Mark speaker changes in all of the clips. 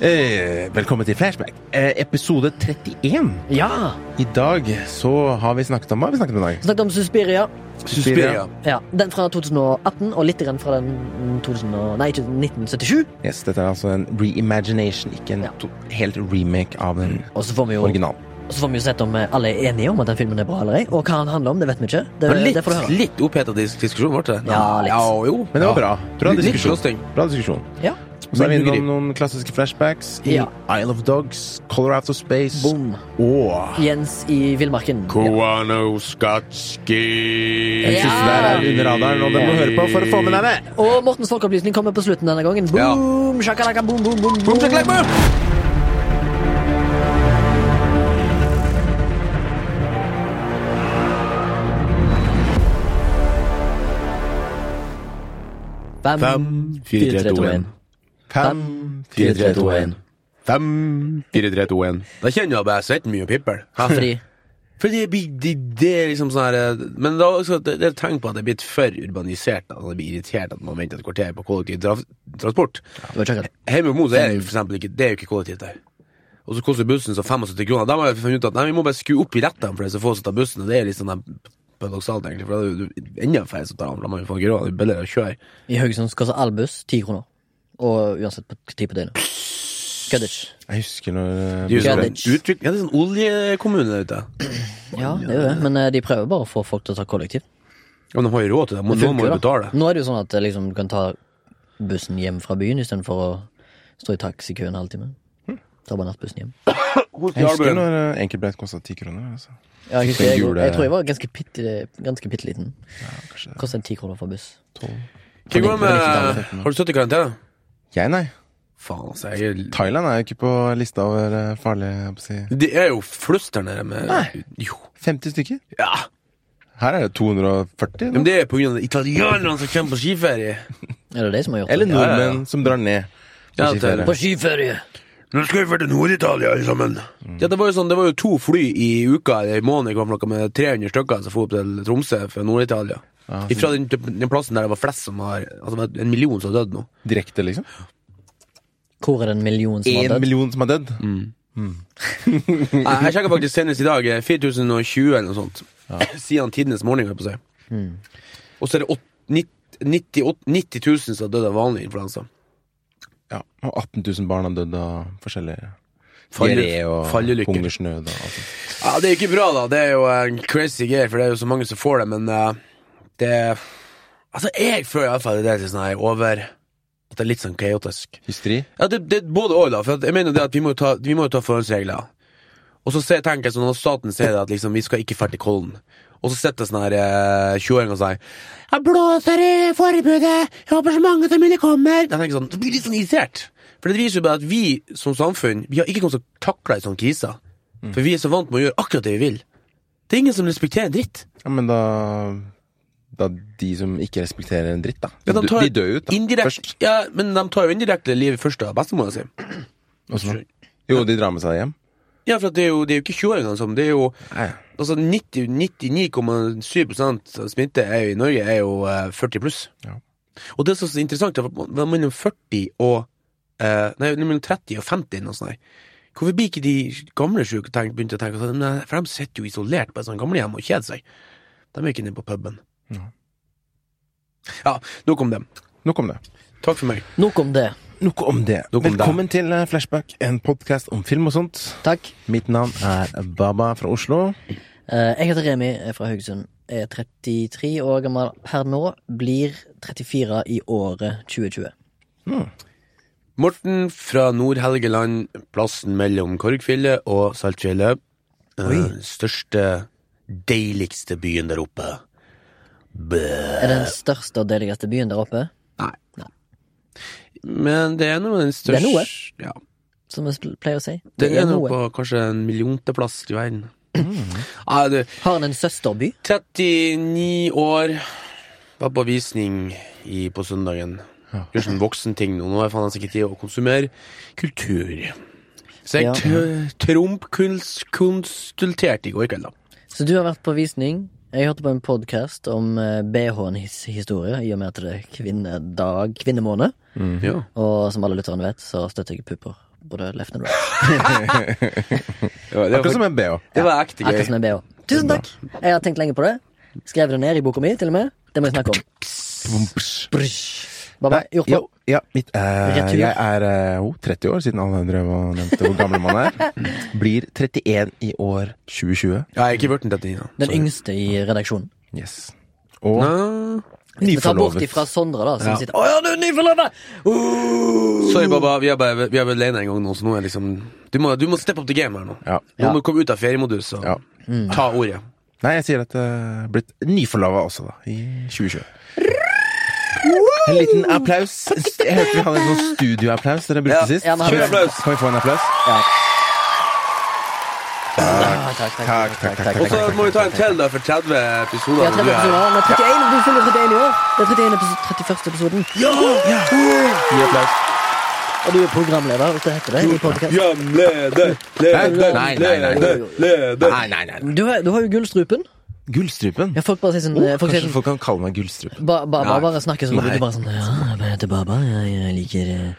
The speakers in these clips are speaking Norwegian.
Speaker 1: Eh, velkommen til Flashback, eh, episode 31.
Speaker 2: Ja!
Speaker 1: I dag så har vi snakket om Hva har vi snakket om i dag?
Speaker 2: Snakket om Suspiria.
Speaker 1: Suspiria.
Speaker 2: Ja, Den fra 2018, og litt grann fra den mm, 2000 og, nei, ikke 1977.
Speaker 1: Yes, dette er altså en reimagination, ikke en
Speaker 2: Ja.
Speaker 1: to helt remake av den
Speaker 2: Og så får vi jo
Speaker 1: originalen.
Speaker 2: Så får vi jo sett om eh, alle er enige om at den filmen er bra eller ei. Og hva han handler om, det vet vi ikke. Det,
Speaker 3: Det var
Speaker 2: det får du
Speaker 3: litt,
Speaker 2: høre.
Speaker 3: litt opphetet dis- diskusjon, ble det?
Speaker 2: Ja, litt.
Speaker 3: jo.
Speaker 1: Men det var bra. Bra
Speaker 3: Litt
Speaker 1: diskusjon.
Speaker 3: slåssing.
Speaker 1: Bra diskusjon.
Speaker 2: Ja.
Speaker 1: Og så er vi
Speaker 3: Men
Speaker 1: innom noen klassiske flashbacks i
Speaker 2: Ja.
Speaker 1: Isle of Dogs, Color Out of Space
Speaker 2: Boom.
Speaker 1: og
Speaker 2: Jens i villmarken. Ja.
Speaker 4: Kowanoskatski.
Speaker 1: Den siste der er under radaren, og den må du høre på for å få med deg det.
Speaker 2: Og Mortens folkeopplysning kommer på slutten denne gangen.
Speaker 3: Ja.
Speaker 2: Boom, shakalaka, boom, boom, boom, boom. Fem, fire, tre, to, en.
Speaker 1: Fem,
Speaker 2: fire, tre, to, en.
Speaker 4: Fem, fire, tre, to, en.
Speaker 3: Da kjenner jeg bare svett mye pippel.
Speaker 2: Ja, fordi
Speaker 3: For det, blir, det, det er liksom sånn her eh, Men da, også, det, det er et tegn på at det er blitt for urbanisert. At man blir irritert at man venter et kvarter på kollektivtransport.
Speaker 2: det var ikke akkurat
Speaker 3: Hjemme hos Mo så er det jo for eksempel ikke Det er jo ikke kollektivt der. Og så koster bussen så 75 kroner. Da har jeg funnet ut at nei, vi må bare skru opp i rettene for det er så få som tar bussen. Og det er litt sånn der paradoksalt, egentlig. For da er det jo enda færre som tar den. for Da må vi få grå, det er billigere å kjøre.
Speaker 2: I Haugesund koster all buss ti kroner. Og uansett på tid på døgnet. Kødd ikke.
Speaker 1: Jeg husker når
Speaker 3: Det er jo sånn
Speaker 2: Greenwich.
Speaker 3: uttrykk Ja, det er sånn oljekommune der ute.
Speaker 2: Ja, det er jo det, men eh, de prøver bare å få folk til å ta kollektiv.
Speaker 3: Ja, men de har jo råd til det. Må-
Speaker 2: Det
Speaker 3: Noen må
Speaker 2: funker,
Speaker 3: jo
Speaker 2: da.
Speaker 3: betale.
Speaker 2: Nå er det jo sånn at eh, liksom, du kan ta bussen hjem fra byen istedenfor å stå i taxikø en halvtime.
Speaker 3: Hm.
Speaker 2: Ta bare nattbussen hjem.
Speaker 3: Hos
Speaker 1: Jeg husker
Speaker 3: Jarlbøen.
Speaker 1: når eh, enkeltbillett kosta ti kroner. Altså.
Speaker 2: Ja, jeg, husker, jeg,
Speaker 1: Jule-
Speaker 2: jeg tror jeg var ganske bitte ganske bitte liten.
Speaker 1: Kanskje
Speaker 2: Kostet en ti kroner for buss.
Speaker 1: tolv.
Speaker 3: Hva går det
Speaker 2: Det var
Speaker 3: med
Speaker 2: litt
Speaker 3: Har du stått i karantene?
Speaker 1: Jeg, nei.
Speaker 3: Faen, altså. Jeg
Speaker 1: Thailand er jo ikke på lista over eh, farlige jeg holdt på å si.
Speaker 3: Det er jo flust der nede med
Speaker 1: Nei.
Speaker 3: Jo.
Speaker 1: 50 stykker.
Speaker 3: Ja.
Speaker 1: Her er det 240.
Speaker 3: Men
Speaker 1: Da.
Speaker 3: det er på grunn av de italienerne som kommer på skiferie.
Speaker 2: Er det de som har gjort det?
Speaker 1: Eller
Speaker 3: Ja, ja, ja.
Speaker 1: nordmenn som drar ned. på
Speaker 3: Ja,
Speaker 1: skiferie.
Speaker 3: det-
Speaker 2: På skiferie!
Speaker 3: Nå skal vi til Nord-Italia, alle sammen. Ja, det var jo sånn, det var jo to fly i uka eller i måneden kom noe med 300 stykker som dro opp til Tromsø fra Nord-Italia.
Speaker 1: Ja, så-
Speaker 3: Ifra den, den plassen der det var flest som har Altså det var en million som har dødd nå.
Speaker 1: Direkte, liksom.
Speaker 2: Hvor er den millionen som
Speaker 1: Én
Speaker 2: har dødd?
Speaker 1: million som har dødd.
Speaker 3: Mm. Nei, Jeg sjekka faktisk senest i dag. eh, 4020 eller noe sånt. Siden tidenes morgen, holdt jeg på å si.
Speaker 1: Hmm.
Speaker 3: Og så er det åt- nitt- 90, åt- 90 000 som har dødd av vanlig influensa.
Speaker 1: Ja, Og 18 000 barn har dødd av forskjellige
Speaker 3: Falle-
Speaker 1: diaré og
Speaker 3: fallulykker.
Speaker 1: hungersnød. og alt sånt.
Speaker 3: Ja, Det er ikke bra, da. Det er jo en crazy greier, for det er jo så mange som får det, men eh, det Altså, jeg føler iallfall det er litt sånn her over At det er litt sånn kaotisk.
Speaker 1: Hysteri.
Speaker 3: Ja, det, det er både og da. For at jeg mener det at vi må jo ta, vi må jo ta forholdsregler. Og så ser- tenker jeg sånn, når staten sier det at liksom, vi skal ikke fære til Kollen. Og så sitter det sånn her eh, 20-åring og sier 'Jeg blåser i forbudet! Jeg håper så mange som mulig kommer!' Jeg tenker sånn, Det blir litt sånn irritert. For det viser jo bare at vi som samfunn Vi har ikke kommet til å takle en sånn krise.
Speaker 1: Mm.
Speaker 3: For vi er så vant med å gjøre akkurat det vi vil. Det er ingen som respekterer en dritt.
Speaker 1: Ja, men da da de som ikke respekterer en dritt, da.
Speaker 3: Ja,
Speaker 1: de,
Speaker 3: tar
Speaker 1: de dør jo ut, da.
Speaker 3: Indirekt,
Speaker 1: Først.
Speaker 3: ja, men de tar jo indirekte livet først av bestemora si.
Speaker 1: Og så- Jo, de drar med seg hjem.
Speaker 3: Ja, for at det er jo, det er jo ikke 20-åringene som Det er jo
Speaker 1: Nei.
Speaker 3: Altså 90 99,7 av smitte er jo, i Norge er jo eh, 40 pluss.
Speaker 1: Ja.
Speaker 3: Og det som er så interessant, er at man- man er mellom 40 og eh, Nei, mellom 30 og 50 eller noe sånt. der. Hvorfor blir ikke de gamle syke tenkt, begynte å tenke sånn? Nei, For de sitter jo isolert på et sånt gamlehjem og kjeder seg. De er ikke inne på puben.
Speaker 1: Ja.
Speaker 3: Ja, nok om dem.
Speaker 1: Nok om det.
Speaker 3: Takk for meg.
Speaker 2: Nok om det.
Speaker 1: Nok om det.
Speaker 3: Nok om det.
Speaker 1: Velkommen til eh, Flashback, en podkast om film og sånt.
Speaker 2: Takk.
Speaker 1: Mitt navn er Baba fra Oslo.
Speaker 2: Eh, Jeg heter Remi, er fra Haugesund. Er 33 år gammel per nå. Blir 34 i året 2020.
Speaker 3: Morten fra Nord-Helgeland, plassen mellom Korgfjellet og Saltfjellet. Den største, deiligste byen der oppe. Bø.
Speaker 2: Er den største og deiligste byen der oppe?
Speaker 3: Nei. Men det er noe den
Speaker 2: Det
Speaker 3: største
Speaker 2: er noe.
Speaker 3: Ja.
Speaker 2: Som vi spl- pleier å si.
Speaker 3: Det er noe Mm. på kanskje en millionteplass i verden. Nei, du,
Speaker 2: Har han en søsterby?
Speaker 3: 39 år Var på visning i, på søndagen.
Speaker 1: Ja.
Speaker 3: Gjør sånn voksenting nå. Nå har jeg faen altså ikke tid å konsumere kultur. Så jeg
Speaker 2: Ja.
Speaker 3: tr- trompkonsulterte i går kveld, da.
Speaker 2: Så du har vært på visning. Jeg hørte på en podkast om eh, BH-ens historie, i og med at det er kvinnedag, kvinnemåned.
Speaker 3: Ja.
Speaker 2: Og som alle lytterne vet, så støtter jeg pupper både left and right.
Speaker 3: det,
Speaker 1: Akkurat
Speaker 3: var,
Speaker 1: som en BH.
Speaker 3: det var ekte
Speaker 2: Akkurat
Speaker 3: gøy.
Speaker 2: som en BH. Tusen takk! Jeg har tenkt lenge på det. Skrevet det ned i boka mi, til og med. Det må jeg snakke om. Brysj. Baba,
Speaker 1: Nei,
Speaker 2: gjort
Speaker 1: jo,
Speaker 2: noe.
Speaker 1: ja, mitt, eh,
Speaker 2: Retur.
Speaker 1: jeg er eh, jo, 30 år, siden alle drev og nevnte hvor gammel man er. Blir 31 i år 2020.
Speaker 3: Jeg har ikke blitt en 39 nå.
Speaker 2: Den yngste i redaksjonen.
Speaker 1: Yes. Og
Speaker 3: Ah.
Speaker 2: Vi tar bort
Speaker 1: nyforlovet.
Speaker 2: ifra Sondre, da, som
Speaker 3: Ja.
Speaker 2: sitter Å ja, du er nyforlovet! Uh!
Speaker 3: Sorry, Baba. Vi har bare- vi har vært alene en gang nå, så nå er liksom Du må, du må steppe opp til game her nå.
Speaker 1: Ja.
Speaker 3: Nå må du komme ut av feriemodus og
Speaker 1: Ja.
Speaker 3: ta ordet.
Speaker 2: Mm.
Speaker 1: Nei, jeg sier at jeg er blitt nyforlova også, da. I 2020. En liten applaus. Jeg hørte vi hadde en sånn studioapplaus dere brukte
Speaker 3: Ja.
Speaker 1: sist.
Speaker 2: Ja, men han-
Speaker 1: Kjør applaus! Kan vi få en applaus?
Speaker 2: Ah, takk, takk, takk, takk, takk,
Speaker 3: Og så må vi ta en til da for 30 episoder.
Speaker 2: Vi har 30
Speaker 3: når du
Speaker 2: episoder.
Speaker 3: er-
Speaker 2: Nå er 31, du fyller 31 i år. Det er 31 episode, 31. episoden.
Speaker 3: Ja!
Speaker 1: Gi applaus.
Speaker 2: Og du er programleder, hvis det heter det. i podcast.
Speaker 3: Programleder, leder,
Speaker 1: Nei, nei, nei.
Speaker 3: leder, leder.
Speaker 1: Nei, nei, nei.
Speaker 2: Du, har- du har jo gullstrupen.
Speaker 1: Gullstrupen?
Speaker 2: Ja, folk bare sier sånn, eh, folk sier
Speaker 1: Kanskje
Speaker 2: sånn
Speaker 1: folk kan kalle meg Gullstrupen.
Speaker 2: ba, ba, ba,
Speaker 3: Nei.
Speaker 2: Bare snakker sånn.
Speaker 1: Nei.
Speaker 2: Du bare sånn Ja, jeg heter Baba. Jeg, jeg liker eh,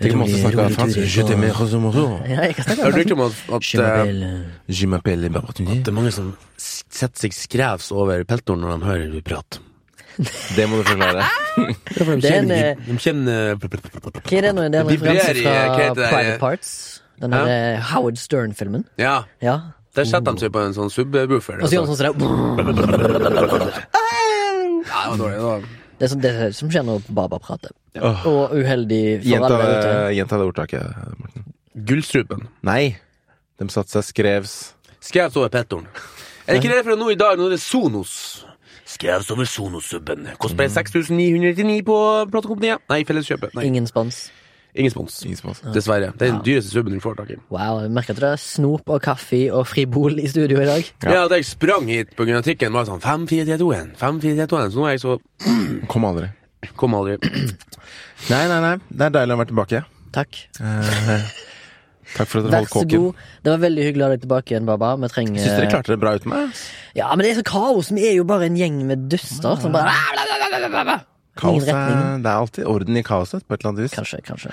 Speaker 1: Tenk om man
Speaker 2: rolig-
Speaker 1: også snakker
Speaker 2: rolig
Speaker 1: fransk.
Speaker 2: turer
Speaker 1: Je
Speaker 2: og-
Speaker 1: t'aime, Rosa Moreau.
Speaker 2: Ja, jeg kan snakke
Speaker 3: Jeg har
Speaker 2: fransk.
Speaker 3: hørt om at, at
Speaker 2: Je
Speaker 3: eh,
Speaker 2: m'appelle, eh,
Speaker 1: Je m'appelle Bartunier.
Speaker 3: det er mange som s- setter seg skrevs over peltoren når de hører vi prate.
Speaker 1: Det må du forklare.
Speaker 2: Ah! Det
Speaker 3: De
Speaker 2: er en,
Speaker 3: kjenner,
Speaker 2: eh,
Speaker 3: de kjenner
Speaker 2: Hva er det nå? Det er en
Speaker 3: Det vibrerer
Speaker 2: referanse
Speaker 3: i- hva
Speaker 2: fra
Speaker 3: heter det der?
Speaker 2: Private Parts. Den der eh, Howard Stern-filmen.
Speaker 3: Ja,
Speaker 2: Ja.
Speaker 3: der setter de seg på en sånn subwoofer.
Speaker 2: Og så gjør han
Speaker 3: altså.
Speaker 2: sånn som det
Speaker 3: Ja, det var dårlig, det var-
Speaker 2: Det er sånn det er det som skjer når Baba prater.
Speaker 1: Åh.
Speaker 2: Og uheldig for
Speaker 1: Gjenta,
Speaker 2: alle der ute.
Speaker 1: eh, gjenta det ordtaket, Morten.
Speaker 3: Gullstrupen.
Speaker 1: Nei. De satte seg skrevs.
Speaker 3: Skrevs over peltoren. Er det ikke det fra nå i dag? Nå er det Sonos. Skrevs over Sonos-subben. Koster
Speaker 2: Mm.
Speaker 3: bare 6999 på platekompaniet. Nei, Felleskjøpet. Nei,
Speaker 2: Ingen spons.
Speaker 3: ingen spons.
Speaker 1: Ingen som helst.
Speaker 3: Dessverre. Det er den dyreste subben du får tak i.
Speaker 2: Wow, jeg merker at det er snop og kaffe og fribol i studio i dag.
Speaker 3: Ja. at jeg sprang hit på grunn av trikken, var sånn 5, 4, 3, 2, 1, 5, 4, 3, 2, 1. Så nå er jeg så
Speaker 1: Kom aldri.
Speaker 3: Kom aldri.
Speaker 1: Nei, nei, nei. Det er deilig å være tilbake.
Speaker 2: Takk.
Speaker 1: Eh, takk for at dere
Speaker 2: Vær
Speaker 1: holdt
Speaker 2: så
Speaker 1: kåken.
Speaker 2: god. Eh, Det var veldig hyggelig å ha deg tilbake igjen, Baba. Vi trenger
Speaker 1: Syns dere klarte det bra uten meg?
Speaker 2: Ja, men det er så kaos. Vi er jo bare en gjeng med duster som bare
Speaker 1: Kaos
Speaker 2: Ingen retning.
Speaker 1: er, det er alltid orden i kaoset, på et eller annet vis.
Speaker 2: Kanskje, kanskje.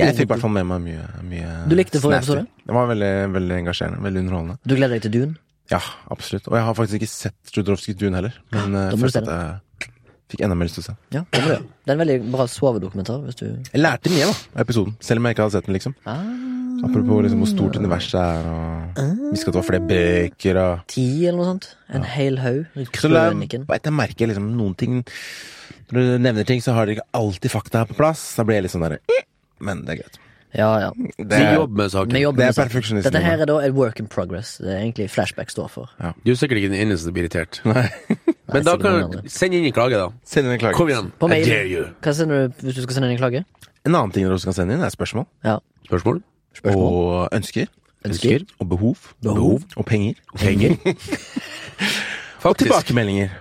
Speaker 1: Jeg fikk i hvert fall med meg mye, mye
Speaker 2: Du likte forrige
Speaker 1: snacking.
Speaker 2: episode?
Speaker 1: Det var veldig, veldig engasjerende. Veldig underholdende.
Speaker 2: Du gleder deg til Dune?
Speaker 1: Ja, absolutt. Og jeg har faktisk ikke sett Jodorowskys Dune heller. Men eh,
Speaker 2: Da må du
Speaker 1: følte
Speaker 2: se
Speaker 1: at jeg fikk enda mer lyst til å se. den.
Speaker 2: Ja, det må du gjøre. Det er en veldig bra sovedokumentar. Hvis du
Speaker 1: Jeg lærte mye da, av episoden, selv om jeg ikke hadde sett den. liksom
Speaker 2: ah,
Speaker 1: Apropos liksom, hvor stort universet er, og vi skal ta flere bøker og
Speaker 2: Ti, eller noe sånt. En hel haug.
Speaker 1: Så la jeg,
Speaker 2: Krøniken.
Speaker 1: vet, jeg merker liksom noen ting Når du nevner ting, så har dere ikke alltid fakta her på plass. Da blir jeg litt sånn der Men det er greit.
Speaker 2: Ja, ja.
Speaker 1: Det,
Speaker 3: Vi jobber med saken.
Speaker 2: Vi jobber
Speaker 1: Det er
Speaker 2: med saken.
Speaker 1: perfeksjonisme.
Speaker 2: Dette her er da et work in progress. Det er egentlig flashback står for.
Speaker 3: Du er sikkert ikke den eneste som blir irritert. Men
Speaker 2: Nei,
Speaker 3: da
Speaker 2: sikkert noen
Speaker 3: kan
Speaker 2: andre.
Speaker 3: du sende inn en klage, da.
Speaker 1: Send inn en klage.
Speaker 3: Kom igjen.
Speaker 2: På
Speaker 3: I
Speaker 2: mail.
Speaker 3: dare you.
Speaker 2: Hva sender du hvis du skal sende inn en klage?
Speaker 1: En annen ting dere også kan sende inn, er spørsmål.
Speaker 2: Ja.
Speaker 3: Spørsmål?
Speaker 1: Og ønsker.
Speaker 2: Ønsker.
Speaker 1: Og behov.
Speaker 2: Behov.
Speaker 1: Og penger.
Speaker 3: Penger? Faktisk.
Speaker 1: Tilbakemeldinger.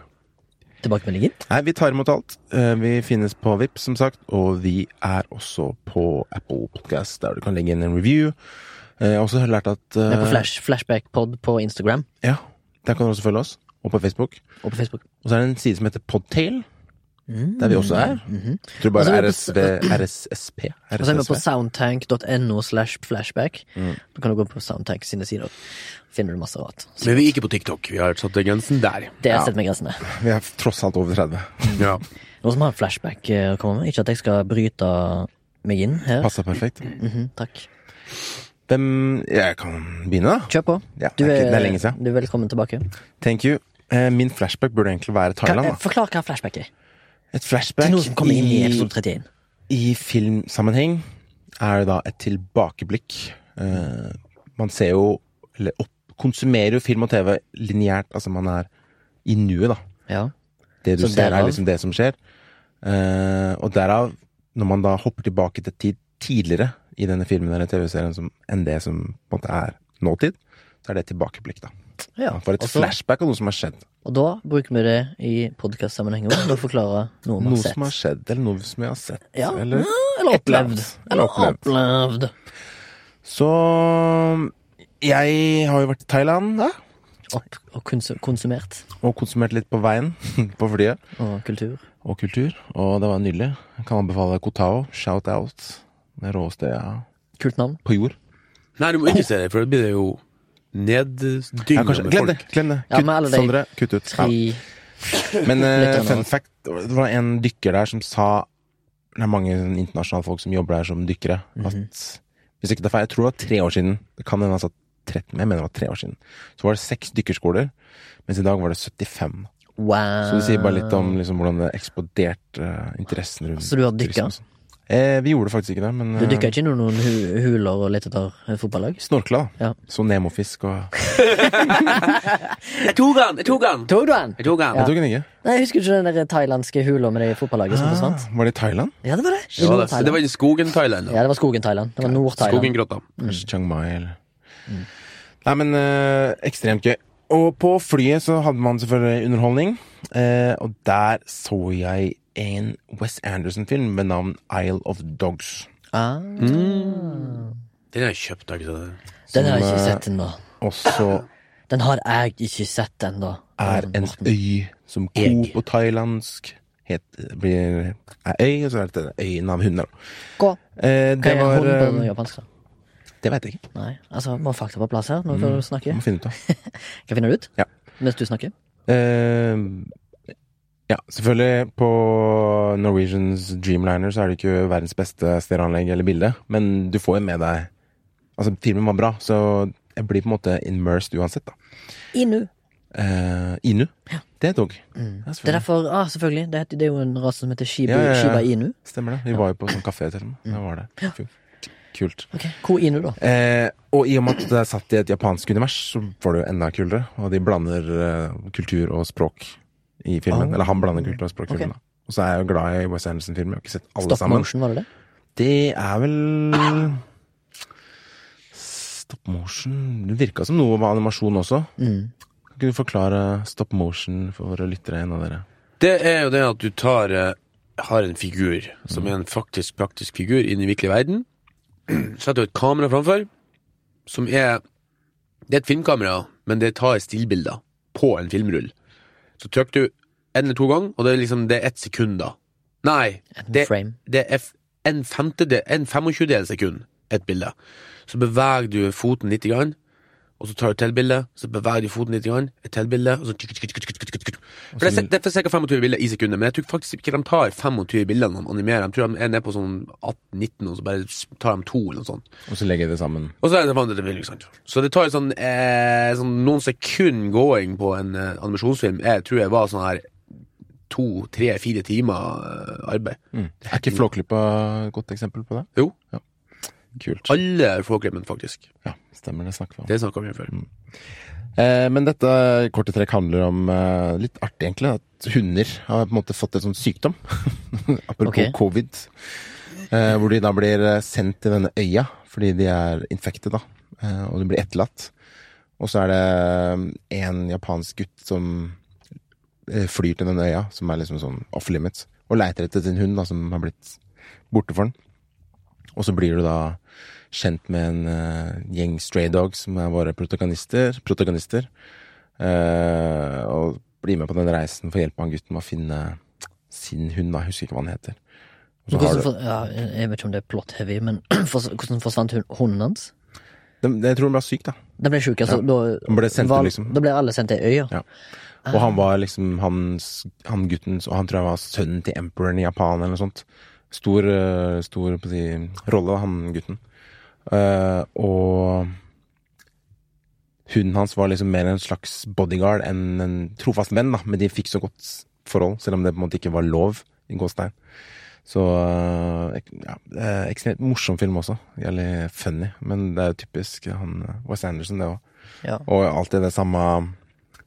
Speaker 2: Tilbakemeldinger?
Speaker 1: Nei, vi tar imot alt. Eh, Vi finnes på VIP, som sagt, og vi er også på Apple Podcast, der du kan legge inn en review. Eh, Jeg har også lært at eh,
Speaker 2: Vi er på flash, Flashbackpod på Instagram
Speaker 1: Ja, Der kan du også følge oss, og på Facebook.
Speaker 2: og på Facebook.
Speaker 1: Og så er det en side som heter Podtail, der vi også er. Jeg tror
Speaker 2: Mm, mhm. Og så
Speaker 1: bare
Speaker 2: er vi på-
Speaker 1: RSV, RSSP.
Speaker 2: Og så er vi på
Speaker 1: RSSV.
Speaker 2: soundtank.no slash flashback.
Speaker 1: Mm.
Speaker 2: Da kan du gå på Soundtank sine sider. Finner du masse rart. Så
Speaker 3: Men vi er ikke på TikTok. Vi har satt grensen der.
Speaker 2: det setter meg grensene.
Speaker 1: Vi er tross alt over 30.
Speaker 3: Ja.
Speaker 2: Noen som har en flashback eh, å komme med? Ikke at jeg skal bryte meg inn her.
Speaker 1: Passer perfekt.
Speaker 2: Mhm, takk.
Speaker 1: Hvem Jeg kan begynne, da.
Speaker 2: Kjør på.
Speaker 1: Ja, det er ikke- det er lenge siden.
Speaker 2: du er velkommen tilbake.
Speaker 1: Thank you. Eh, Min flashback burde egentlig være
Speaker 2: Kan,
Speaker 1: Thailand.
Speaker 2: eh,
Speaker 1: da
Speaker 2: forklar hva flashback er.
Speaker 1: Et
Speaker 2: Det
Speaker 1: flashback
Speaker 2: er noe som kommer inn i
Speaker 1: i,
Speaker 2: episode 31.
Speaker 1: i filmsammenheng er det da et tilbakeblikk. Eh, man ser jo Eller opp, konsumerer jo film og TV lineært. Altså man er i nuet, da.
Speaker 2: Ja.
Speaker 1: Det du
Speaker 2: Så
Speaker 1: ser,
Speaker 2: derav-
Speaker 1: er liksom det som skjer. Eh, og derav, når man da hopper tilbake til tid tidligere i denne filmen eller TV-serien som, enn det som på en måte er nåtid, så er det et tilbakeblikk, da.
Speaker 2: ja.
Speaker 1: For et
Speaker 2: Og så-
Speaker 1: flashback av noe som har skjedd.
Speaker 2: Og da bruker vi det i podkastsammenheng òg, for å forklare noe vi
Speaker 1: Noe
Speaker 2: har sett.
Speaker 1: som har skjedd, eller noe som jeg har sett.
Speaker 2: Ja.
Speaker 1: Eller
Speaker 2: Eller
Speaker 1: et eller annet.
Speaker 2: opplevd.
Speaker 1: Eller
Speaker 2: Eller
Speaker 1: opplevd.
Speaker 2: opplevd.
Speaker 1: Så jeg har jo vært i Thailand, da.
Speaker 2: Opp og konsu- konsumert.
Speaker 1: Og konsumert litt på veien på flyet.
Speaker 2: Og kultur.
Speaker 1: Og kultur. Og det var nydelig. Jeg kan anbefale Kotao. Shout out. Det råeste jeg har
Speaker 2: Kult navn.
Speaker 1: på jord.
Speaker 3: Nei, du må ikke se det, for da blir det jo
Speaker 1: Ja,
Speaker 3: neddynga
Speaker 1: kanskje,
Speaker 3: med
Speaker 1: glem det!
Speaker 3: folk.
Speaker 1: glem det
Speaker 2: Ja,
Speaker 1: kutt,
Speaker 2: men alle de
Speaker 1: Sondre, kutt ut.
Speaker 2: Tre
Speaker 1: Ja. Men
Speaker 2: Litt
Speaker 1: eh,
Speaker 2: annet.
Speaker 1: fun fact, det var en dykker der som sa Det er mange internasjonale folk som jobber der som dykkere.
Speaker 2: Mhm.
Speaker 1: at, hvis ikke det er feil, Jeg tror det var tre år siden. Det kan hende altså 13, jeg mener det var tre år siden. Så var det seks dykkerskoler, mens i dag var det 75.
Speaker 2: Wow.
Speaker 1: Så det sier bare litt om liksom, hvordan det eksploderte eh, interessen rundt
Speaker 2: Eh. Så du har
Speaker 1: turisme
Speaker 2: dykka?
Speaker 1: og sånn. Eh, vi gjorde faktisk ikke det, men
Speaker 2: Du
Speaker 1: eh,
Speaker 2: dykker ikke i noen hu huler og lette etter eh, fotballag?
Speaker 1: snorkla, da.
Speaker 2: Ja.
Speaker 1: Så nemofisk og
Speaker 3: Jeg tok han! Jeg tok han!
Speaker 2: Tok du den?
Speaker 3: Jeg tok han.
Speaker 1: Jeg tok den ikke.
Speaker 2: Nei, jeg husker ikke den der thailandske hula med det fotballaget som forsvant.
Speaker 1: Ah, var det i Thailand?
Speaker 2: Ja, det var det. I
Speaker 3: Det var, det.
Speaker 2: Nord-Thailand.
Speaker 3: det var i skogen Thailand.
Speaker 2: Ja, det var skogen Thailand. Det var
Speaker 3: da.
Speaker 2: Nord-Thailand.
Speaker 3: Skogen grotta.
Speaker 2: Mm.
Speaker 1: Kanskje Chiang Mai eller Nei, men eh, ekstremt gøy. Og på flyet så hadde man selvfølgelig underholdning. eh, og der så jeg en Wes Anderson-film ved navn Isle of Dogs.
Speaker 2: Ah,
Speaker 1: Mm.
Speaker 3: Den har jeg kjøpt, har jeg ikke sett det.
Speaker 2: den har jeg
Speaker 1: Som,
Speaker 2: ikke
Speaker 1: eh,
Speaker 2: sett ennå.
Speaker 1: Også
Speaker 2: Den har jeg ikke sett ennå.
Speaker 1: er en øy som ko
Speaker 2: Jeg.
Speaker 1: på thailandsk het, blir, er øy, og så er det øyen av hunder. da.
Speaker 2: Gå.
Speaker 1: Eh,
Speaker 2: Hva
Speaker 1: det
Speaker 2: er
Speaker 1: var
Speaker 2: hun på
Speaker 1: eh,
Speaker 2: japansk, da?
Speaker 1: Det veit jeg ikke.
Speaker 2: Nei, altså, må fakta på plass her når du
Speaker 1: Jeg
Speaker 2: snakker.
Speaker 1: må finne ut av.
Speaker 2: Hva finner du ut?
Speaker 1: Mm. Ja.
Speaker 2: Mens du snakker?
Speaker 1: Eh, ja, selvfølgelig på Norwegians Dreamliner så er det ikke verdens beste stereoanlegg eller bilde, men du får jo med deg Altså, filmen var bra, så jeg blir på en måte immersed uansett, da.
Speaker 2: Inu.
Speaker 1: Eh, Inu. Det tok. Ja,
Speaker 2: Det er
Speaker 1: selvfølgelig.
Speaker 2: derfor ah, Selvfølgelig. Det, heter, det er jo en rase som heter Shibu,
Speaker 1: Ja, ja, ja.
Speaker 2: Shiba Inu.
Speaker 1: Stemmer det. Vi var jo på sånn kafé til og med. Det var det. i fjor. Kult.
Speaker 2: Ok, Hvor er Inu, da?
Speaker 1: Eh, og i og med at det er satt i et japansk univers, så var det jo enda kulere. Og de blander eh, kultur og språk i filmen.
Speaker 2: Ah.
Speaker 1: Eller han blander kultur og språk i
Speaker 2: Ok.
Speaker 1: filmen. da. Og så er jeg jo glad i Wes Anderson-filmer. Jeg har ikke sett alle
Speaker 2: Stop
Speaker 1: sammen.
Speaker 2: motion, var det det?
Speaker 1: Det er vel Stop motion Det virka som noe var animasjon også.
Speaker 2: Mm.
Speaker 1: Kan ikke du forklare stop motion for våre lyttere? En av dere?
Speaker 3: Det er jo det at du tar eh, har en figur som er en faktisk praktisk figur inn i virkelig verden. Setter du et kamera framfor, som er Det er et filmkamera, men det tar stillbilder på en filmrull. Så trykker du én eller to ganger, og det er liksom det er ett sekund, da. Nei, det,
Speaker 2: frame.
Speaker 3: det er f- en femtedel, en 25 sekund, et bilde. Så beveger du foten litt, grann, og så tar du til bildet, så beveger du foten litt, grann, et til bilde, og så tikk, tikk, tikk, tikk, tikk, tikk, tikk. For det er, det er ca. 25 bilder i sekundet, men jeg tror faktisk ikke de tar 25 bilder når de animerer. Jeg tror de er nede på sånn 18-19, og så bare s- tar de to eller noe sånt.
Speaker 1: Og så legger jeg det sammen.
Speaker 3: Og så er det vanlig, ikke sant. Så det tar jo sånn, eh, sånn noen sekund going på en eh, animasjonsfilm. Jeg tror jeg var sånn her to, tre, fire timer eh, arbeid.
Speaker 1: Er ikke Flåklypa et godt eksempel på det?
Speaker 3: Jo.
Speaker 1: Ja. Kult.
Speaker 3: Alle Flåklypen, faktisk.
Speaker 1: Ja, stemmer det. Snakker vi om.
Speaker 3: Det snakka vi om før.
Speaker 1: Eh, men dette korte trekk handler om eh, litt artig, egentlig. At hunder har på en måte fått en sånn sykdom. Apropos
Speaker 2: Ok.
Speaker 1: covid. Eh, hvor de da blir eh, sendt til denne øya fordi de er infektet, da. Eh, og de blir etterlatt. Og så er det eh, en japansk gutt som eh, flyr til denne øya, som er liksom sånn off limits, og leiter etter sin hund, da, som har blitt borte for den. Og så blir du da kjent med en eh, gjeng stray dogs som er våre protagonister. protagonister eh, og blir med på den reisen for å hjelpe han gutten med å finne sin hund. da, Jeg husker ikke hva han heter. Og så har
Speaker 2: Hvordan
Speaker 1: du,
Speaker 2: for, ja, jeg vet ikke om det er plot heavy, men fors- hvordan forsvant hun, hunden hans?
Speaker 1: de, jeg tror han ble syk, da.
Speaker 2: Den ble sjuk, altså. Da,
Speaker 1: Han ble sendt
Speaker 2: var-
Speaker 1: til liksom
Speaker 2: da ble alle sendt til øya.
Speaker 1: Ja. Og han var liksom hans, han guttens Og han tror jeg var sønnen til emperoren i Japan eller noe sånt. Stor, eh, stor på å si, rolle, han gutten. Eh, og hunden hans var liksom mer en slags bodyguard enn en trofast venn, da. Men de fikk så godt forhold, selv om det på en måte ikke var lov i gåstein. Så eh, ek- ja, eh, ekstremt morsom film også. Jævlig funny. Men det er jo typisk han eh, Wes Anderson, det òg.
Speaker 2: Ja.
Speaker 1: Og alltid det samme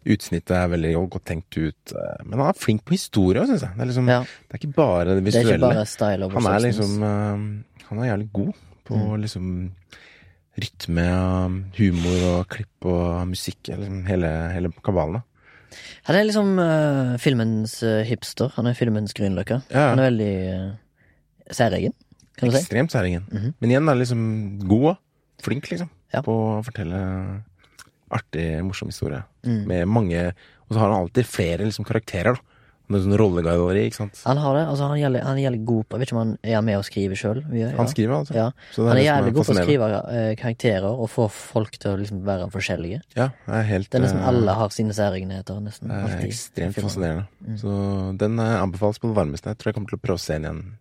Speaker 1: utsnittet er veldig godt tenkt ut. eh, Men han er flink på historie òg, syns jeg. Det er, liksom,
Speaker 2: Ja.
Speaker 1: det er ikke bare det
Speaker 2: Det er
Speaker 1: visuelle.
Speaker 2: ikke bare altså. style over
Speaker 1: han er
Speaker 2: substance.
Speaker 1: liksom eh, Han er jævlig god på
Speaker 2: Mm.
Speaker 1: liksom rytme og humor og klipp og musikk. eller Liksom, hele, hele kabalen. da.
Speaker 2: Han er liksom eh, filmens eh, hipster. Han er filmens Grünerløkka.
Speaker 1: Ja.
Speaker 2: Han er veldig eh, særegen, kan du si.
Speaker 1: Ekstremt særingen. Men igjen er liksom god og flink, liksom.
Speaker 2: Mhm. Ja.
Speaker 1: På å fortelle
Speaker 2: Mm.
Speaker 1: artig, morsom historie. Med mange Og så har han alltid flere liksom, karakterer, da. Det er sånn rollegalleri, ikke sant.
Speaker 2: Han har det. altså Han er jævlig- han er jævlig god på Jeg vet ikke om han er han med å skrive sjøl.
Speaker 1: Han skriver, altså.
Speaker 2: Ja.
Speaker 1: Så det
Speaker 2: Han er
Speaker 1: det som
Speaker 2: jævlig god på å
Speaker 1: fascinerende.
Speaker 2: skrive eh, karakterer og få folk til å liksom være forskjellige.
Speaker 1: Ja, jeg er helt
Speaker 2: Det er nesten
Speaker 1: eh,
Speaker 2: alle har sine særegenheter. nesten
Speaker 1: Det er
Speaker 2: alltid. Mm.
Speaker 1: ekstremt fascinerende. Så den eh, anbefales på det varmeste. Jeg tror jeg kommer til å prøve å se den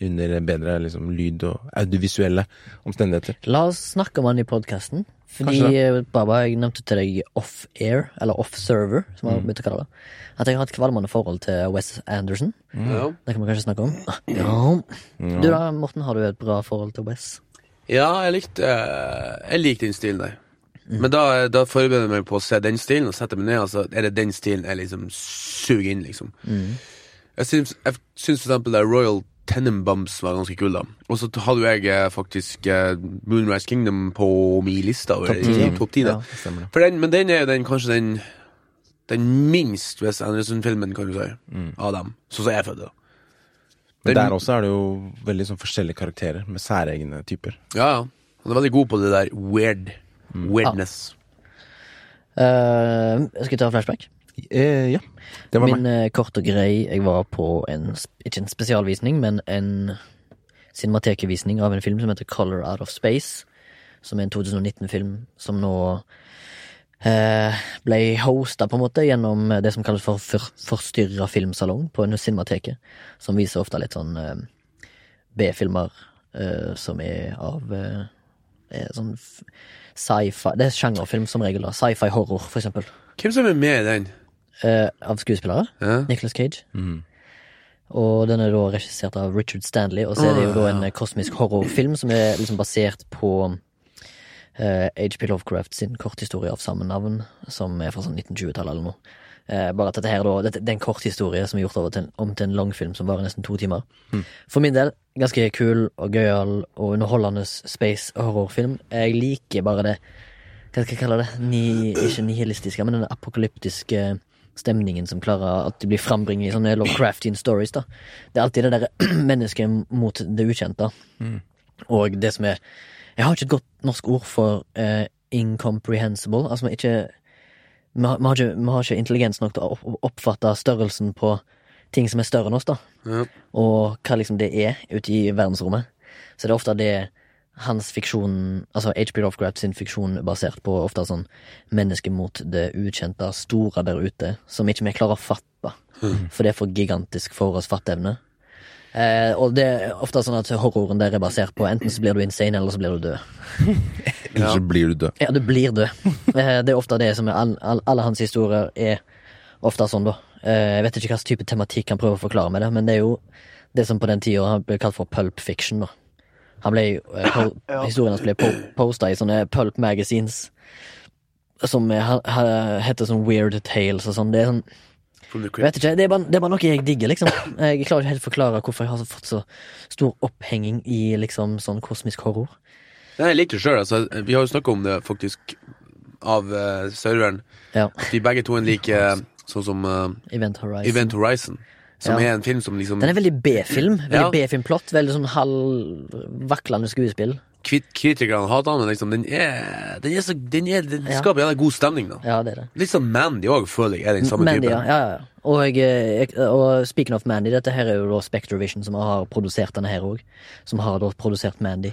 Speaker 1: igjen under bedre liksom, lyd og audiovisuelle omstendigheter.
Speaker 2: La oss snakke om han i podkasten. Fordi
Speaker 1: Kanskje
Speaker 2: eh, Baba, jeg nevnte til deg off-air, eller off-server, som
Speaker 1: Mm.
Speaker 2: jeg har begynt å kalle det. At jeg har et kvalmende forhold til Wes Anderson.
Speaker 1: Mm.
Speaker 3: Ja.
Speaker 2: Det kan vi kanskje snakke om. Ja. Du da, Morten, har du et bra forhold til Wes?
Speaker 3: Ja, jeg likte eh, Jeg likte den stilen der. Men da, da forbereder jeg meg på å se den stilen, og setter meg ned, og så er det den stilen jeg liksom suger inn, liksom. Jeg syns, jeg syns for eksempel det Royal Tenenbums var ganske kul, da. Og så hadde jo jeg eh, faktisk eh, Moonrise Kingdom på min liste over
Speaker 1: Topp ti.
Speaker 3: topp ti, da.
Speaker 2: Ja,
Speaker 1: Stemmer det.
Speaker 3: For den, men den er jo den, kanskje den den minst Wes Anderson-filmen, kan du si, av dem. Sånn som jeg er født, da.
Speaker 1: Men
Speaker 3: Den-
Speaker 1: der også er det jo veldig sånn forskjellige karakterer med særegne typer.
Speaker 3: Ja, ja. Han er veldig god på det der weird.
Speaker 2: Mm.
Speaker 3: Weirdness.
Speaker 2: Eh, skal vi ta flashback?
Speaker 1: Eh, ja. Det var
Speaker 2: Min eh, kort og grei Jeg var på en, sp- ikke en spesialvisning Men en cinematekevisning Av en film som heter Color Out of Space Som er en 2019-film Som nå eh, Ble hostet på en måte Gjennom eh, det som kalles for, for Forstyrret filmsalong på en cinemateke Som viser ofte litt sånn eh, B-filmer eh, Som er av eh, eh, Sånn f- sci-fi Det er sjangerfilm som regel da Sci-fi horror for eksempel
Speaker 3: Hvem som er med i den?
Speaker 2: eh, Av skuespillere
Speaker 3: Ja.
Speaker 2: Nicolas Cage. Og den er da regissert av Richard Stanley, og så er det jo da en eh, kosmisk horrorfilm som er liksom basert på eh, H.P. Lovecraft sin korthistorie av samme navn, som er fra sånn 1920-tallet eller noe. Eh, bare at dette her da, dette, det er en korthistorie som er gjort over til en, om til en langfilm som varer nesten to timer. For min del, ganske kul og gøyal og underholdende space horrorfilm. Jeg liker bare det Hva skal jeg kalle det? Ni, ikke nihilistiske, men den apokalyptiske stemningen som klarer at de blir frambringet i sånne Lovecraftian stories. da Det er alltid det derre mennesket mot det ukjente. Og det som er Jeg har ikke et godt norsk ord for eh, incomprehensible. Altså vi er ikke Vi har, vi har, ikke, vi har ikke intelligens nok til å opp- oppfatte størrelsen på ting som er større enn oss, da.
Speaker 3: Ja.
Speaker 2: Og hva liksom det er ute i verdensrommet. Så det er ofte det hans fiksjon, altså H.P. Lovecraft sin fiksjon basert på ofte sånn mennesket mot det ukjente, store der ute, som ikke vi klarer å fatte. For det er for gigantisk for oss fatteevne. Eh, og det er ofte sånn at horroren der er basert på enten så blir du insane, eller så blir du død.
Speaker 1: Ellers så blir du død.
Speaker 2: Ja, du blir død. Eh, det er ofte det som er all, all, Alle hans historier er ofte sånn, da. Eh, jeg vet ikke hva slags type tematikk han prøver å forklare med det, men det er jo det som på den tida ble kalt for pulp fiction, da. Han ble, jo, eh, po Historien hans ble po posta i sånne pulp magazines som er, ha, ha, heter sånn Weird Tales og sånn. Det er sånn
Speaker 3: From the
Speaker 2: jeg
Speaker 3: Crypt.
Speaker 2: vet ikke, det er, bare, det er bare noe jeg digger, liksom. Jeg klarer ikke helt å forklare hvorfor jeg har så- fått så stor opphenging i liksom sånn kosmisk horror.
Speaker 3: Nei, jeg likte det sjøl, altså. Vi har jo snakka om det, faktisk, av eh, serveren.
Speaker 2: Ja,
Speaker 3: De begge to en liker eh, sånn som eh,
Speaker 2: Event Horizon.
Speaker 3: Event Horizon, som
Speaker 2: Ja.
Speaker 3: er en film som liksom
Speaker 2: Den er veldig B-film.
Speaker 3: Ja.
Speaker 2: Veldig B-filmplott. Veldig sånn halvvaklende skuespill.
Speaker 3: kvit- kritikerne hater, men liksom, den er Den, er så, den, er, den
Speaker 2: Ja.
Speaker 3: skaper jævla god stemning, da.
Speaker 2: Ja, det er det.
Speaker 3: Litt sånn Mandy òg, føler jeg, er den samme
Speaker 2: Mandy, ja.
Speaker 3: typen.
Speaker 2: ja, ja. Og, eh, jeg, og speaking of Mandy, dette her er jo da Spectrovision som har produsert denne her òg. Som har da produsert Mandy.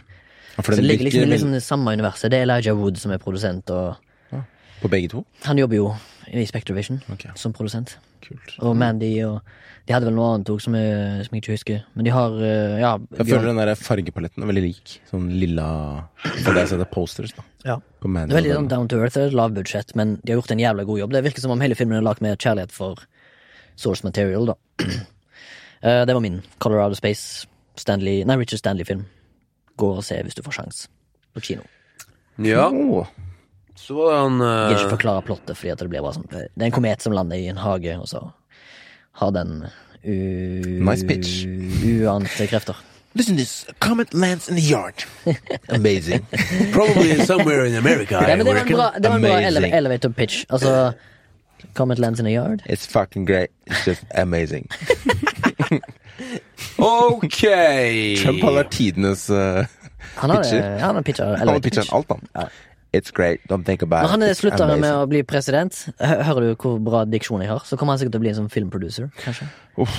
Speaker 1: Ja, For
Speaker 2: Så det
Speaker 1: den
Speaker 2: ligger liksom i
Speaker 1: virker
Speaker 2: liksom
Speaker 1: vel
Speaker 2: det samme universet. Det er Elijah Wood som er produsent, og sånn-
Speaker 1: på begge to.
Speaker 2: han jobber jo i Spectrovision
Speaker 1: Ok.
Speaker 2: som produsent.
Speaker 1: Kult.
Speaker 2: Og Mandy og De hadde vel noe annet òg som, jeg- som jeg ikke husker. Men de har eh, Ja.
Speaker 1: Jeg føler den der fargepaletten er veldig lik. Sånn lilla For det jeg ser det posters, da.
Speaker 2: ja.
Speaker 1: På Mandy.
Speaker 2: Det er veldig
Speaker 1: og
Speaker 2: sånn down to earth, det er et lavbudsjett, men de har gjort en jævla god jobb. Det virker som om hele filmen er lagd med kjærlighet for source material, da. Eh, det var min Colorado Space, Stanley, nei, Richard Stanley-film. Gå og se hvis du får sjans. På kino.
Speaker 3: Ja.
Speaker 1: den. Åh.
Speaker 3: Så var det han
Speaker 2: Jeg
Speaker 3: eh,
Speaker 2: vil ikke forklare plottet, fordi at det blir bare sånn eh, Det er en komet som lander i en hage, og så har den u...
Speaker 1: Nice pitch.
Speaker 2: Uante krefter.
Speaker 1: Listen this. Comet lands in the yard. Amazing.
Speaker 3: Probably somewhere in America.
Speaker 2: Nei, men det var en bra, det var en bra
Speaker 1: Amazing.
Speaker 2: ele elevator pitch. Altså Comet lands in a yard.
Speaker 1: It's fucking great. It's just amazing.
Speaker 3: Ok!
Speaker 1: Trump har vært tidenes eh,
Speaker 2: Han har,
Speaker 1: Pitcher?
Speaker 2: ja, han har pitcher
Speaker 1: Han har
Speaker 2: elevator
Speaker 1: pitcha
Speaker 2: pitch.
Speaker 1: alt, han. It's great. Don't think about
Speaker 2: Når han
Speaker 1: it. It's
Speaker 2: slutter med
Speaker 1: amazing.
Speaker 2: å bli president, hø- hører du hvor bra diksjon jeg har, så kommer han sikkert til å bli en sånn filmproducer, kanskje.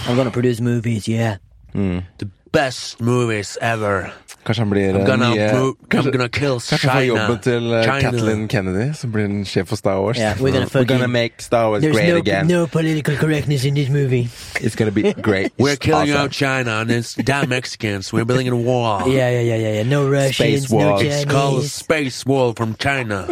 Speaker 2: I'm gonna produce movies, yeah.
Speaker 3: The best movies ever.
Speaker 1: Kanskje han blir
Speaker 3: I'm
Speaker 1: eh,
Speaker 3: gonna,
Speaker 1: nye
Speaker 3: pro- I'm
Speaker 1: Kanskje
Speaker 3: gonna kill
Speaker 1: kanskje han får
Speaker 3: China.
Speaker 1: jobben til eh,
Speaker 3: China.
Speaker 1: Kathleen Kennedy, som blir en sjef for Star Wars.
Speaker 2: Yeah, we're gonna fucking-
Speaker 1: make Star Wars great again.
Speaker 2: political correctness in this movie.
Speaker 1: It's gonna be great.
Speaker 3: We're
Speaker 1: It's
Speaker 3: killing
Speaker 1: awesome.
Speaker 3: out China and it's damn Mexicans. We're building a wall.
Speaker 2: Yeah, yeah, yeah, yeah, yeah. No Russians,
Speaker 1: Space war.
Speaker 2: no
Speaker 1: It's
Speaker 3: It's called a
Speaker 2: Chinese.
Speaker 3: space wall from China.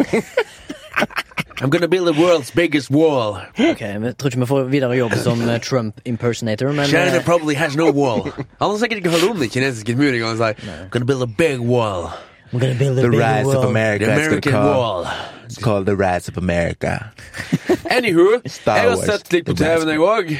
Speaker 3: I'm gonna build the world's biggest wall.
Speaker 2: Ok, vi tror ikke vi får videre jobb som eh, Trump impersonator, men
Speaker 3: China
Speaker 2: eh,
Speaker 3: probably has no wall. Han har sikkert ikke hørt om den kinesiske muren engang. så jeg, I'm gonna build a big wall.
Speaker 2: we're gonna build a
Speaker 1: The
Speaker 2: big
Speaker 1: rise of
Speaker 2: wall.
Speaker 1: America.
Speaker 3: The
Speaker 1: it's gonna
Speaker 3: American
Speaker 1: call-
Speaker 3: wall.
Speaker 1: It's called the rise of America.
Speaker 3: Anywho,
Speaker 1: Star
Speaker 3: jeg har
Speaker 1: Wars,
Speaker 3: sett litt på
Speaker 1: The
Speaker 3: TV-en, jeg òg.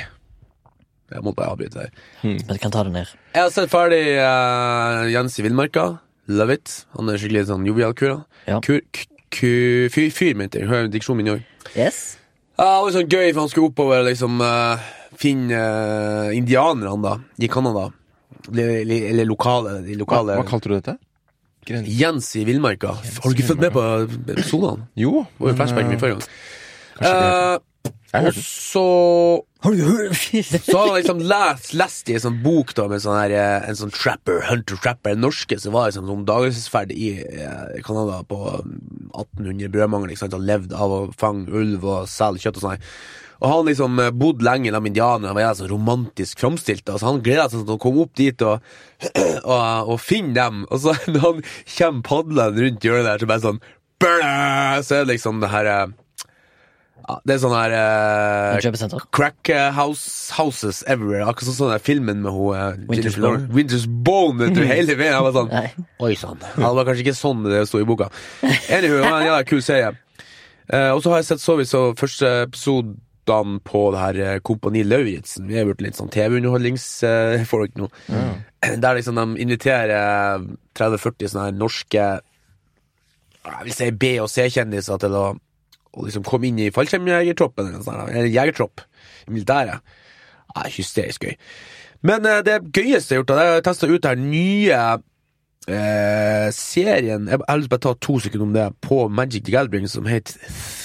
Speaker 3: Jeg måtte avbryte her.
Speaker 2: Men jeg kan ta det ned.
Speaker 3: Jeg har sett ferdig eh, Jens i Villmarka. Love it. Han er skikkelig sånn jovial kur.
Speaker 2: Ja.
Speaker 3: da. Kur, k, ku- fyr, fyr, mente jeg. Hører diksjonen min i år.
Speaker 2: Yes.
Speaker 3: Ja, det var sånn gøy, for han skulle oppover og liksom eh, finne eh, indianerne da, i Canada. Eller, eller- eller lokale, de lokale
Speaker 1: kalte du dette? Gren...
Speaker 3: Jens i villmarka. Har du ikke fulgt med på episodene?
Speaker 1: Jo.
Speaker 3: Det var jo flashbacken min
Speaker 1: men, eh,
Speaker 3: forrige gang.
Speaker 1: kanskje ikke.
Speaker 3: Eh,
Speaker 1: Jeg
Speaker 3: og
Speaker 1: hørte den.
Speaker 3: så
Speaker 2: Har du hørt?
Speaker 3: så har han liksom lest, lest i en sånn bok da, med sånn her, eh, en sånn trapper, hunter trapper, en norske som var liksom som dagelsesferd i eh, Kanada på mm, 1800 brødmangel, ikke sant, og levd av å fange ulv og selge kjøtt og sånn. her. Og han liksom eh, bodde lenge med indianerne, og var jævlig så romantisk framstilt, da, så han gledet seg sånn til å komme opp dit og, og, og finne dem, og så når han kommer padlende rundt hjørnet der, så bare sånn, «Bæ!» så er det liksom det her, eh, ja, det er sånn her... eh,
Speaker 2: Kjøpesenter.
Speaker 3: Crack eh, house, houses everywhere. Akkurat sånn som den filmen med hun, eh,
Speaker 2: Winter's
Speaker 3: Jennifer Lawrence. Winter's Bone. Vet du, hele veien. Jeg var sånn,
Speaker 2: Nei.
Speaker 3: Oi sann. Ja, det var kanskje ikke sånn det sto i boka. Anywho, det var en jævla kul serie. Eh, og så har jeg sett så vidt så første episoden på det her eh, Kompani Lauritzen. Vi er blitt litt sånn TV-underholdningsfolk nå. Der liksom de inviterer eh, 30-40 sånne her norske jeg vil si B- og C-kjendiser til å, å liksom komme inn i fallskjermjegertroppen, eller, noe sånt, eller jegertropp, i militæret. Ja, hysterisk gøy. Men eh, det gøyeste jeg har gjort, da, det er å teste ut den nye eh, serien Jeg har lyst til å bare ta to sekunder om det, på Magic the Gathering, som heter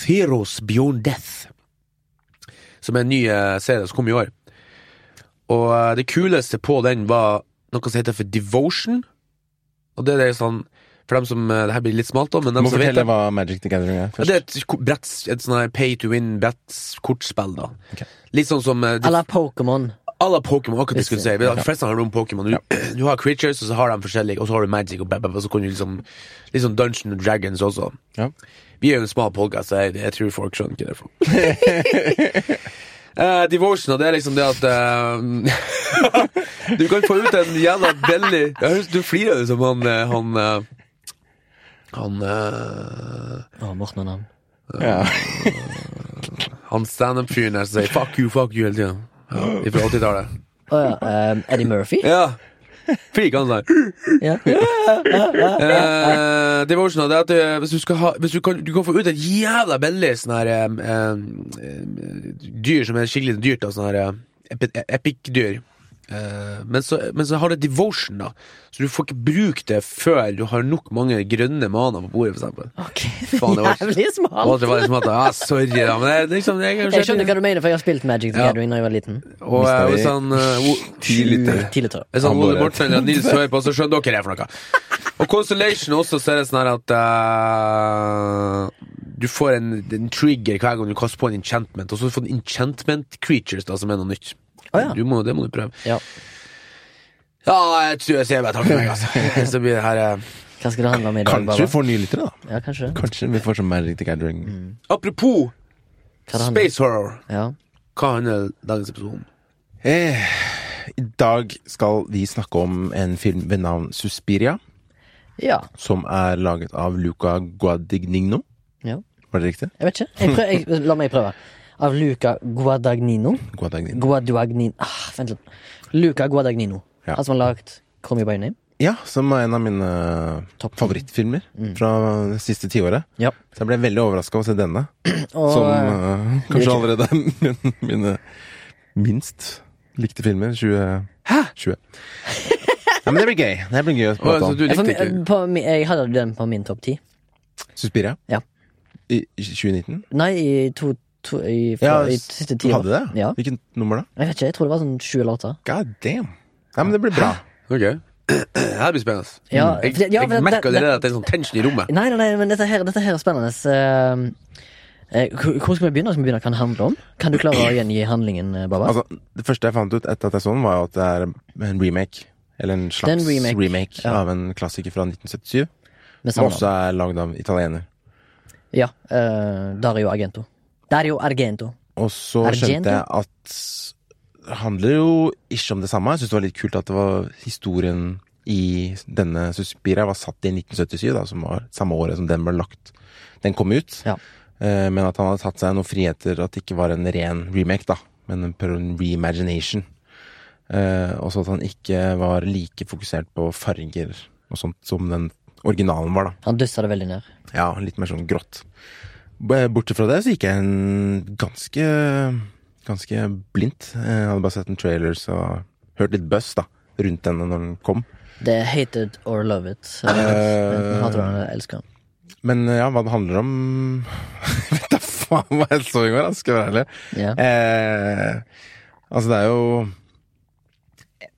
Speaker 3: Theros Beyond Death. Som er en ny eh, serie som kom i år. Og eh, det kuleste på den var noe som heter for Devotion. Og det er det sånn For dem som eh, Det her blir litt smalt, da, men
Speaker 1: Du
Speaker 3: dem
Speaker 1: må
Speaker 3: som vet
Speaker 1: fortelle
Speaker 3: det
Speaker 1: hva Magic the Gathering er.
Speaker 3: ja,
Speaker 1: først.
Speaker 3: det er et, ko- bretts- et sånn her pay to win brettkortspill, da.
Speaker 1: Ok.
Speaker 3: Litt sånn som eh,
Speaker 2: À
Speaker 3: de
Speaker 2: la Pokémon.
Speaker 3: à la Pokémon, akkurat det jeg skulle si.
Speaker 2: Riktig.
Speaker 3: De fleste handler om Pokémon. Du, du har creatures, og så har de forskjellige, og så har du magic, og, bæ, bæ, bæ, og så kan du liksom Litt sånn Dungeon and Dragons også.
Speaker 1: Ja.
Speaker 3: Vi er jo en smal podkast, jeg, jeg tror folk skjønner ikke det. For. Eh, Devotion, og det er liksom det at eh, Du kan få ut en jævla veldig Jeg høres- Du flirer jo som han eh, Han, eh, han eh,
Speaker 2: Å, Morten og navn.
Speaker 1: Ja.
Speaker 3: Han standup-fyren der som sier 'fuck you, fuck you' hele tida. Ja, fra 80-tallet.
Speaker 2: Å ja. ehm, Eddie Murphy?
Speaker 3: Ja. Flik han der.
Speaker 2: Ja.
Speaker 3: Eh, Devotion det er at eh, hvis du, skal ha, hvis du, kan, du kan få ut et jævla billig sånn her em, em, em, Dyr som er skikkelig dyrt. da, Sånn her eh, epi, epic-dyr. Eh, men, så, men så har det devotion, da. Så du får ikke brukt det før du har nok mange grønne maner på bordet, for eksempel.
Speaker 2: Ok,
Speaker 3: Faen, det var-
Speaker 2: jævlig
Speaker 3: Og
Speaker 2: smalt.
Speaker 3: at det var liksom at, ja, sorry, da, men det er liksom jeg,
Speaker 2: Jeg skjønner hva du mener, for jeg har spilt Magic the
Speaker 3: Ja.
Speaker 2: Gathering da jeg var liten.
Speaker 3: Og eh, hvis han eh, o-
Speaker 1: Tidligere.
Speaker 2: Tidlig tørr.
Speaker 3: Hvis han
Speaker 1: Han
Speaker 3: Ole
Speaker 1: bare-
Speaker 3: Morten eller Nils hører på, så skjønner dere det for noe. Og Constellation også, så er det sånn her at eh, Du får en, en trigger hver gang du kaster på en enchantment, og så får du enchantment creatures, da, som er noe nytt.
Speaker 2: Å, ja.
Speaker 3: du må, det må du prøve.
Speaker 2: Ja.
Speaker 3: Ja, jeg tror jeg sier bare takk for meg, altså. Så blir det her eh,
Speaker 2: Hva skal det handle om i dag,
Speaker 1: Kanskje vi
Speaker 2: Baba?
Speaker 1: får nye lyttere, da.
Speaker 2: Ja, kanskje det.
Speaker 1: Kanskje vi får sånn Magic the Gathering.
Speaker 3: Apropos
Speaker 2: Hva det handler om?
Speaker 3: space horror.
Speaker 2: Ja.
Speaker 3: Hva handler dagens episode om?
Speaker 1: Eh, I dag skal vi snakke om en film ved navn Suspiria,
Speaker 2: ja.
Speaker 1: som er laget av Luca Guadagnino.
Speaker 2: Ja.
Speaker 1: Var det riktig?
Speaker 2: Jeg vet ikke. Jeg prøv, jeg, la meg prøve. Av Luca Guadagnino.
Speaker 1: Guadagnino.
Speaker 2: Guadagnino ah, Vent litt. Luca Guadagnino.
Speaker 1: Ja.
Speaker 2: Han som har lagd Call Me By Your Name.
Speaker 1: Ja, som er en av mine
Speaker 2: Topp. Mm.
Speaker 1: favorittfilmer fra det siste tiåret.
Speaker 2: Ja.
Speaker 1: Så jeg ble veldig overraska over å se denne,
Speaker 2: Og
Speaker 1: som
Speaker 2: eh,
Speaker 1: eh, kanskje allerede er mine minst likte filmer. 20... 20. Nei, men det blir gøy. Det blir gøy å
Speaker 3: Å,
Speaker 1: prate
Speaker 3: så
Speaker 1: om.
Speaker 3: du
Speaker 2: jeg, for,
Speaker 3: likte
Speaker 2: mi-
Speaker 3: ikke
Speaker 2: på, mi- jeg hadde den på min topp ti.
Speaker 1: Suspiria?
Speaker 2: Ja.
Speaker 1: I 2019?
Speaker 2: Nei, i to, to i,
Speaker 1: Ja,
Speaker 2: fra, i siste ti
Speaker 1: Du
Speaker 2: år.
Speaker 1: hadde det?
Speaker 2: Ja.
Speaker 1: Hvilket nummer da?
Speaker 2: Jeg vet ikke, jeg tror det var sånn sju eller åtte.
Speaker 1: God damn. Nei, men det blir bra.
Speaker 3: Ok. Her blir spennende.
Speaker 2: Ja,
Speaker 3: Jeg,
Speaker 2: for det- ja,
Speaker 3: Mm. jeg
Speaker 2: for det-
Speaker 3: merker
Speaker 2: det-
Speaker 3: allerede at det er en sånn tension i rommet.
Speaker 2: Nei, nei, nei, men dette her, dette her er spennende. Så, eh, hvor hvor skal vi begynne? Skal vi begynne hva den handler om? Kan du klare å gjengi handlingen, eh, Baba?
Speaker 1: Altså, det første jeg fant ut etter at jeg så den, var jo at det er en remake. Eller en
Speaker 2: Det er
Speaker 1: slags
Speaker 2: en remake,
Speaker 1: remake, av en klassiker fra 1977.
Speaker 2: Med
Speaker 1: Som
Speaker 2: samme
Speaker 1: også er lagd av italiener.
Speaker 2: navn. Ja. eh, Dario Argento. Dario Argento.
Speaker 1: Og så
Speaker 2: Argento?
Speaker 1: skjønte jeg at det handler jo ikke om det samme. Jeg syns det var litt kult at det var historien i denne Suspira var satt i 1977, da, som var samme året som den ble lagt. Den kom ut.
Speaker 2: Ja.
Speaker 1: Eh, Men at han hadde tatt seg noen friheter, at det ikke var en ren remake, da, men en prøv- en reimagination. Eh, også at han ikke var like fokusert på farger og sånt som den originalen var, da.
Speaker 2: Han dussa det veldig ned.
Speaker 1: Ja, litt mer sånn grått. B- Bortsett fra det så gikk jeg en ganske ganske blindt. Jeg hadde bare sett en trailer så hørt litt buzz da, rundt denne når den kom.
Speaker 2: Det er hate it or love it. Eh, Enten hater du den eller elsker den.
Speaker 1: Men ja, hva det handler om Jeg vet da faen hva jeg så i går, da, skal jeg være ærlig.
Speaker 2: Ja.
Speaker 1: Eh, altså, det er jo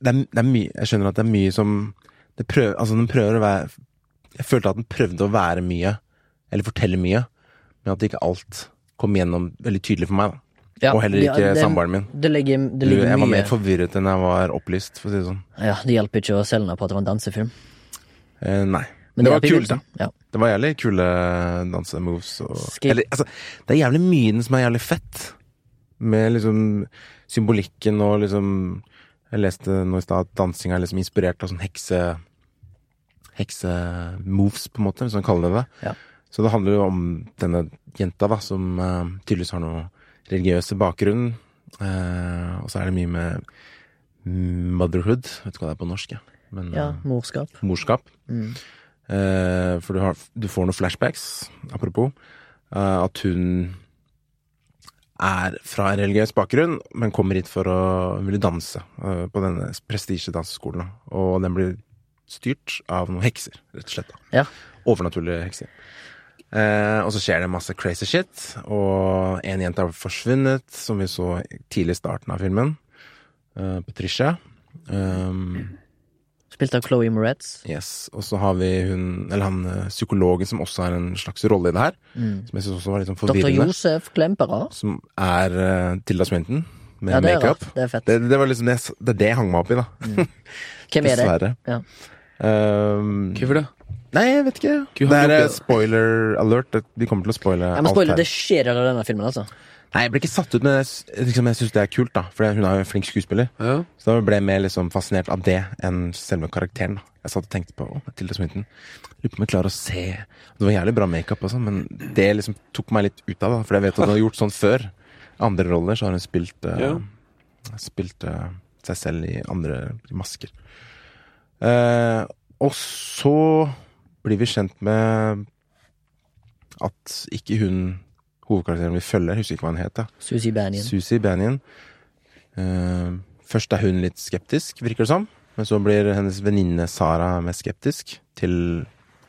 Speaker 1: det er, det er mye, Jeg skjønner at det er mye som det prøver, Altså, den prøver å være Jeg følte at den prøvde å være mye, eller fortelle mye, men at ikke alt kom gjennom veldig tydelig for meg. da
Speaker 2: Ja,
Speaker 1: Og heller ikke
Speaker 2: det- det-
Speaker 1: samboeren min.
Speaker 2: Det ligger, det
Speaker 1: Du,
Speaker 2: ligger
Speaker 1: jeg var
Speaker 2: mye
Speaker 1: mer forvirret enn jeg var opplyst, for å si det sånn.
Speaker 2: Ja, Det hjelper ikke å selge den på at det var en dansefilm.
Speaker 1: Eh, nei. det,
Speaker 2: Men
Speaker 1: var
Speaker 2: hjelper i
Speaker 1: kult, da.
Speaker 2: begynnelsen. Ja.
Speaker 1: Det var jævlig kule dansemoves og
Speaker 2: Skate.
Speaker 1: Eller, altså, det er jævlig mye i den som er jævlig fett. Med liksom symbolikken og liksom Jeg leste nå i stad at dansing er liksom inspirert av sånn hekse... Heksemoves, på en måte, hvis man kaller det det.
Speaker 2: Ja.
Speaker 1: Så det handler jo om denne jenta, da, som eh, tydeligvis har noe religiøse bakgrunn. Eh, og så er det mye med motherhood. Vet ikke hva det er på norsk, jeg. Men,
Speaker 2: ja,
Speaker 1: eh,
Speaker 2: morskap.
Speaker 1: morskap.
Speaker 2: Mm.
Speaker 1: Eh, for du, har, du får noen flashbacks, apropos, eh, at hun er fra en religiøs bakgrunn, men kommer hit for å ville danse eh, på denne prestisjedanseskolen. da. Og den blir styrt av noen hekser, rett og slett. da.
Speaker 2: Ja.
Speaker 1: Overnaturlige hekser. Eh, og så skjer det masse crazy shit, og en jente har forsvunnet, som vi så tidlig i starten av filmen. Eh, Patricia. Um,
Speaker 2: Spilt av Chloé Moretz.
Speaker 1: Yes, Og så har vi hun, eller han eh, psykologen som også har en slags rolle i det her.
Speaker 2: Mm.
Speaker 1: Som jeg synes også var litt sånn
Speaker 2: Dr.
Speaker 1: forvirrende.
Speaker 2: Josef Klempera.
Speaker 1: Som er eh, Tilda Swinton med
Speaker 2: Ja, det er
Speaker 1: makeup.
Speaker 2: rart. Det er fett.
Speaker 1: Det, det var liksom det, jeg s- det er det jeg hang meg opp i, da.
Speaker 2: Hvem er det?
Speaker 1: Dessverre.
Speaker 2: Ja.
Speaker 1: Ehm,
Speaker 3: Hvorfor det?
Speaker 1: nei, jeg vet ikke.
Speaker 3: Hvorfor
Speaker 1: Det er
Speaker 3: hang du
Speaker 1: eh,
Speaker 3: opp i det?
Speaker 1: spoiler alert. Det- Vi kommer til å spoile
Speaker 2: Jeg må
Speaker 1: alt
Speaker 2: spoile,
Speaker 1: her.
Speaker 2: det skjer av denne filmen, altså.
Speaker 1: Nei, jeg ble ikke satt ut, men jeg, s- liksom, jeg syns det er kult, da. For hun er jo en flink skuespiller.
Speaker 3: Ja.
Speaker 1: Så da ble jeg mer liksom fascinert av det enn selve karakteren. da. Jeg satt og tenkte på «Å, Tilda Swinton. Lurer på om jeg klarer å se Det var jævlig bra makeup, og sånn, men det liksom tok meg litt ut av det. For jeg vet at hun har gjort sånn før. Andre roller så har hun spilt eh,
Speaker 3: Ja.
Speaker 1: Spilt eh, seg selv i andre masker. Eh, og så blir vi kjent med at ikke hun hovedkarakteren vi følger, jeg husker ikke hva hun het. da.
Speaker 2: Susie Banyan.
Speaker 1: Susi Banyan. Eh, først er hun litt skeptisk, virker det som. Men så blir hennes venninne Sara mer skeptisk til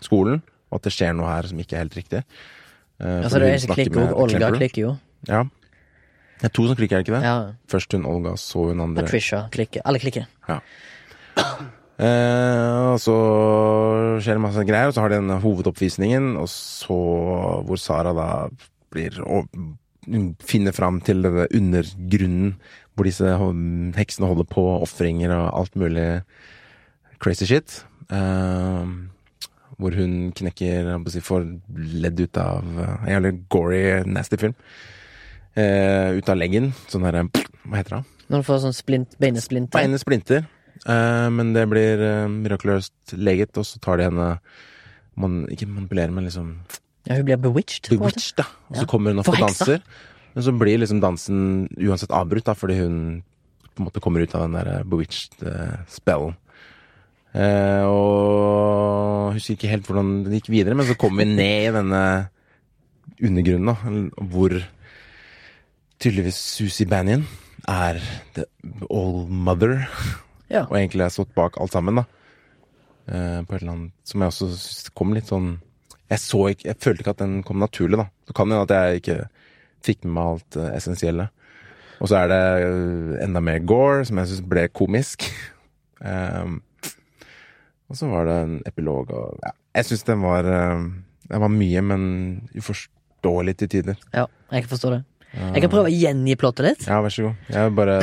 Speaker 1: skolen, og at det skjer noe her som ikke er helt riktig. Eh,
Speaker 2: Altså,
Speaker 1: fordi
Speaker 2: det er
Speaker 1: hun
Speaker 2: en som
Speaker 1: snakker
Speaker 2: klikker
Speaker 1: med
Speaker 2: også. Olga
Speaker 1: Klemperer.
Speaker 2: klikker jo.
Speaker 1: Ja. Det er to som klikker, er det ikke det?
Speaker 2: Ja.
Speaker 1: Først hun Olga, så hun andre.
Speaker 2: Patricia klikker. Alle klikker.
Speaker 1: Eh, og så skjer det masse greier, og så har de denne hovedoppvisningen, og så hvor Sara da blir og hun finner fram til denne undergrunnen hvor disse ho- heksene holder på, ofringer og alt mulig crazy shit. Eh, hvor hun knekker jeg holdt på å si, Får ledd ut av eh, En jævlig gory, nasty film. Eh, ut av leggen. Sånn derre Hva heter det?
Speaker 2: Når du får sånn splint, beinesplinter.
Speaker 1: Beine splinter. Eh, men det blir eh, mirakuløst leget, og så tar de henne man, Ikke manipulerer, men liksom
Speaker 2: Ja, hun blir bewitched. på en måte.
Speaker 1: bewitched, da. Og
Speaker 2: Ja.
Speaker 1: så kommer hun opp og
Speaker 2: Forheksa.
Speaker 1: danser. Men så blir liksom dansen uansett avbrutt, da, fordi hun på en måte kommer ut av den der bewitched eh, spellen. Eh, og jeg husker ikke helt hvordan det gikk videre, men så kommer vi ned i denne undergrunnen, da, eller- hvor tydeligvis Susi Banyan er the all mother
Speaker 2: Ja.
Speaker 1: og egentlig har jeg stått bak alt sammen, da. Eh, på et eller annet Som jeg også synes kom litt sånn Jeg, så ikke, jeg følte ikke at den kom naturlig, da. Det kan hende at jeg ikke fikk med meg alt eh, essensielle. Og så er det eh, enda mer gore, som jeg syns ble komisk. Ehm, og så var det en epilog og ja. Jeg syns den var eh, Den var mye, men uforståelig til tider.
Speaker 2: Ja, jeg kan forstå det.
Speaker 1: Ah.
Speaker 2: Jeg kan prøve å gjengi plottet litt.
Speaker 1: Ja, vær så god. Jeg bare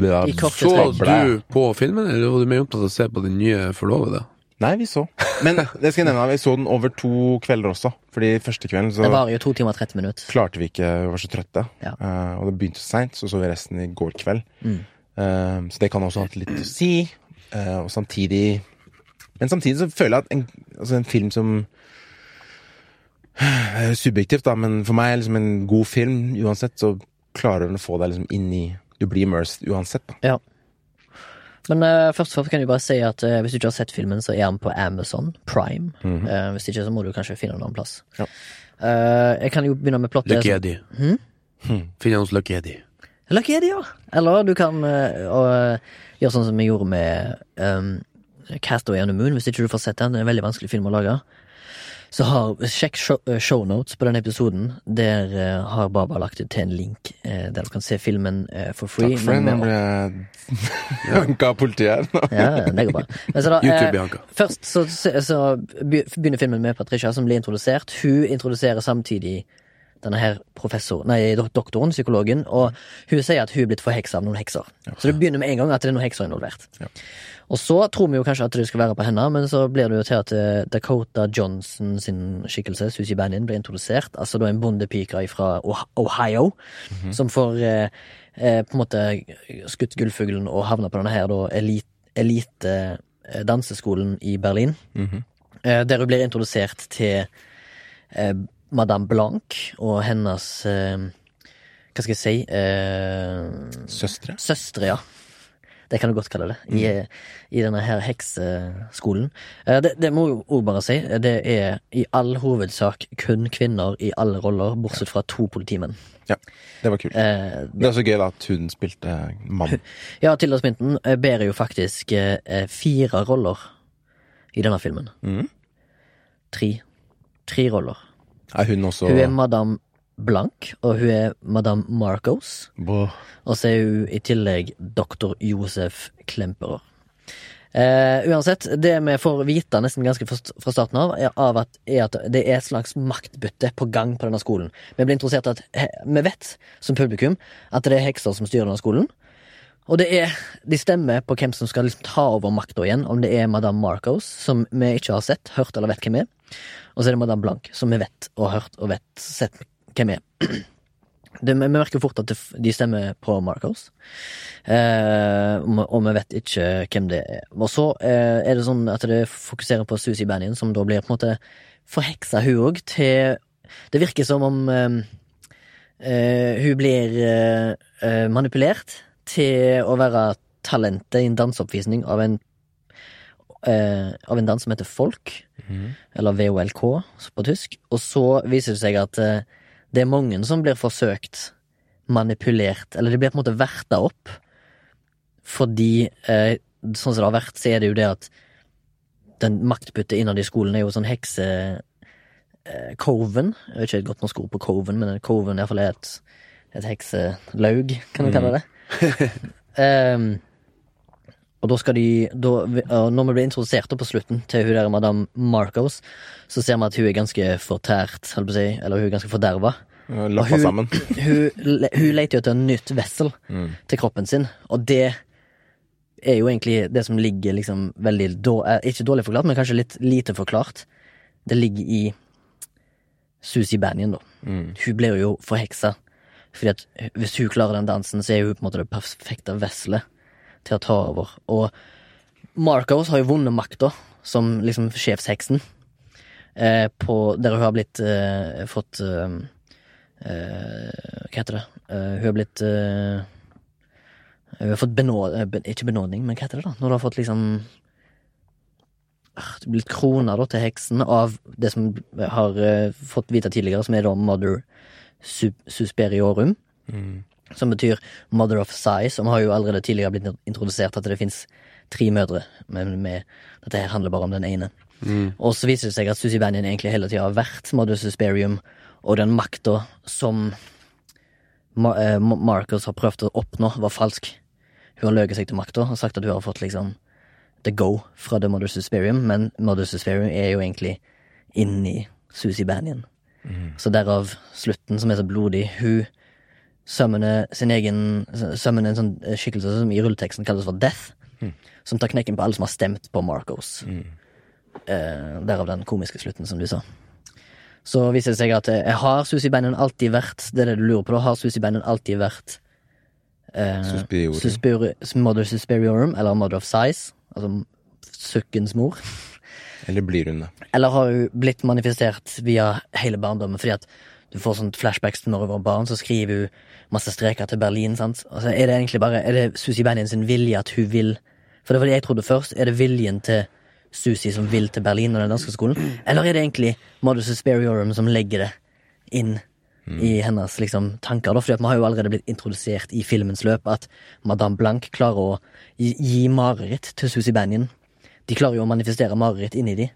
Speaker 1: bla,
Speaker 2: I korte
Speaker 3: Så
Speaker 2: trekk.
Speaker 3: du på filmen, eller var du mer opptatt av å se på den nye forlovede?
Speaker 1: Nei, vi så. Men det skal jeg nevne, vi så den over to kvelder også. Fordi første kvelden så
Speaker 2: Det varer jo to timer og 30 minutter.
Speaker 1: klarte vi ikke, vi var så trøtte.
Speaker 2: Ja. Mm.
Speaker 1: Eh, og det begynte så seint, så så vi resten i går kveld. Eh, så det kan også ha hatt litt å si. Eh, og samtidig Men samtidig så føler jeg at en, altså en film som Det er Subjektivt, da, men for meg er liksom en god film uansett, så klarer den å få deg liksom inn i Du blir immersed uansett, da.
Speaker 2: Ja. Men eh, først og fremst kan jeg bare si at eh, hvis du ikke har sett filmen, så er den på Amazon Prime. Eh, hvis ikke, så må du kanskje finne den en plass.
Speaker 1: Mhm. Ja.
Speaker 2: Eh, jeg kan jo begynne med plottet.
Speaker 3: Lucky Eddie.
Speaker 1: Hmm.
Speaker 3: Finner han hos Lucky Eddie.
Speaker 2: Lucky Eddie, ja. Eller du kan eh, og, gjøre sånn som vi gjorde med um, Castaway on the Moon. Hvis ikke du får sett den, det er en veldig vanskelig film å lage. Så har, Sjekk show- eh, shownotes på den episoden. Der eh, har Baba lagt ut til en link eh, der du kan se filmen eh, for free.
Speaker 1: Takk for det. Nå
Speaker 2: men med-
Speaker 1: ble jeg hanka av politiet her. nå.
Speaker 2: ja, det går bra. Men så da, eh,
Speaker 3: YouTube, Bianca.
Speaker 2: først så, så, så be- begynner filmen med Patricia som blir introdusert. Hun introduserer samtidig denne her professor, nei, dok- doktoren, psykologen, og hun sier at hun er blitt forheksa av noen hekser. Så det begynner med en gang at det er noen hekser involvert. Og så tror vi jo kanskje at det skal være på henne, men så blir det jo til at eh, Dakota Johnson sin skikkelse, Susie Bannon, blir introdusert. Altså da en bondepike fra Ohio, som får eh, eh, på en måte skutt gullfuglen og havner på denne her da elite, elite eh, danseskolen i Berlin. Eh, Der hun blir introdusert til eh, Madame Blanc og hennes eh, Hva skal jeg si eh,
Speaker 1: Søstre?
Speaker 2: Søstre, ja. Det kan du godt kalle det. I, i denne her hekseskolen. Eh, Det, det må jo òg bare si, eh, det er i all hovedsak kun kvinner i alle roller, bortsett fra to politimenn.
Speaker 1: Ja. Det var kult.
Speaker 2: Eh,
Speaker 1: Det er så gøy da at hun spilte mann.
Speaker 2: Ja, Tilda Swinton eh, bærer jo faktisk eh, eh, fire roller i denne filmen.
Speaker 1: Mhm.
Speaker 2: Tre. Tre roller.
Speaker 1: Er hun også
Speaker 2: Hun er Madame Blanc, og hun er Madame Marcos.
Speaker 1: Boh.
Speaker 2: Og så er hun i tillegg doktor Josef Klemperer. Eh, uansett, det vi får vite nesten ganske fra st- fra starten av, er, av at, er at det er et slags maktbytte på gang på denne skolen. Vi blir interessert i at he, vi vet som publikum at det er hekser som styrer denne skolen. Og det er, de stemmer på hvem som skal liksom ta over makta igjen, om det er madame Marcos, som vi ikke har sett, hørt eller vet hvem er, og så er det madame Blanc, som vi vet og har hørt og vet, sett hvem er det, vi merker fort at det, f- de stemmer på Marcos. Eh, og vi- og vi vet ikke hvem det er. Og så eh, er det sånn at det fokuserer på Susi Banyan, som da blir på en måte forheksa, hun òg, til Det virker som om eh, eh, hun blir eh, eh, manipulert til å være talentet i en danseoppvisning av en eh, av en dans som heter Folk, eller VOLK på tysk. Og så viser det seg at eh, det er mange som blir forsøkt manipulert, eller de blir på en måte verta opp, fordi eh, sånn som det har vært, så er det jo det at den maktbyttet innad i skolen er jo sånn hekse... eh, Coven, jeg vet ikke et godt norsk ord på coven, men en coven i hvert fall er et, et hekselaug, kan du kalle det. Ehm, og da skal de da, og Når vi blir introdusert da på slutten til hun der madame Marcos, så ser vi at hun er ganske fortært, holdt på å si, eller hun er ganske forderva.
Speaker 1: Lappa Eh, sammen.
Speaker 2: Hun, le- hun leter jo etter en nytt vessel til kroppen sin, og det er jo egentlig det som ligger liksom veldig dår- eh, Ikke dårlig forklart, men kanskje litt lite forklart. Det ligger i Susi Banyan, da. Hun blir jo forheksa. Fordi at eh, hvis hun klarer den dansen, så er hun på en måte det perfekte vesselet til å ta over. Og Marcos har jo vunnet makta som liksom sjefsheksen, eh, på, der hun har blitt eh, fått eh, eh, Hva heter det? Eh, hun har blitt eh, Hun har fått benåd... eh, ben- Ikke benådning, men hva heter det, da? Når du har fått liksom Ah, blitt krona da, til heksen av det som har eh, fått vite tidligere, som er da Mother Su- Susperiorum. Som betyr Mother of Size, og vi har jo allerede tidligere blitt introdusert at det fins tre mødre, men med, dette her handler bare om den ene.
Speaker 1: Hmm.
Speaker 2: Og så viser det seg at Susi Banyan egentlig hele tida har vært Modus Susperium, og den makta som Ma eh, Ma- Marcus har prøvd å oppnå, var falsk. Hun har løyet seg til makta og sagt at hun har fått liksom the go fra The Mother Susperium, men Mother Susperium er jo egentlig inni Susi Banyan. Så derav slutten, som er så blodig. Hun sømmene sin egen sømmene en sånn eh, skikkelse som i rulleteksten kalles for Death, som tar knekken på alle som har stemt på Marcos. Eh, derav den komiske slutten, som du sa. Så viser det seg at eh, har Susi Bannon alltid vært Det er det du lurer på, da. Har Susi Bannon alltid vært eh,
Speaker 1: Suspiriorum.
Speaker 2: Suspiri- Mother Suspiriorum, eller Mother of Size, altså sukkens mor?
Speaker 1: Eller blir hun det?
Speaker 2: Eller har hun blitt manifestert via hele barndommen? Fordi at du får sånt flashbacks til når hun var barn, så skriver hun masse streker til Berlin. sant? Altså, er det egentlig bare, er det Susi Benjen sin vilje at hun vil For det var det jeg trodde først. Er det viljen til Susi som vil til Berlin og den danske skolen? Eller er det egentlig Modus Asperiorum som legger det inn i hennes liksom, tanker? da? Fordi at vi har jo allerede blitt introdusert i filmens løp at Madame Blanc klarer å gi, gi mareritt til Susi Benjen. De klarer jo å manifestere mareritt inni de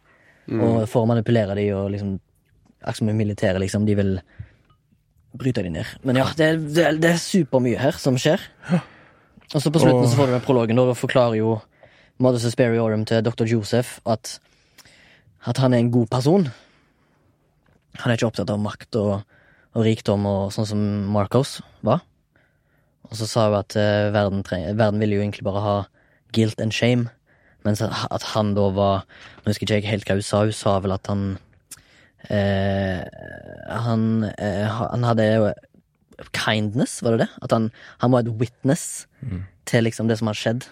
Speaker 2: og for å manipulere de og liksom Akkurat som i militæret, liksom. De vil bryte de ned. Men ja, det, er- det, er- det er supermye her som skjer. Og så på slutten så får du den prologen, da, og forklarer jo Modus Asperiorum til dr. Joseph at at han er en god person. Han er ikke opptatt av makt og, og rikdom og sånn som Marcos var. Og så sa hun at eh, verden, treng, verden ville jo egentlig bare ha guilt and shame. Mens at, at han da var Nå husker ikke jeg helt hva hun sa. Hun sa vel at han eh, han, eh, ha- han hadde jo kindness, var det det? At han, han var et witness
Speaker 1: Mm.
Speaker 2: til liksom det som har skjedd.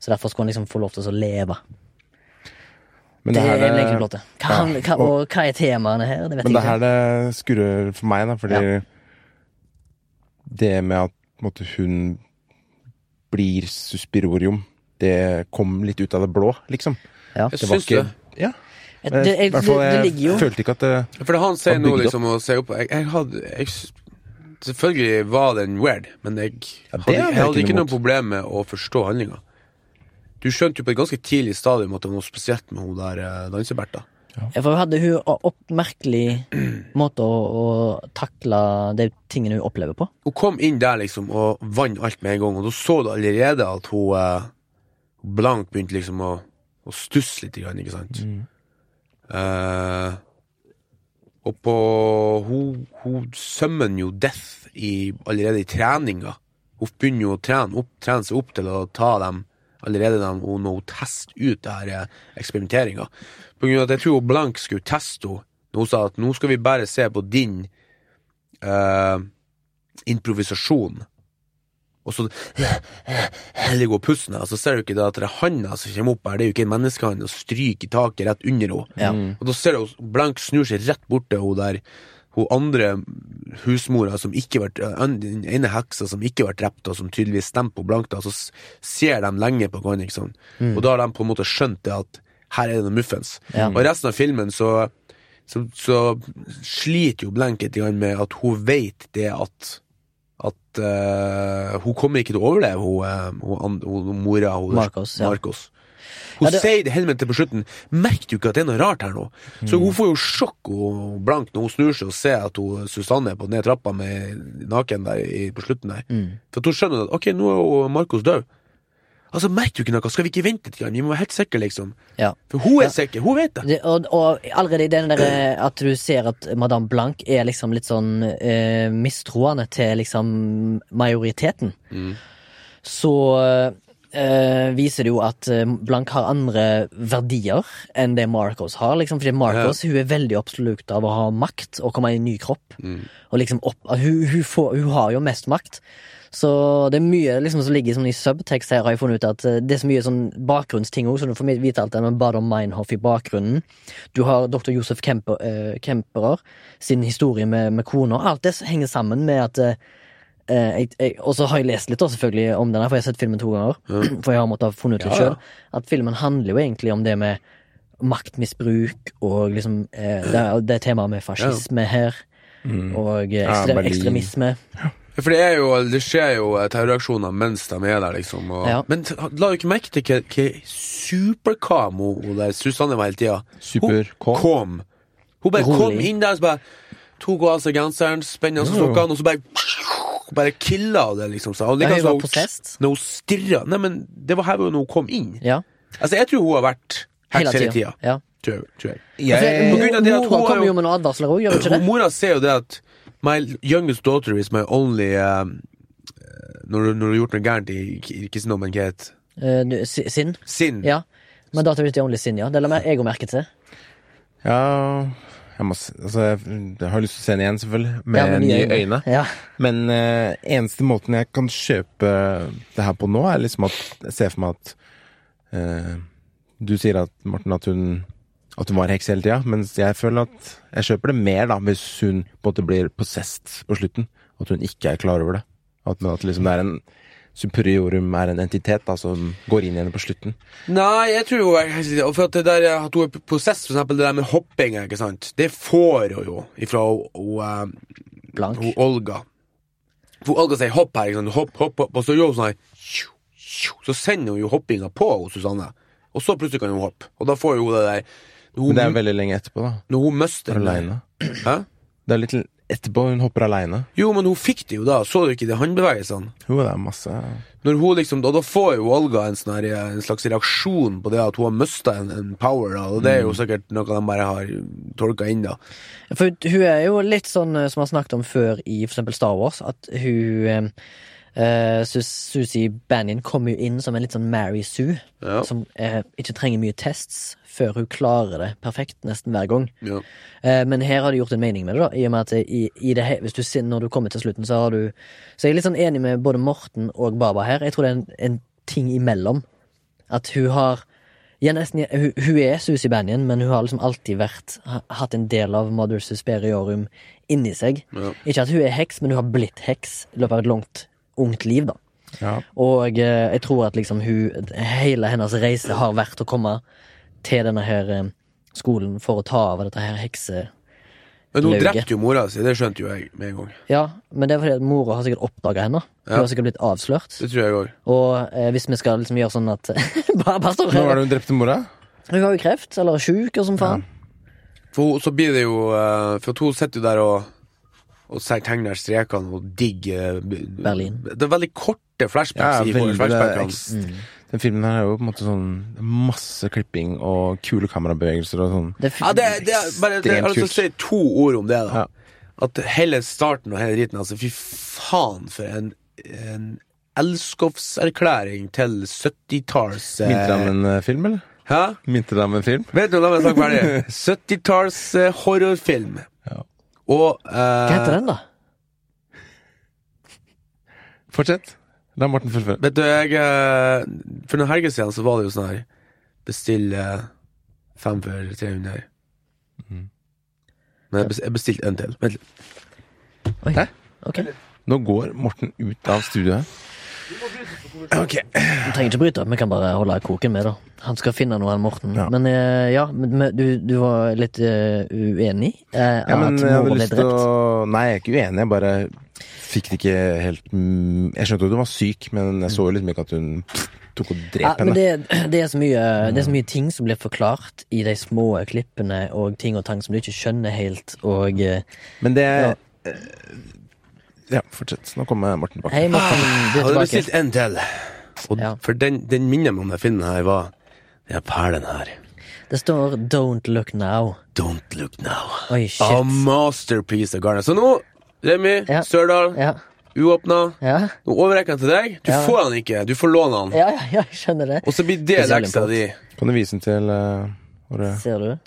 Speaker 2: Så derfor skulle han liksom få lov til å leve.
Speaker 1: Men
Speaker 2: Det, er
Speaker 1: her,
Speaker 2: egentlig
Speaker 1: eh,
Speaker 2: plottet. Hva, han- hva, og hva er temaene her? Det vet
Speaker 1: Men
Speaker 2: jeg
Speaker 1: det
Speaker 2: ikke.
Speaker 1: her det skurrer for meg, da, fordi det med at på en måte, hun blir suspirorium, det kom litt ut av det blå, liksom.
Speaker 2: Ja.
Speaker 3: Jeg
Speaker 1: Det var
Speaker 3: syns
Speaker 1: ikke
Speaker 3: det.
Speaker 1: Ja.
Speaker 2: Det, det,
Speaker 1: I
Speaker 2: det,
Speaker 1: hvert fall,
Speaker 2: det
Speaker 1: jeg
Speaker 2: ligger jo
Speaker 1: følte ikke at det
Speaker 3: For det han sier
Speaker 1: Han
Speaker 3: nå,
Speaker 1: bygde
Speaker 3: liksom, å se opp Jeg, jeg hadde jeg, s- Selvfølgelig var den weird, men jeg
Speaker 1: det
Speaker 3: hadde,
Speaker 1: hadde
Speaker 3: jeg
Speaker 1: jeg
Speaker 3: hadde
Speaker 1: ikke
Speaker 3: ikke
Speaker 1: noe
Speaker 3: noe problem med å forstå handlinga. Du skjønte jo på et ganske tidlig stadium at det var noe spesielt med hun der eh, danseberta.
Speaker 2: Ja, For hun hadde hun o- oppmerkelig måte å, å takle de tingene hun opplever på.
Speaker 3: Hun kom inn der liksom og vant alt med en gang, og da så du allerede at hun eh, blank begynte liksom å, å stusse litt, grann, ikke sant? Eh, og på Hun, hun sømmer jo death i, allerede i treninga. Hun begynner jo å trene, opp, trene seg opp til å ta dem allerede dem, hun, når hun tester ut det her eh, eksperimenteringa. På grunn av at jeg tror hun blank skulle teste henne. Når hun sa at nå skal vi bare se på din eh, improvisasjon. Og så heller går pusten her, og så ser du ikke det at det er handa som kommer opp her, det er jo ikke en menneskehand, og stryker taket rett under henne.
Speaker 2: Ja.
Speaker 1: Mm.
Speaker 3: Og da ser du at Blank snur seg rett bort til hun der, hun andre husmora som ikke ble, den ene heksa som ikke ble drept, og som tydeligvis stemte på Blank, da, så s- ser de lenge på hverandre, ikke sant. Og da har de på en måte skjønt det at her er det noe muffens.
Speaker 2: Ja.
Speaker 3: Og i resten av filmen så, så, så sliter jo Blank litt grann med at hun vet det at at eh, hun kommer ikke til å overleve, hun, eh, hun, and- hun mora. Hun,
Speaker 2: Marcos, ja.
Speaker 3: Marcos. Hun
Speaker 2: Ja, det-
Speaker 3: sier det hele til på slutten. Merker du ikke at det er noe rart her nå? Så hun får jo sjokk og blank når hun snur seg og ser at hun, Susanne er på ned trappa med naken der i, på slutten der.
Speaker 2: Mm.
Speaker 3: For at hun skjønner at ok, nå er hun- Marcos død. Altså, merker du ikke noe? Skal vi ikke vente litt? grann? Vi må være helt sikre, liksom.
Speaker 2: Ja.
Speaker 3: For hun er sikker. Hun vet det.
Speaker 2: Det, og, og allerede i den der eh, at du ser at Madame Blanc er liksom litt sånn eh, mistroende til liksom majoriteten, så eh, viser det jo at eh, Blanc har andre verdier enn det Marcos har. Liksom, fordi Marcos hun er veldig oppslukt av å ha makt og komme i en ny kropp. Og liksom opp, hun, hun, får, hun har jo mest makt. Så det er mye liksom, som ligger sånn i subtekst her, har jeg funnet ut at eh, det er så mye sånn bakgrunnsting òg, så du får vite alt det med Bader Meinhof i bakgrunnen. Du har dr. Josef Kemper, eh, Kemperer sin historie med, med kona. Alt det henger sammen med at eh, eh, jeg, jeg, Og så har jeg lest litt da, selvfølgelig om den, her, for jeg har sett filmen to ganger. For jeg har måttet ha funnet ut litt
Speaker 3: Ja, ja.
Speaker 2: sjøl. At filmen handler jo egentlig om det med maktmisbruk og liksom
Speaker 3: Mm.
Speaker 2: eh, det, er- det er temaet med fascisme her. Og eh,
Speaker 1: Ja,
Speaker 2: ekstre,
Speaker 1: Berlin.
Speaker 2: ekstremisme.
Speaker 3: For det, er jo, det skjer jo eh, terroraksjoner mens de er der, liksom. Og,
Speaker 2: Ja.
Speaker 3: Men t- la du ikke merke til hva- hva superkam hun hun der Susanne var hele tida?
Speaker 1: Super-K.
Speaker 3: Hun kom. Hun bare
Speaker 2: Rolig.
Speaker 3: kom inn der og så bare tok hun av seg genseren, spente av seg
Speaker 1: Jo, jo.
Speaker 3: sokkene, og så bare bare killa hun det, liksom. Så. Og
Speaker 2: Ja,
Speaker 3: likeens
Speaker 2: hun var
Speaker 3: når
Speaker 2: på fest.
Speaker 3: Når hun stirra Nei, men det var her når hun kom inn.
Speaker 2: Ja,
Speaker 3: Altså, jeg tror hun har vært
Speaker 2: hele
Speaker 3: heks hele
Speaker 2: tida.
Speaker 3: tida.
Speaker 2: Ja.
Speaker 3: Tror jeg- tror jeg.
Speaker 2: Altså,
Speaker 3: På grunn av det at
Speaker 2: Mora
Speaker 3: hun har
Speaker 2: kommer
Speaker 3: jo-
Speaker 2: jo med noen advarsler òg, gjør hun ikke det?
Speaker 3: Hun Mora ser jo det at My youngest daughter is my only um, når, du, når du har gjort noe gærent i i- Ikke sinne, men hva heter
Speaker 2: Eh, du- si- Sinn?
Speaker 3: Sinn.
Speaker 2: Ja. Men da tar vi til Only Sinn, ja. Det la meg- jeg merke til.
Speaker 1: Ja jeg, må, se- altså, jeg, jeg har lyst til å se den igjen, selvfølgelig. Med
Speaker 2: ja,
Speaker 1: nye øyne.
Speaker 2: Ja.
Speaker 1: Men eh, eneste måten jeg kan kjøpe det her på nå, er liksom at jeg ser for meg at eh, Du sier at Morten at hun at hun var heks hele tida, mens jeg føler at jeg kjøper det mer da hvis hun på en måte blir possessed på slutten. At hun ikke er klar over det. At, at liksom det er en superiorum er en entitet da som går inn i henne på slutten.
Speaker 3: Nei, jeg tror jo jeg- og For at det der eh, at hun er på prosess, for eksempel det der med hoppinga, ikke sant. Det får hun jo ifra hun, hun, um,
Speaker 2: Blank.
Speaker 3: hun Olga. For Olga sier hopp her, ikke sant. Hopp, hopp, hopp. Og så gjør hun sånn her. tjo, tjo. Så sender hun jo hoppinga på hun, Susanne. Og så plutselig kan hun hoppe. Og da får jo hun det der Når
Speaker 1: Men
Speaker 3: hun,
Speaker 1: det er veldig lenge etterpå, da.
Speaker 3: når hun mister den der-
Speaker 1: Aleine.
Speaker 3: Hæ?
Speaker 1: Det er litt etterpå hun hopper aleine.
Speaker 3: Jo, men hun fikk det jo da. Så du ikke de håndbevegelsene?
Speaker 1: Jo, det er masse
Speaker 3: Når hun liksom, og da får jo Olga en, sånn her, en slags reaksjon på det at hun har mista en, en power, da, og det er jo
Speaker 1: Mm.
Speaker 3: sikkert noe de bare har tolka inn, da.
Speaker 2: For hun er jo litt sånn eh, som vi har snakket om før i for eksempel Star Wars, at hun uh, Susie Banyan kommer jo inn som en litt sånn Mary Sue,
Speaker 3: Ja.
Speaker 2: som eh, ikke trenger mye tests før hun klarer det perfekt nesten hver gang.
Speaker 3: Ja.
Speaker 2: Eh, men her har de gjort en mening med det, da, i og med at i, i det, he- hvis du, sin- når du kommer til slutten, så har du Så jeg er litt sånn enig med både Morten og Baba her. Jeg tror det er en, en ting imellom. At hun har ja, nesten, hun, hun er Susi Banyan, men hun har liksom alltid vært ha- hatt en del av Mother Susperiorum inni seg.
Speaker 3: Ja.
Speaker 2: Ikke at hun er heks, men hun har blitt heks i løpet av et langt, ungt liv. da
Speaker 1: Ja.
Speaker 2: Og eh, jeg tror at liksom hun hele hennes reise har vært å komme til denne her eh, skolen for å ta over dette her hekse...
Speaker 3: Men hun
Speaker 2: Lauge.
Speaker 3: drepte jo mora si, det skjønte jo jeg med en gang.
Speaker 2: Ja, men det er fordi at mora har sikkert oppdaga henne. Hun
Speaker 3: Ja.
Speaker 2: har sikkert blitt avslørt.
Speaker 3: Det tror jeg òg.
Speaker 2: Og eh, hvis vi skal liksom gjøre sånn at bare, bare stå
Speaker 1: Når var
Speaker 2: her.
Speaker 1: det hun drepte mora?
Speaker 2: Hun har jo kreft, eller er sjuk, og som faen.
Speaker 3: For hun, så blir det jo eh, For at hun sitter jo der og og ser- tegner strekene og digger eh,
Speaker 2: Berlin.
Speaker 3: Det er veldig korte
Speaker 1: Ja,
Speaker 3: flashbacks. i forhold til
Speaker 1: veldig, det er
Speaker 3: flashbackene.
Speaker 1: ekst-
Speaker 2: Mm.
Speaker 1: Den filmen her er jo på en måte sånn det er masse klipping og kule kamerabevegelser og sånn.
Speaker 2: Det er fi-
Speaker 3: Ja, det, det, er bare, det, jeg har lyst til å si to ord om det, da.
Speaker 1: Ja.
Speaker 3: At hele starten og hele driten, altså, fy faen for en, en elskovserklæring til 70-talls eh,
Speaker 1: Minte deg om en eh, film, eller?
Speaker 3: Hæ?
Speaker 1: Minte deg om en film?
Speaker 3: Vent nå, la meg snakke ferdig. 70-talls eh, horrorfilm.
Speaker 1: Ja.
Speaker 3: Og
Speaker 2: Hva heter den, da?
Speaker 1: Fortsett. La Morten fullføre.
Speaker 3: Vet du, jeg eh, For noen helger siden så var det jo sånn her Bestill eh, fem for 300.
Speaker 1: Mhm.
Speaker 3: Men jeg bes- jeg bestilte en til. Vent litt.
Speaker 2: Oi.
Speaker 1: Hæ?
Speaker 2: Ok,
Speaker 1: Nå går Morten ut av studioet. Ok.
Speaker 2: Vi trenger ikke bryte, vi kan bare holde koken med, da. Han skal finne noe, han Morten.
Speaker 1: Ja.
Speaker 2: Men eh, ja, men, men du, du var litt eh, uenig? eh,
Speaker 1: Ja, men
Speaker 2: at
Speaker 1: jeg hadde
Speaker 2: mora ble
Speaker 1: lyst til
Speaker 2: drept?
Speaker 1: å Nei, jeg er ikke uenig. Jeg bare fikk det ikke helt mm, Jeg skjønte at hun var syk, men jeg så jo liksom ikke at hun tok og
Speaker 2: Ja,
Speaker 1: drep
Speaker 2: men
Speaker 1: henne.
Speaker 2: det, det, er så mye, det er så mye ting som blir forklart i de små klippene, og ting og tang som du ikke skjønner helt, og eh,
Speaker 1: Men det eh, Ja, fortsett. Nå kommer Morten tilbake.
Speaker 2: Hei, Morten, du
Speaker 3: Jeg
Speaker 2: er
Speaker 3: hadde
Speaker 2: tilbake.
Speaker 3: bestilt en til. Og
Speaker 2: Ja.
Speaker 3: For den, den minner meg om den filmen her var Den her perlen her.
Speaker 2: Det står 'Don't look now'.
Speaker 3: Don't look now.
Speaker 2: Oi, shit.
Speaker 3: A masterpiece of Garner. Så nå, Remi
Speaker 2: Ja.
Speaker 3: Sørdal,
Speaker 2: Ja,
Speaker 3: uåpna.
Speaker 2: ja,
Speaker 3: Nå overrekker jeg den til deg. Du
Speaker 2: Ja.
Speaker 3: får den ikke, du får låne den.
Speaker 2: ja, ja, ja jeg skjønner det.
Speaker 3: Og så blir det
Speaker 2: Spesiell
Speaker 3: leksa
Speaker 2: import.
Speaker 3: di.
Speaker 1: Kan du vise den til eh, våre
Speaker 2: Ser du?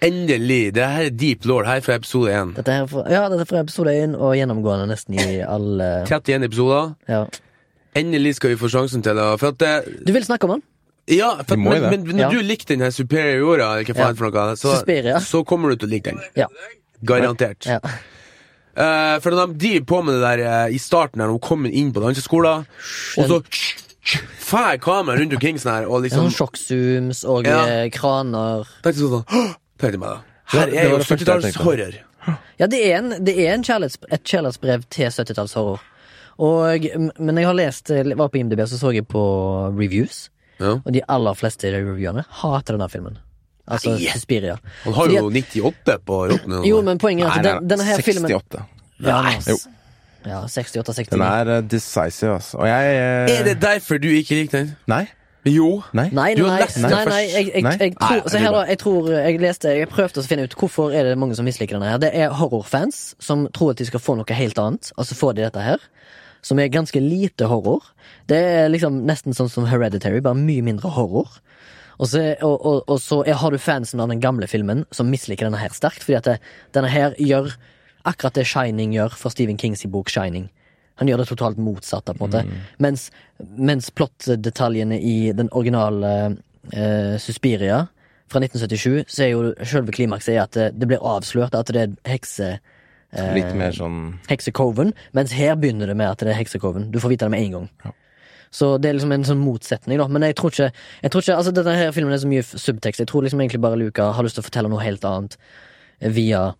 Speaker 3: Endelig. Det her er deep lord her er fra episode 1.
Speaker 2: Dette her er fra, ja, dette er fra episode 1 og gjennomgående nesten i alle
Speaker 3: 31 episoder.
Speaker 2: ja.
Speaker 3: Endelig skal vi få sjansen til det. For at det,
Speaker 2: Du vil snakke om den?
Speaker 3: ja, for
Speaker 1: Vi
Speaker 3: at,
Speaker 1: må jo
Speaker 3: men,
Speaker 1: det.
Speaker 3: men
Speaker 2: Ja.
Speaker 3: når du likte den her superiora, eller hva faen
Speaker 2: Ja.
Speaker 3: for noe, så,
Speaker 2: Suspiria.
Speaker 3: så kommer du til å like den.
Speaker 2: Ja.
Speaker 3: Garantert.
Speaker 2: ja.
Speaker 3: Eh, for de driver på med det der eh, i starten, når hun kommer inn på danseskolen, og så fær kameraet rundt omkring sånn her, og
Speaker 2: Sånn
Speaker 3: liksom
Speaker 2: sjokksooms og
Speaker 3: Ja.
Speaker 2: eh, kraner.
Speaker 3: tenkte sånn, «Åh!» tenkte jeg meg da.
Speaker 1: Ja,
Speaker 3: Her
Speaker 1: det
Speaker 3: er
Speaker 1: var
Speaker 3: jo
Speaker 1: det første jeg tenkte på.
Speaker 3: 70-tallshorror.
Speaker 2: Ja, det er, en, det er en kjærlighets, et kjærlighetsbrev til 70-tallshorror. Og, men jeg har lest, jeg var på IMDb, så så jeg på reviews.
Speaker 3: Ja.
Speaker 2: Og de aller fleste reviewene hater denne filmen. Altså
Speaker 3: Nei.
Speaker 2: Suspiria.
Speaker 3: Han har jo 98 på rotten. eller noe.
Speaker 2: Jo, men poenget er at
Speaker 1: Nei, nei,
Speaker 2: Altså, den, denne her filmen
Speaker 1: 68.
Speaker 2: Ja, nei.
Speaker 1: Jo.
Speaker 2: Ja, 68-69.
Speaker 1: Den er eh, decisive, altså. Og jeg eh,
Speaker 3: Er det derfor du ikke likte den?
Speaker 1: Nei.
Speaker 3: Jo.
Speaker 1: Nei.
Speaker 2: Nei,
Speaker 3: Du
Speaker 2: nei,
Speaker 3: har
Speaker 2: nei,
Speaker 3: nesten
Speaker 2: nei,
Speaker 3: først.
Speaker 2: nei, jeg, jeg,
Speaker 1: Nei?
Speaker 2: jeg tror,
Speaker 3: Nei,
Speaker 2: så
Speaker 3: jeg
Speaker 2: her
Speaker 3: lurer.
Speaker 2: da, jeg tror jeg leste Jeg prøvde å finne ut hvorfor er det mange som misliker denne her. Det er horrorfans som tror at de skal få noe helt annet, altså og så får de dette her. Som er ganske lite horror. Det er liksom nesten sånn som Hereditary, bare mye mindre horror. Og så, og, og, og så er, har du fansen av den gamle filmen som misliker denne her sterkt, fordi at det, denne her gjør akkurat det Shining gjør for Stephen Kings i bok Shining. Han gjør det totalt motsatte, på en måte. Mens, mens plottdetaljene i den originale eh, Suspiria fra 1977, så er jo selve klimakset er at det, det blir avslørt at det er hekse... eh,
Speaker 1: Litt mer sånn
Speaker 2: heksekoven, mens her begynner det med at det er heksekoven. Du får vite det med en gang. Så det er liksom en sånn motsetning, da. Men jeg tror ikke, jeg tror ikke altså denne her filmen er så mye f- subtekst. Jeg tror liksom egentlig bare Luca har lyst til å fortelle noe helt annet via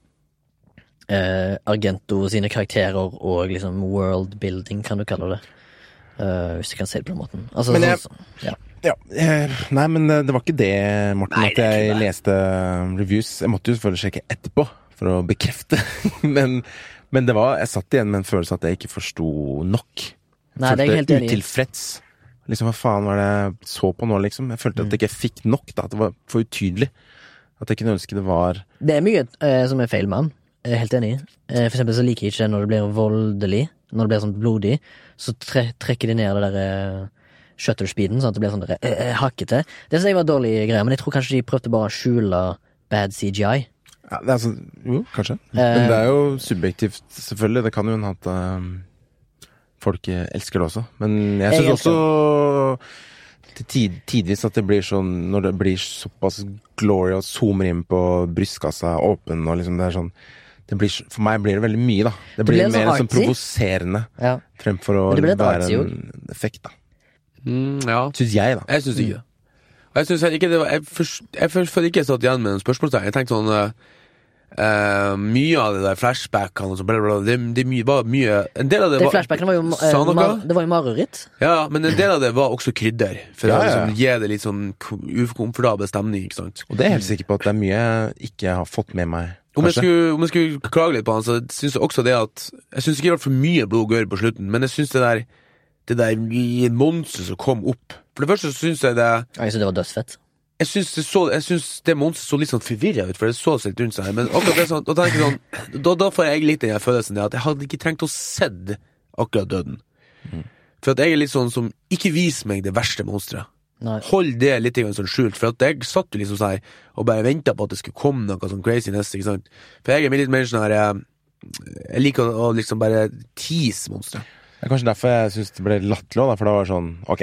Speaker 2: eh, Argento sine karakterer og liksom worldbuilding, kan du kalle det. Eh, hvis jeg kan si det på den måten. Altså,
Speaker 1: Men jeg-
Speaker 2: sånn- sånn- ja.
Speaker 1: Ja, eh, nei, men eh, det var ikke det, Morten, at jeg leste um, reviews. Jeg måtte jo selvfølgelig sjekke etterpå for å bekrefte. men, men det var, jeg satt igjen med en følelse at jeg ikke forsto nok. Jeg
Speaker 2: Nei, det er jeg helt
Speaker 1: følte
Speaker 2: enig i.
Speaker 1: utilfreds. Liksom, hva faen var det jeg så på nå, liksom? Jeg
Speaker 2: Mm.
Speaker 1: følte at jeg ikke fikk nok, da. At det var for utydelig. At jeg kunne ønske det var
Speaker 2: Det er mye eh, som er feil med han. Jeg er helt enig. Eh, for eksempel så liker jeg ikke når det blir voldelig, når det blir sånn blodig, så tre trekker de ned det derre eh, shutter speeden, sånn at det blir sånn der, eh, eh, hakkete. Det synes jeg var dårlig greie, men jeg tror kanskje de prøvde bare å skjule bad CGI.
Speaker 1: ja, det er altså, Jo, kanskje. Men det er jo
Speaker 2: Eh.
Speaker 1: subjektivt, selvfølgelig. Det kan jo hende at eh, folk eh, elsker det også. Men jeg
Speaker 2: Jeg
Speaker 1: syns
Speaker 2: elsker
Speaker 1: også til tid, tidvis at det blir sånn Når det blir såpass glory og zoomer inn på brystkassa åpen og liksom det er sånn det blir, så- for meg blir det veldig mye, da. Det blir,
Speaker 2: blir sånn
Speaker 1: mer sånn
Speaker 2: artsy.
Speaker 1: provoserende
Speaker 2: Ja.
Speaker 1: fremfor å
Speaker 2: Men det blir litt
Speaker 1: være
Speaker 2: artsy
Speaker 1: en effekt, da.
Speaker 3: Mm, ja.
Speaker 1: Syns jeg, da.
Speaker 3: Jeg syns ikke det. Og Jeg synes heller ikke det var Jeg først- jeg først- føler ikke jeg satt igjen med en spørsmålstegn. Jeg tenkte sånn eh, eh, Mye av det der flashbackene og sånn, bla, bla, bla, det, det er mye, var mye En del av det,
Speaker 2: Det
Speaker 3: var
Speaker 2: flashbacken var jo, eh,
Speaker 3: Sa noe?
Speaker 2: mar det var jo mareritt.
Speaker 3: Ja, men en del av det var også krydder. For
Speaker 1: Ja, ja,
Speaker 3: å
Speaker 1: ja.
Speaker 3: liksom, gi det litt sånn ko- ukomfortabel stemning, ikke sant.
Speaker 1: Og det er jeg helt sikker på at det er mye jeg ikke har fått med meg.
Speaker 3: Om jeg,
Speaker 1: kanskje.
Speaker 3: skulle, om jeg skulle klage litt på han, så syns jeg også det at Jeg syns ikke det var for mye blod og gørr på slutten, men jeg syns det der Det der monsteret som kom opp For det første så syns jeg det
Speaker 2: Ja, Jeg synes det var dødsfett.
Speaker 3: jeg syns det, så- jeg synes det monsteret så litt sånn forvirra ut, for det så seg litt rundt seg. Men akkurat det sånn, da, tenker jeg sånn da, da får jeg litt den her følelsen der at jeg hadde ikke trengt å sett akkurat døden.
Speaker 1: Mm.
Speaker 3: For at jeg er litt sånn som Ikke vis meg det verste monsteret.
Speaker 2: Nei.
Speaker 3: Hold det litt grann sånn skjult. For at jeg satt jo liksom sånn her og bare venta på at det skulle komme noe sånn craziness. Ikke sant? For jeg er litt mer sånn her eh, Jeg liker å, å liksom bare tease monstre.
Speaker 1: Det er kanskje derfor jeg syns det ble latterlig òg, for det var sånn ok,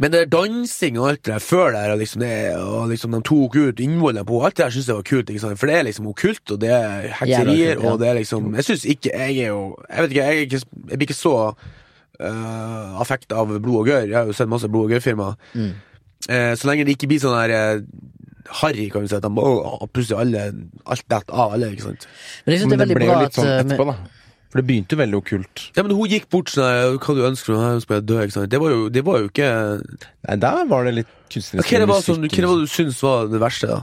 Speaker 3: Men det er dansing og alt det der før der, og liksom det, og liksom de tok ut innvollene på alt det der, syns jeg var kult. ikke sant? For det er liksom okkult, og det er
Speaker 2: Jævla
Speaker 3: hekserier,
Speaker 2: kult, ja.
Speaker 3: og det er liksom Jeg syns ikke Jeg er jo Jeg vet ikke, jeg, er ikke, jeg blir ikke så øh, affekt av blod og gørr. Jeg har jo sett masse blod og gørr-filmer. Eh, så lenge det ikke blir sånn der eh, harry, kan du si, at de må pusse alle alt dette av alle, ikke sant.
Speaker 2: Men jeg synes det
Speaker 1: Men
Speaker 2: er
Speaker 1: det
Speaker 2: veldig
Speaker 1: ble jo
Speaker 2: bra
Speaker 1: litt
Speaker 2: at
Speaker 1: sånn
Speaker 2: eh,
Speaker 1: etterpå, da. For det begynte jo veldig okkult.
Speaker 3: Ja, men hun gikk bort sånn her, hva du ønsker meg, jeg ønsker meg å dø, ikke sant. Det var jo, det var jo ikke
Speaker 1: Nei, der var det litt
Speaker 3: Hva
Speaker 1: kunstnerisk
Speaker 3: er sånn det var som, hva
Speaker 1: musikk.
Speaker 3: er det var du syns var det verste, da?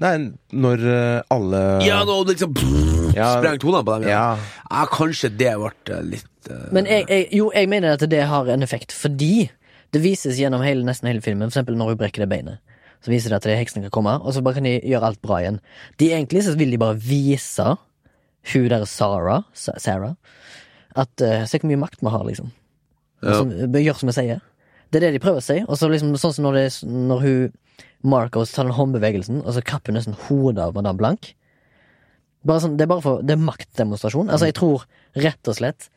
Speaker 1: Nei, når eh, alle
Speaker 3: Ja, nå liksom
Speaker 1: Ja.
Speaker 3: Sprengt hodene på dem. Ja.
Speaker 1: Ja.
Speaker 3: Ja, kanskje det ble litt eh,
Speaker 2: Men jeg, jeg, jo, jeg mener at det har en effekt, fordi det vises gjennom hele, nesten hele filmen, for eksempel når hun brekker det beinet. Så viser det at det er heksen kan komme, og så bare kan de gjøre alt bra igjen. De egentlig så vil de bare vise hun der Sarah, Sa- Sarah at eh, Se hvor mye makt vi har, liksom.
Speaker 3: Ja.
Speaker 2: Som, gjør som jeg sier. Det er det de prøver å si. Og så liksom sånn som når, det, er- når hun Marcos tar den håndbevegelsen, og så kapper hun nesten hodet av Madame Blank. Bare sånn, det er bare for, det er maktdemonstrasjon. Altså, jeg tror rett og slett,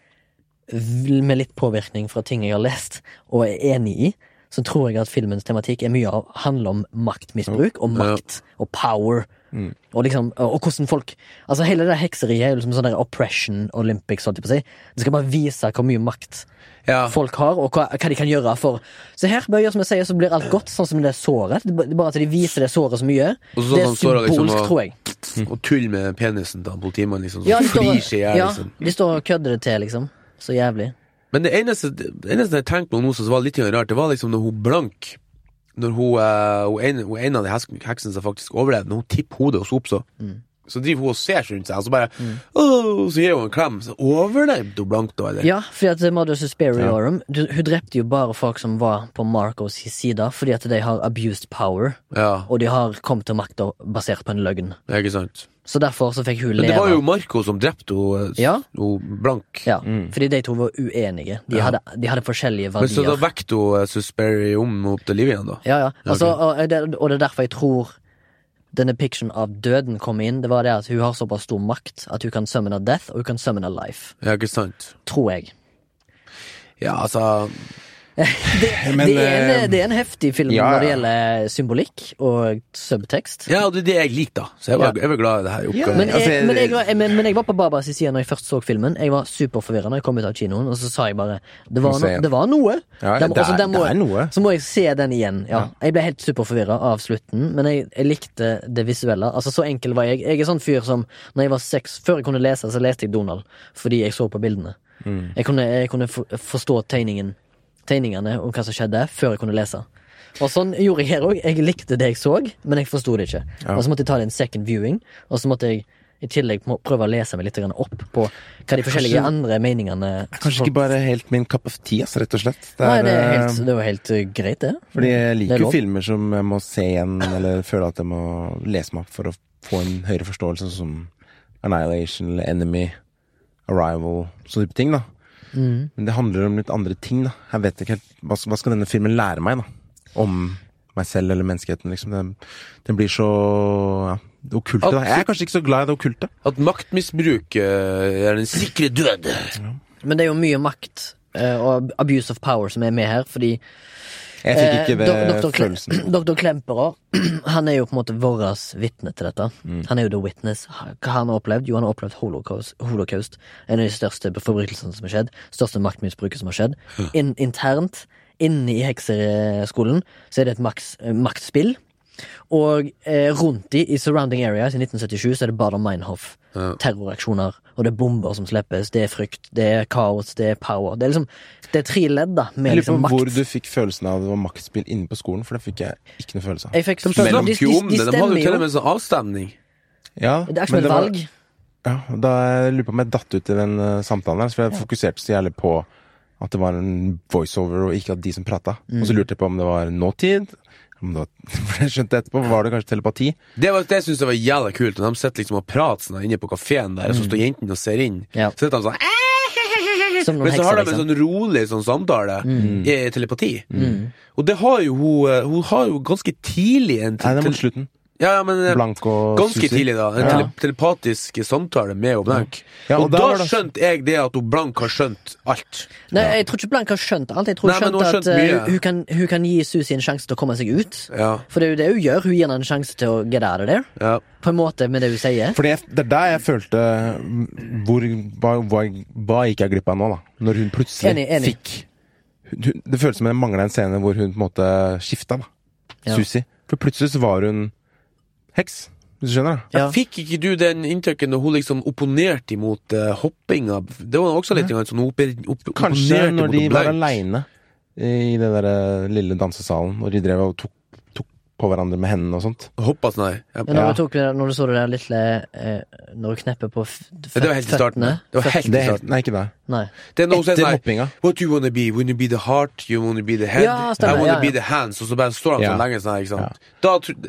Speaker 2: v- med litt påvirkning fra ting jeg har lest og er enig i, så tror jeg at filmens tematikk er mye av, handler om maktmisbruk og makt og power.
Speaker 3: Mm.
Speaker 2: Og liksom, og og hvordan folk Altså Hele det hekseriet er jo liksom sånn der oppression Olympics. Holdt jeg på å si. Det skal bare vise hvor mye makt
Speaker 3: ja.
Speaker 2: folk har, og hva, hva de kan gjøre for Så her bare gjør som jeg sier, så blir alt godt, sånn som det såret. Det er bare at de viser det såret så mye.
Speaker 3: Og så
Speaker 2: det er
Speaker 3: sånn såret liksom,
Speaker 2: symbolsk,
Speaker 3: og-
Speaker 2: tror jeg.
Speaker 3: Å tulle med penisen til han politimannen, liksom.
Speaker 2: Ja,
Speaker 3: Som
Speaker 2: de står,
Speaker 3: flir seg i hjel,
Speaker 2: ja,
Speaker 3: liksom.
Speaker 2: de står og kødder det til, liksom. Så jævlig.
Speaker 3: Men det eneste, det eneste jeg tenkte på nå som var litt grann rart, det var liksom når hun blank Når hun, eh, hun, en, hun en av de heks- heksene som faktisk overlevde, når hun tipper hodet hos Opp, så
Speaker 2: Mm.
Speaker 3: Så driver hun og ser seg rundt seg, og så bare «Åh», Så gir hun en klem. Så overlevde hun blank, da, eller?
Speaker 2: Ja, fordi at eh, Mother Susperiorum du- Hun drepte jo bare folk som var på Marcos side, fordi at de har abused power, og de har kommet til makta basert på en løgn.
Speaker 3: ja ikke sant?
Speaker 2: Så derfor så fikk hun
Speaker 3: Men det
Speaker 2: leve.
Speaker 3: var jo Marco som drepte hun, eh,
Speaker 2: Ja.
Speaker 3: hun blank.
Speaker 2: Ja, fordi de to var uenige. De, hadde, de hadde forskjellige
Speaker 3: Mm. Men så da
Speaker 2: verdier.
Speaker 3: vekket hun eh, Susperi om mot liv igjen, da?
Speaker 2: Ja, ja. Altså, og, det, og det er derfor jeg tror den depiction av døden kom inn. Det var det at hun har såpass stor makt at hun kan summon a death og hun kan summon a life.
Speaker 3: Ja, ikke sant?
Speaker 2: Tror jeg.
Speaker 3: Ja, altså
Speaker 2: Det,
Speaker 1: Men,
Speaker 2: det, er,
Speaker 1: eh,
Speaker 2: en, det er en heftig film
Speaker 1: ja,
Speaker 2: når det
Speaker 1: ja.
Speaker 2: gjelder symbolikk og subtekst.
Speaker 3: Ja, og det er det jeg liker, da. Så jeg var, jeg var glad i det her oppgaven.
Speaker 2: Men jeg,
Speaker 1: altså,
Speaker 2: men, jeg, var- men, men jeg var på Barbas side når jeg først så filmen. Jeg var superforvirra når jeg kom ut av kinoen, og så sa jeg bare Det var,
Speaker 1: Må
Speaker 2: no,
Speaker 1: se.
Speaker 2: det var noe.
Speaker 1: Ja,
Speaker 2: Der må-
Speaker 1: det er-
Speaker 2: altså, der må
Speaker 1: det er
Speaker 2: jeg-
Speaker 1: noe.
Speaker 2: Så må jeg se den igjen. Ja. Jeg ble helt superforvirra av slutten, men jeg, jeg likte det visuelle. Altså Så enkel var jeg. Jeg er sånn fyr som Når jeg var seks, før jeg kunne lese, så leste jeg Donald fordi jeg så på bildene.
Speaker 1: Mm.
Speaker 2: Jeg kunne, jeg kunne for, forstå tegningen, tegningene om hva som skjedde, før jeg kunne lese. Og sånn gjorde jeg her òg. Jeg likte det jeg så, men jeg forsto det ikke. Og så måtte jeg ta det en second viewing, og så måtte jeg i tillegg må- prøve å lese meg litt grann opp på hva de forskjellige
Speaker 1: Kanskje-
Speaker 2: andre meningene
Speaker 1: Kanskje ikke bare helt min cup of tea, ass, rett og slett. Det
Speaker 2: Nei,
Speaker 1: er,
Speaker 2: det er, helt,
Speaker 1: eh,
Speaker 2: det er jo helt eh, greit, det.
Speaker 1: fordi jeg
Speaker 2: Det er
Speaker 1: liker jo
Speaker 2: lov.
Speaker 1: filmer som jeg må se igjen, eller føle at jeg må lese meg opp for å få en høyere forståelse, sånn som Annihilation eller Enemy, Arrival, sånne type ting, da.
Speaker 2: Mm.
Speaker 1: Men det handler om litt andre ting, da. Jeg vet ikke helt Hva, hva skal denne filmen lære meg, da? Om meg selv eller menneskeheten, liksom. Den, den blir så ja, det okkulte, da. Jeg er kanskje ikke så glad i det okkulte.
Speaker 3: At maktmisbruk eh, er den sikre død.
Speaker 2: Men det er jo mye makt eh, og abuse of power som er med her, fordi
Speaker 1: Jeg fikk ikke det følelsen.
Speaker 2: Eh, Doktor Klemperer, han er jo på en måte vårt vitne til dette.
Speaker 1: Mm.
Speaker 2: Han er jo the witness. Hva har han opplevd? Jo, han har opplevd holocaust. holocaust en av de største forbrytelsene som har skjedd. Største maktmisbruket som har skjedd. In, internt, inne i hekseskolen, så er det et maks, eh, maktspill. Og eh, rundt de, i surrounding areas i 1977, så er det Bader Meinhof. Terroraksjoner, og det er bomber som slippes, det er frykt, det er kaos, det er power. Det er liksom, det er tre ledd, da, med
Speaker 1: Jeg lurer
Speaker 2: liksom
Speaker 1: på
Speaker 2: makt.
Speaker 1: hvor du fikk følelsen av det var maktspill inne på skolen, for det fikk jeg ikke noe følelse av.
Speaker 2: Jeg fikk
Speaker 3: De
Speaker 2: følelsen-
Speaker 3: snakker jo om
Speaker 2: de,
Speaker 3: det. De hadde jo til
Speaker 2: stemmer
Speaker 3: og med en sånn avstemning.
Speaker 1: Ja,
Speaker 2: Det er ikke som
Speaker 1: men
Speaker 2: et
Speaker 1: det var-
Speaker 2: valg.
Speaker 1: Ja, og da jeg lurer på om jeg datt ut i den eh, samtalen her, for jeg fokuserte så jævlig på at det var en voiceover, og ikke at de som prata. Og
Speaker 2: Mm.
Speaker 1: så lurte jeg på om det var nåtid. Om det var, for jeg skjønte etterpå, var det kanskje telepati?
Speaker 3: Det, var, det synes jeg var jævla kult. Og de sitter liksom og prater sånn inne på kafeen der, og så står jentene og ser inn.
Speaker 2: Mm. Ja.
Speaker 3: Så sitter de sånn "Eh!"
Speaker 2: Som noen
Speaker 3: Men så
Speaker 2: hekser,
Speaker 3: har de en
Speaker 2: liksom. Mm.
Speaker 3: sånn rolig sånn samtale i telepati. Og det har jo hun eh, Hun har jo ganske tidlig
Speaker 1: Nei,
Speaker 3: en
Speaker 1: det er
Speaker 3: tel-
Speaker 1: mot slutten.
Speaker 3: ja, ja, men, eh,
Speaker 1: Blank og
Speaker 3: Ganske
Speaker 1: Susi.
Speaker 3: tidlig, da. En
Speaker 1: Ja.
Speaker 3: tele telepatisk samtale med hun Blank.
Speaker 1: Ja,
Speaker 3: og,
Speaker 1: og da
Speaker 3: da
Speaker 1: var det-
Speaker 3: skjønte jeg det at hun Blank har skjønt alt.
Speaker 2: Nei, jeg tror ikke Blank har skjønt alt. Jeg tror
Speaker 3: Nei, men
Speaker 2: hun
Speaker 3: hun har
Speaker 2: skjønte at
Speaker 3: skjønt
Speaker 2: eh,
Speaker 3: mye.
Speaker 2: hun, kan, hun kan gi Susi en sjanse til å komme seg ut.
Speaker 3: Ja,
Speaker 2: For det er jo det hun gjør. Hun gir henne en sjanse til å get out of there.
Speaker 3: ja.
Speaker 2: På en måte med det hun sier.
Speaker 1: For det er- det er der jeg følte mm, hvor, hva, hva, hva gikk jeg glipp av nå, da? Når hun plutselig
Speaker 2: Enig, enig.
Speaker 1: fikk hun, hun- Det føles som det mangla en scene hvor hun på en måte skifta, da.
Speaker 2: Ja.
Speaker 1: Susi. For plutselig så var hun heks. Hvis du skjønner? da
Speaker 2: Ja.
Speaker 3: Fikk ikke du den inntrykket når hun liksom opponerte imot uh, hoppinga? Det var også litt grann sånn hun opper- opp,
Speaker 1: Kanskje
Speaker 3: opponerte
Speaker 1: når
Speaker 3: mot
Speaker 1: de var
Speaker 3: Blank.
Speaker 1: aleine i den der eh, lille dansesalen, og de drev og tok, tok på hverandre med hendene og sånt.
Speaker 3: Hoppa sånn her. Ja.
Speaker 2: Men når,
Speaker 1: Ja.
Speaker 2: du tok, når du så det der lille eh, Når du knepper på f
Speaker 3: Ja, Det var helt i starten.
Speaker 2: føttene.
Speaker 3: Det var helt
Speaker 1: Det
Speaker 3: i
Speaker 1: er helt,
Speaker 3: starten.
Speaker 1: nei, ikke det.
Speaker 2: Nei.
Speaker 3: Det er noe som er
Speaker 1: Etter
Speaker 3: sånn her,
Speaker 1: hoppinga.
Speaker 3: What you wanna be? Wanna be the heart? You wanna be the head?
Speaker 2: Ja, stemmer,
Speaker 3: I wanna
Speaker 2: ja, ja.
Speaker 3: be the hands? Og så bare står han
Speaker 1: Ja.
Speaker 3: så lenge sånn her, ikke sant. Da tro-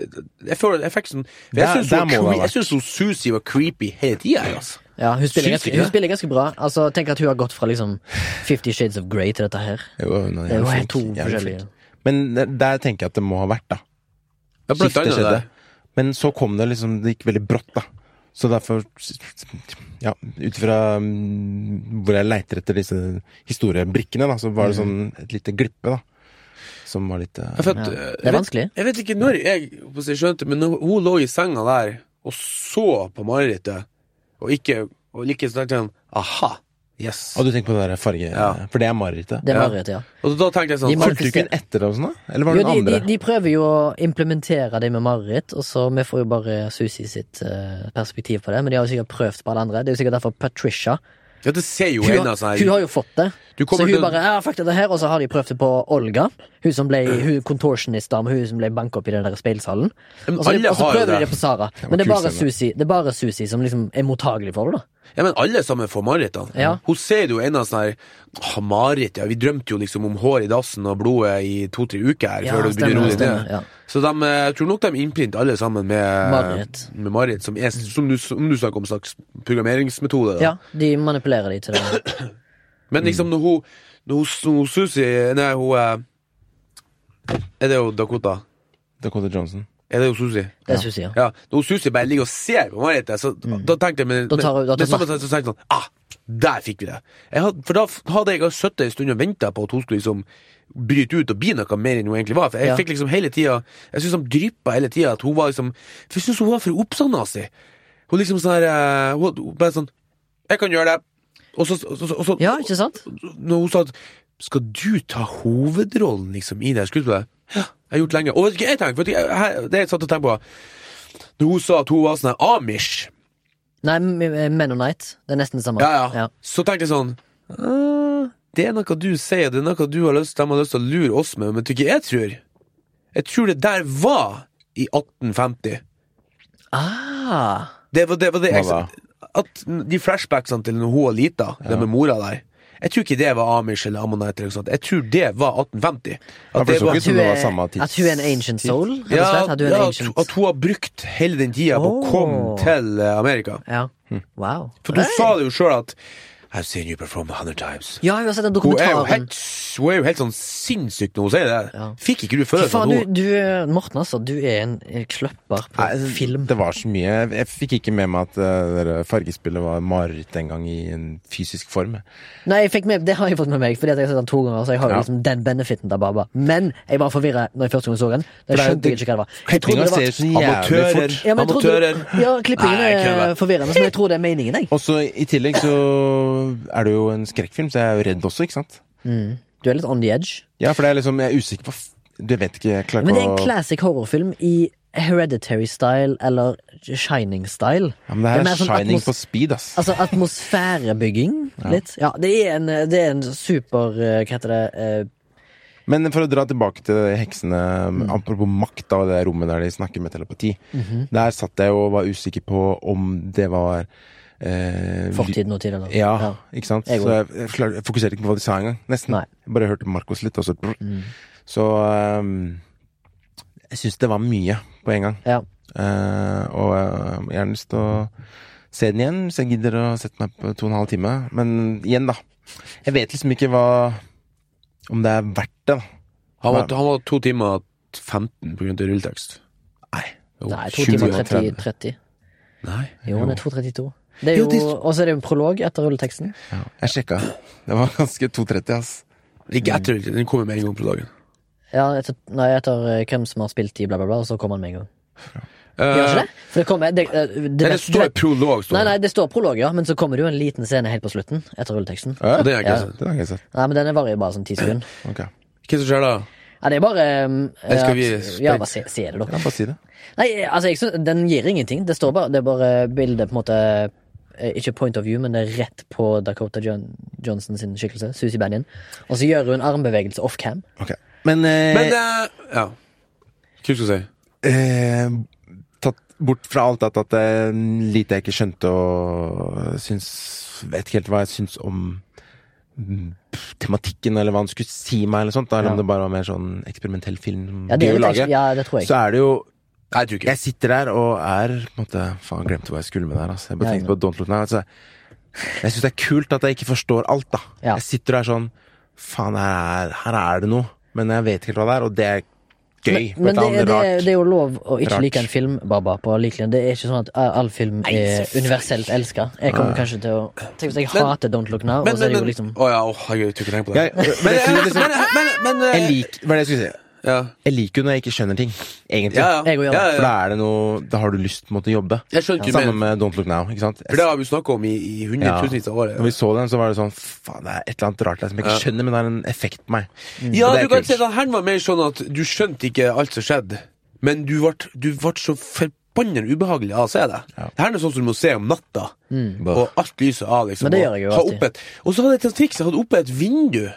Speaker 3: jeg føler jeg fikk sånn Jeg
Speaker 1: Der-
Speaker 3: syns
Speaker 1: der må det
Speaker 3: hun,
Speaker 1: ha
Speaker 3: cre-
Speaker 1: vært.
Speaker 3: jeg synes hun Susi var creepy hele tida, altså.
Speaker 2: Ja, hun spiller,
Speaker 3: Sykt,
Speaker 2: ganske,
Speaker 3: ikke?
Speaker 2: hun spiller ganske bra. Altså, Tenk at hun har gått fra liksom Fifty Shades of Grey til dette her.
Speaker 1: Jo, hun
Speaker 2: Det er jo
Speaker 1: jævlig
Speaker 2: helt to
Speaker 1: flink, jævlig flink.
Speaker 2: forskjellige
Speaker 1: Men der- der tenker jeg at det må ha vært, da.
Speaker 3: Ja, blant
Speaker 1: Skiftet
Speaker 3: annet
Speaker 1: skjedde.
Speaker 3: der.
Speaker 1: Men så kom det liksom Det gikk veldig brått, da. Så derfor Ja, ut fra mm, hvor jeg leiter etter disse historiebrikkene, da, så var det sånn et lite glippe, da. Som var litt eh,
Speaker 3: Ja, for at,
Speaker 2: Ja.
Speaker 3: eh,
Speaker 2: Det er vanskelig.
Speaker 3: Jeg vet ikke når jeg hva skal jeg skjønte men når hun lå i senga der og så på marerittet, og ikke og like så tenkte jeg sånn Aha. Yes.
Speaker 1: Å, du tenker på det der farge...
Speaker 3: Ja.
Speaker 1: For det er marerittet.
Speaker 2: Det er
Speaker 3: Ja.
Speaker 2: marerittet, ja.
Speaker 3: Og da tenkte jeg
Speaker 2: De
Speaker 3: sånn
Speaker 2: må-
Speaker 1: Fulgte du ikke hun etter det og sånn, da? Eller var
Speaker 2: Jo,
Speaker 1: det noen
Speaker 2: de,
Speaker 1: andre?
Speaker 2: de, de prøver jo å implementere det med mareritt, og så vi får jo bare Susi sitt eh, perspektiv på det. Men de har jo sikkert prøvd på alle andre. Det er jo sikkert derfor Patricia
Speaker 3: Ja, det ser jo
Speaker 2: Hun,
Speaker 3: en av
Speaker 2: har- hun
Speaker 3: sånn her
Speaker 2: har jo fått det.
Speaker 3: Du
Speaker 2: Så
Speaker 3: kommer
Speaker 2: hun
Speaker 3: til-
Speaker 2: bare ja, fuck dette her, og så har de prøvd det på Olga. Hun som ble hun contortionist-dame, hun som ble banka opp i den der speilsalen.
Speaker 3: Men
Speaker 2: Og så,
Speaker 3: alle
Speaker 2: og så
Speaker 3: har jo
Speaker 2: prøver de
Speaker 3: det.
Speaker 2: det på Sara. Men det er
Speaker 1: kul
Speaker 2: bare
Speaker 1: scene.
Speaker 2: Susi, det er bare Susi som liksom er mottagelig for det, da.
Speaker 3: Ja, men alle sammen får mareritt. da.
Speaker 2: Ja.
Speaker 3: Hun ser jo en av sånne her «Åh, Mareritt, ja. Vi drømte jo liksom om hår i dassen og blodet i to-tre uker her,
Speaker 2: Ja,
Speaker 3: før det
Speaker 2: stemmer,
Speaker 3: begynner å roe
Speaker 2: stemmer,
Speaker 3: ned.
Speaker 2: ja.
Speaker 3: Så de, eh, jeg tror nok de innprinter alle sammen med
Speaker 2: Mareritt.
Speaker 3: med mareritt, som, er- som, du- som du snakker om, en slags programmeringsmetode. Da.
Speaker 2: Ja, de manipulerer de til det.
Speaker 3: Men liksom når hun Når hun, hun Susi Nei, hun eh, Er det jo Dakota?
Speaker 1: Dakota Johnson.
Speaker 3: Er det jo Susi?
Speaker 2: Det er Susi, ja. Mm.
Speaker 3: Ja, når hun Susi bare ligger og ser på Marit, så, da tenkte jeg men,
Speaker 2: Da tar hun- da tar
Speaker 3: men, men samme tid så tenkte jeg sånn Ah, der fikk vi det! Jeg had, for da f- hadde jeg sittet en stund og venta på at hun skulle liksom bryte ut og bli noe mer enn hun egentlig var. For jeg
Speaker 2: Ja.
Speaker 3: fikk liksom hele tida Jeg syns de dryppa hele tida at hun var liksom For jeg syns hun var for oppsanna-nazi. Hun liksom sånn her eh, Hun hun bare sånn Jeg kan gjøre det. Og så, og så, og så
Speaker 2: Ja, ikke sant?
Speaker 3: når hun sa at skal du ta hovedrollen liksom, i det her skuespillet? Ja, jeg har gjort lenge. Og vet du hva jeg tenker, vet du, jeg, her, det jeg satt og tenkte på Når hun sa at hun var sånn her Amish,
Speaker 2: Nei, Menonite. Det er nesten det samme.
Speaker 3: ja, ja. så tenkte jeg sånn «Ah, Det er noe du sier, det er noe du har lyst, de har lyst til å lure oss med, men du ikke jeg tror. Jeg tror det der var i 1850.
Speaker 2: Ah,
Speaker 3: Det var det, var det jeg
Speaker 1: Hva da?
Speaker 3: At de flashbacksene til når hun var lita, det med mora der Jeg tror ikke det var Amish eller Ammonite. Eller noe sånt. Jeg tror det var 1850. At
Speaker 1: Ja, for det så ikke ut
Speaker 2: at,
Speaker 1: som
Speaker 2: hun
Speaker 1: det var
Speaker 2: er,
Speaker 1: samme tids...
Speaker 2: at hun er en ancient soul, rett og slett.
Speaker 3: Ja,
Speaker 2: At hun er
Speaker 3: ja,
Speaker 2: en
Speaker 3: at-
Speaker 2: ancient
Speaker 3: at hun har brukt hele den tida på å
Speaker 2: Åh.
Speaker 3: komme til eh, Amerika.
Speaker 2: Ja. Wow.
Speaker 3: For du
Speaker 2: Hey.
Speaker 3: sa det jo sjøl at I've seen you perform a hundred times.
Speaker 2: Ja, jeg har sett den
Speaker 3: Hun er, jo
Speaker 2: dokumentaren.
Speaker 3: helt, hun er jo helt sånn sinnssyk når hun sier det.
Speaker 2: Ja.
Speaker 3: Fikk ikke du
Speaker 2: Fy
Speaker 3: følelsen
Speaker 2: faen,
Speaker 3: av
Speaker 2: du,
Speaker 3: henne?
Speaker 2: du er- Morten, altså. Du er en eh, kløpper på
Speaker 1: Nei, altså,
Speaker 2: film.
Speaker 1: Det var så mye. Jeg, jeg fikk ikke med meg at eh, det der fargespillet var mareritt en gang i en fysisk form.
Speaker 2: Nei, jeg fikk med, det har jeg fått med meg, fordi at jeg har sett den to ganger. Så jeg har jo
Speaker 1: Ja.
Speaker 2: liksom den benefiten der, Baba. Men jeg var forvirra når jeg første gang så den. Da
Speaker 1: det er jo-
Speaker 2: skjønte jeg ikke hva det var. Jeg trodde
Speaker 1: Klippinga
Speaker 2: det var
Speaker 1: ser ut som jævlig
Speaker 3: altså. Amatører.
Speaker 1: fort.
Speaker 2: ja, men jeg trodde-
Speaker 3: Amatører.
Speaker 2: Ja, klippingen
Speaker 3: Nei, jeg
Speaker 2: er
Speaker 3: kødder.
Speaker 2: forvirrende, men jeg tror det er meningen, jeg.
Speaker 1: Og så i tillegg så er det jo en skrekkfilm, så jeg er jo redd også, ikke sant?
Speaker 2: Du er litt on the edge.
Speaker 1: Ja, for det er liksom, jeg er usikker på f- Du vet ikke, jeg klarer
Speaker 2: Men det
Speaker 1: ikke
Speaker 2: er en
Speaker 1: å
Speaker 2: classic horrorfilm i hereditary style eller shining style.
Speaker 1: ja, Men det her
Speaker 2: mer
Speaker 1: er
Speaker 2: sånn
Speaker 1: shining
Speaker 2: atmos-
Speaker 1: på speed, ass.
Speaker 2: Altså atmosfærebygging, litt. Ja, det er en, det er en super eh, Hva heter det? eh,
Speaker 1: Men for å dra tilbake til heksene,
Speaker 2: Mm.
Speaker 1: apropos makt da, og det rommet der de snakker med telepati.
Speaker 2: Mhm.
Speaker 1: Der satt jeg og var usikker på om det var eh,
Speaker 2: Fortid, nåtid, eller?
Speaker 1: Ja, ikke sant?
Speaker 2: Jeg
Speaker 1: så jeg, jeg, klar- jeg fokuserte ikke på hva de sa engang. Nesten.
Speaker 2: Nei.
Speaker 1: Jeg bare hørte Marcos litt, og så Så ehm, jeg syns det var mye på en gang.
Speaker 2: Ja.
Speaker 1: Eh, og eh, jeg har lyst til å se den igjen, hvis jeg gidder å sette meg på to og en halv time. Men igjen, da. Jeg vet liksom ikke hva Om det er verdt det, da.
Speaker 3: Han var, han var to timer og 15 på grunn av rulletekst.
Speaker 1: Nei.
Speaker 3: Jo,
Speaker 2: Nei, to timer
Speaker 1: 20 Oh, og
Speaker 2: 30,
Speaker 1: 30.
Speaker 2: 30.
Speaker 3: Nei.
Speaker 2: Jo, det er 2.32. Det er
Speaker 3: Jo, det
Speaker 2: jo,
Speaker 3: er-
Speaker 2: og så er det jo en prolog etter rulleteksten.
Speaker 1: Jeg sjekka. Det var ganske 2.30, ass.
Speaker 3: Ikke etter rulletekst. Den kommer med en gang på dagen.
Speaker 2: Ja, etter, nei, etter eh, hvem som har spilt i bla, bla, bla, og så kommer han med en gang.
Speaker 3: Eh,
Speaker 2: Gjør ikke det? For det kommer det, eh, det,
Speaker 3: nei, det står prolog, står
Speaker 2: Nei, nei,
Speaker 3: det.
Speaker 2: det står prolog, ja, men så kommer det jo en liten scene helt på slutten etter rulleteksten.
Speaker 1: Ja,
Speaker 3: Og det har jeg ikke
Speaker 1: ja,
Speaker 3: sett.
Speaker 1: det har jeg ikke sett.
Speaker 2: Nei, men denne varer jo bare sånn ti sekunder.
Speaker 1: Ok.
Speaker 3: Hva som skjer da?
Speaker 2: Ja, det er bare um,
Speaker 3: Nei, skal vi
Speaker 2: at-
Speaker 3: spre-
Speaker 2: Ja, bare se, se det,
Speaker 1: Ja,
Speaker 2: dere.
Speaker 1: bare si det.
Speaker 2: Nei, altså, jeg, syns- den gir ingenting. Det står bare Det er bare bildet, på en måte eh, Ikke point of view, men det er rett på Dakota John, Johnson sin skikkelse, Susi Banyan. Og så gjør hun armbevegelse off cam.
Speaker 1: Ok. Men, eh,
Speaker 3: Men eh, Ja. Hva skal du si?
Speaker 1: eh, tatt bort fra alt at, at eh, lite jeg ikke skjønte og syns Vet ikke helt hva jeg syns om mm, pff, tematikken, eller hva han skulle si meg, eller sånt. Da, eller
Speaker 2: Ja.
Speaker 1: om det bare var mer sånn eksperimentell film. som
Speaker 2: Ja, det,
Speaker 1: gøy
Speaker 2: er
Speaker 1: å
Speaker 2: litt,
Speaker 1: lage,
Speaker 2: ekstra- ja, det tror jeg.
Speaker 1: Så er det jo
Speaker 3: Nei, jeg tror ikke
Speaker 1: Jeg sitter der og er på en måte, Faen, glemte hva jeg skulle med det her. Altså. Jeg bare
Speaker 2: Ja,
Speaker 1: tenkte på Don't Look Now. Altså. Jeg syns det er kult at jeg ikke forstår alt, da.
Speaker 2: Ja.
Speaker 1: Jeg sitter der sånn Faen, her er, her er det noe. Men jeg vet ikke helt hva det er, og det er gøy. på
Speaker 2: Men
Speaker 1: et eller
Speaker 2: det, er-
Speaker 1: annet
Speaker 2: det,
Speaker 1: rart.
Speaker 2: er- det er jo lov å ikke
Speaker 1: Rart.
Speaker 2: like en film, Baba. På lik linje. Det er ikke sånn at eh, all film er universelt elska. Jeg kommer kanskje til å Tenk hvis jeg hater Don't Look Now, og så er det jo liksom
Speaker 3: Å ja, åh, herregud, jeg tror ikke jeg tenker på det.
Speaker 1: Jeg- men jeg- liksom,
Speaker 3: men, men, men, men, men
Speaker 1: Jeg lik, hva er det jeg skulle si?
Speaker 3: ja.
Speaker 1: Jeg liker jo når jeg ikke skjønner ting, egentlig.
Speaker 3: Ja,
Speaker 2: Jeg går
Speaker 3: ja.
Speaker 2: igjen.
Speaker 3: ja,
Speaker 1: For
Speaker 3: ja.
Speaker 1: da er det noe Da har du lyst på en måte å jobbe.
Speaker 3: Jeg skjønner ikke
Speaker 1: Sammen
Speaker 3: mer.
Speaker 1: med Don't Look Now. ikke sant?
Speaker 3: For det har vi snakka om i, i hundretusenvis av år.
Speaker 1: Når vi så den, så var det sånn Faen, det er et eller annet rart der som jeg ikke skjønner, men det har en effekt på meg.
Speaker 3: Mm. Ja,
Speaker 1: Og det er
Speaker 3: du kan
Speaker 1: kult.
Speaker 3: si at han var mer sånn at du skjønte ikke alt som skjedde, men du ble, du ble så for, forbanna ubehagelig av å se det.
Speaker 1: Ja.
Speaker 3: Det her er sånn som du må se om natta,
Speaker 1: Bah.
Speaker 3: og alt lyset av. liksom
Speaker 2: Mm. Men det gjør
Speaker 3: og
Speaker 2: jeg jo
Speaker 3: ha
Speaker 2: alltid.
Speaker 3: opp et, Og så hadde jeg til triks, jeg hadde oppe et vindu.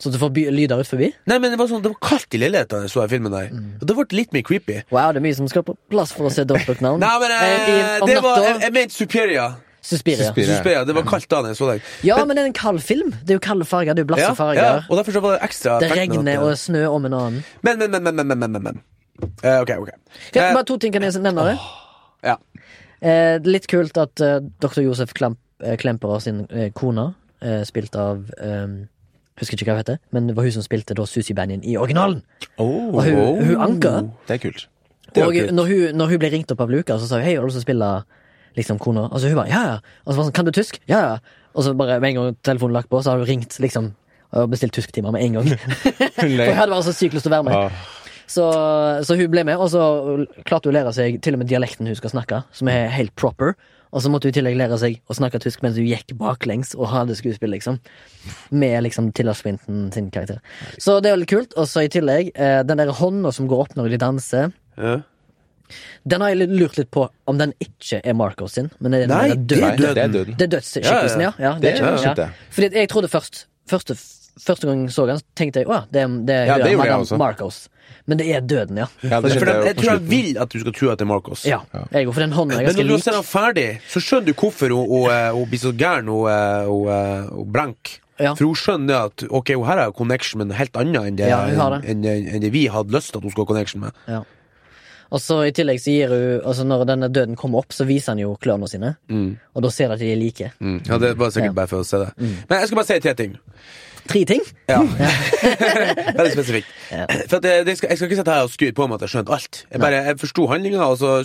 Speaker 2: Så du sånn får by- lyder ut forbi?
Speaker 3: Nei, men Det var sånn, det var kaldt i leiligheten da jeg så den filmen der.
Speaker 2: Mm.
Speaker 3: Og Det ble litt mer creepy.
Speaker 2: Wow, det er mye som skal på plass for å se Dobbelt Navn.
Speaker 3: Nei, men eh,
Speaker 2: Eh, i- om
Speaker 3: det var, jeg,
Speaker 2: natta-
Speaker 3: jeg mente Superior.
Speaker 2: Suspiria.
Speaker 1: Suspiria.
Speaker 3: Suspiria. Det var kaldt da jeg så den.
Speaker 2: Ja, men det er en kald film. Det er jo kalde farger. Det er jo blasse
Speaker 3: Ja,
Speaker 2: farger.
Speaker 3: ja, og derfor så var det ekstra
Speaker 2: Det
Speaker 3: effekt med
Speaker 2: regner
Speaker 3: at-
Speaker 2: og snø om en annen.
Speaker 3: Men, men, men, men, men, men, men, men, men. Eh, ok, ok.
Speaker 2: Ja,
Speaker 3: Eh,
Speaker 2: bare to ting kan jeg nevne. det
Speaker 3: ja.
Speaker 2: eh, det er Litt kult at eh, dr. Josef Klamp, eh, Klemperer sin eh, kone, eh, spilt av eh, Husker ikke hva hun heter, men det var hun som spilte da Susi Banyan i originalen.
Speaker 1: Oh,
Speaker 2: Og hun, hun anker.
Speaker 1: Det er kult.
Speaker 3: Det er
Speaker 2: Og
Speaker 3: jo kult.
Speaker 2: når hun, når hun ble ringt opp av Lukas, så sa hun hei, har du lyst til å spille liksom, kona? Og så hun bare ja, ja. Og så var hun sånn, kan du tysk? Ja, ja. Og så bare med en gang telefonen lagt på, så har hun ringt liksom og bestilt tysktimer med en gang. For hun hadde bare så sykt lyst til å være med. Så, så hun ble med, og så klarte hun å lære seg til og med dialekten hun skal snakke, som er helt proper. Og så måtte hun i tillegg lære seg å snakke tysk mens hun gikk baklengs og hadde skuespill, liksom. Med liksom Tilda Swinton sin karakter. Så det er jo litt kult. Og så i tillegg, eh, den der hånda som går opp når de danser,
Speaker 3: Ja.
Speaker 2: den har jeg litt- lurt litt på om den ikke er Marco sin. Men det er den
Speaker 3: Nei,
Speaker 2: der
Speaker 3: Det er
Speaker 1: Nei,
Speaker 2: døde-
Speaker 1: det er døden.
Speaker 2: det er dødsskikkelsen, ja.
Speaker 3: Ja,
Speaker 2: ja.
Speaker 1: Det er
Speaker 2: ja.
Speaker 1: skjønt, det.
Speaker 2: Fordi at jeg trodde først Første, første gang jeg så den, så tenkte jeg å ja, det er, det er
Speaker 1: Ja, det gjorde jeg
Speaker 2: Madame
Speaker 1: også.
Speaker 2: Marcos. Men Men det er døden, ja.
Speaker 1: Ja, det
Speaker 3: For
Speaker 1: skjønte
Speaker 3: den,
Speaker 1: jeg
Speaker 3: jeg
Speaker 1: jo på
Speaker 3: tror jeg
Speaker 1: slutten.
Speaker 3: vil at du skal tro at det er Marcos.
Speaker 2: ja. Jeg går for den hånda. er
Speaker 3: Men
Speaker 2: Ganske
Speaker 3: når du har
Speaker 2: lik.
Speaker 3: sett den ferdig, så skjønner du hvorfor hun, hun, eh, hun blir så gæren hun, eh, hun, eh, hun blank.
Speaker 2: Ja.
Speaker 3: For hun skjønner at ok, hun her har connection med noe helt annet enn det,
Speaker 2: Ja, hun har det.
Speaker 3: enn, enn, enn det vi hadde lyst til at hun skulle ha connection med.
Speaker 2: Ja. Og så i tillegg så gir hun altså Når denne døden kommer opp, så viser han jo klørne sine.
Speaker 3: Mm.
Speaker 2: Og da ser du at de er like.
Speaker 3: Ja, Det var
Speaker 2: Mm. Ja.
Speaker 3: sikkert
Speaker 2: Mm.
Speaker 3: bare for å se det. Men jeg skal bare si tre ting.
Speaker 2: Tre ting.
Speaker 3: Ja.
Speaker 2: Mm.
Speaker 3: Veldig spesifikt. For at jeg, det skal, jeg skal ikke sitte her og skryte på meg at jeg skjønte alt. Jeg bare, jeg forsto handlinga, og så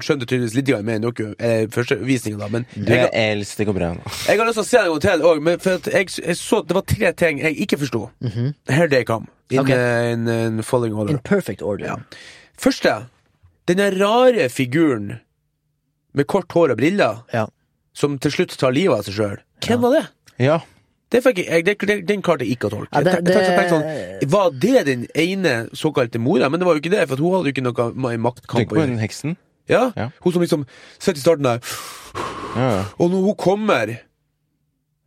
Speaker 3: skjønte jeg tydeligvis litt grann mer enn dere. Eh, første visningen da Men
Speaker 1: Du er
Speaker 3: jeg,
Speaker 1: eldst, det går bra.
Speaker 3: jeg har lyst til å se den en gang til og, men for at jeg, jeg så at det var tre ting jeg ikke forsto. Here they come. In,
Speaker 2: Mhm. Ok.
Speaker 3: eh, in, in falling order.
Speaker 2: In perfect order.
Speaker 3: Ja. Første. Denne rare figuren med kort hår og briller
Speaker 2: Ja.
Speaker 3: som til slutt tar livet av seg sjøl. Hvem var det?
Speaker 1: Ja.
Speaker 3: Det fikk jeg, jeg, det, den klarte jeg ikke å tolke.
Speaker 2: Ja, det-
Speaker 3: Jeg tenkte- jeg tenkte
Speaker 2: det-
Speaker 3: sånn, var det den ene såkalte mora? Men det var jo ikke det, for at hun hadde jo ikke noe ma-
Speaker 1: Tenk
Speaker 3: maktkamp. å
Speaker 1: på
Speaker 3: gjøre.
Speaker 1: hun heksen.
Speaker 3: Ja?
Speaker 1: Ja.
Speaker 3: Hun som liksom sitter i starten der,
Speaker 1: Ja, ja.
Speaker 3: og når hun kommer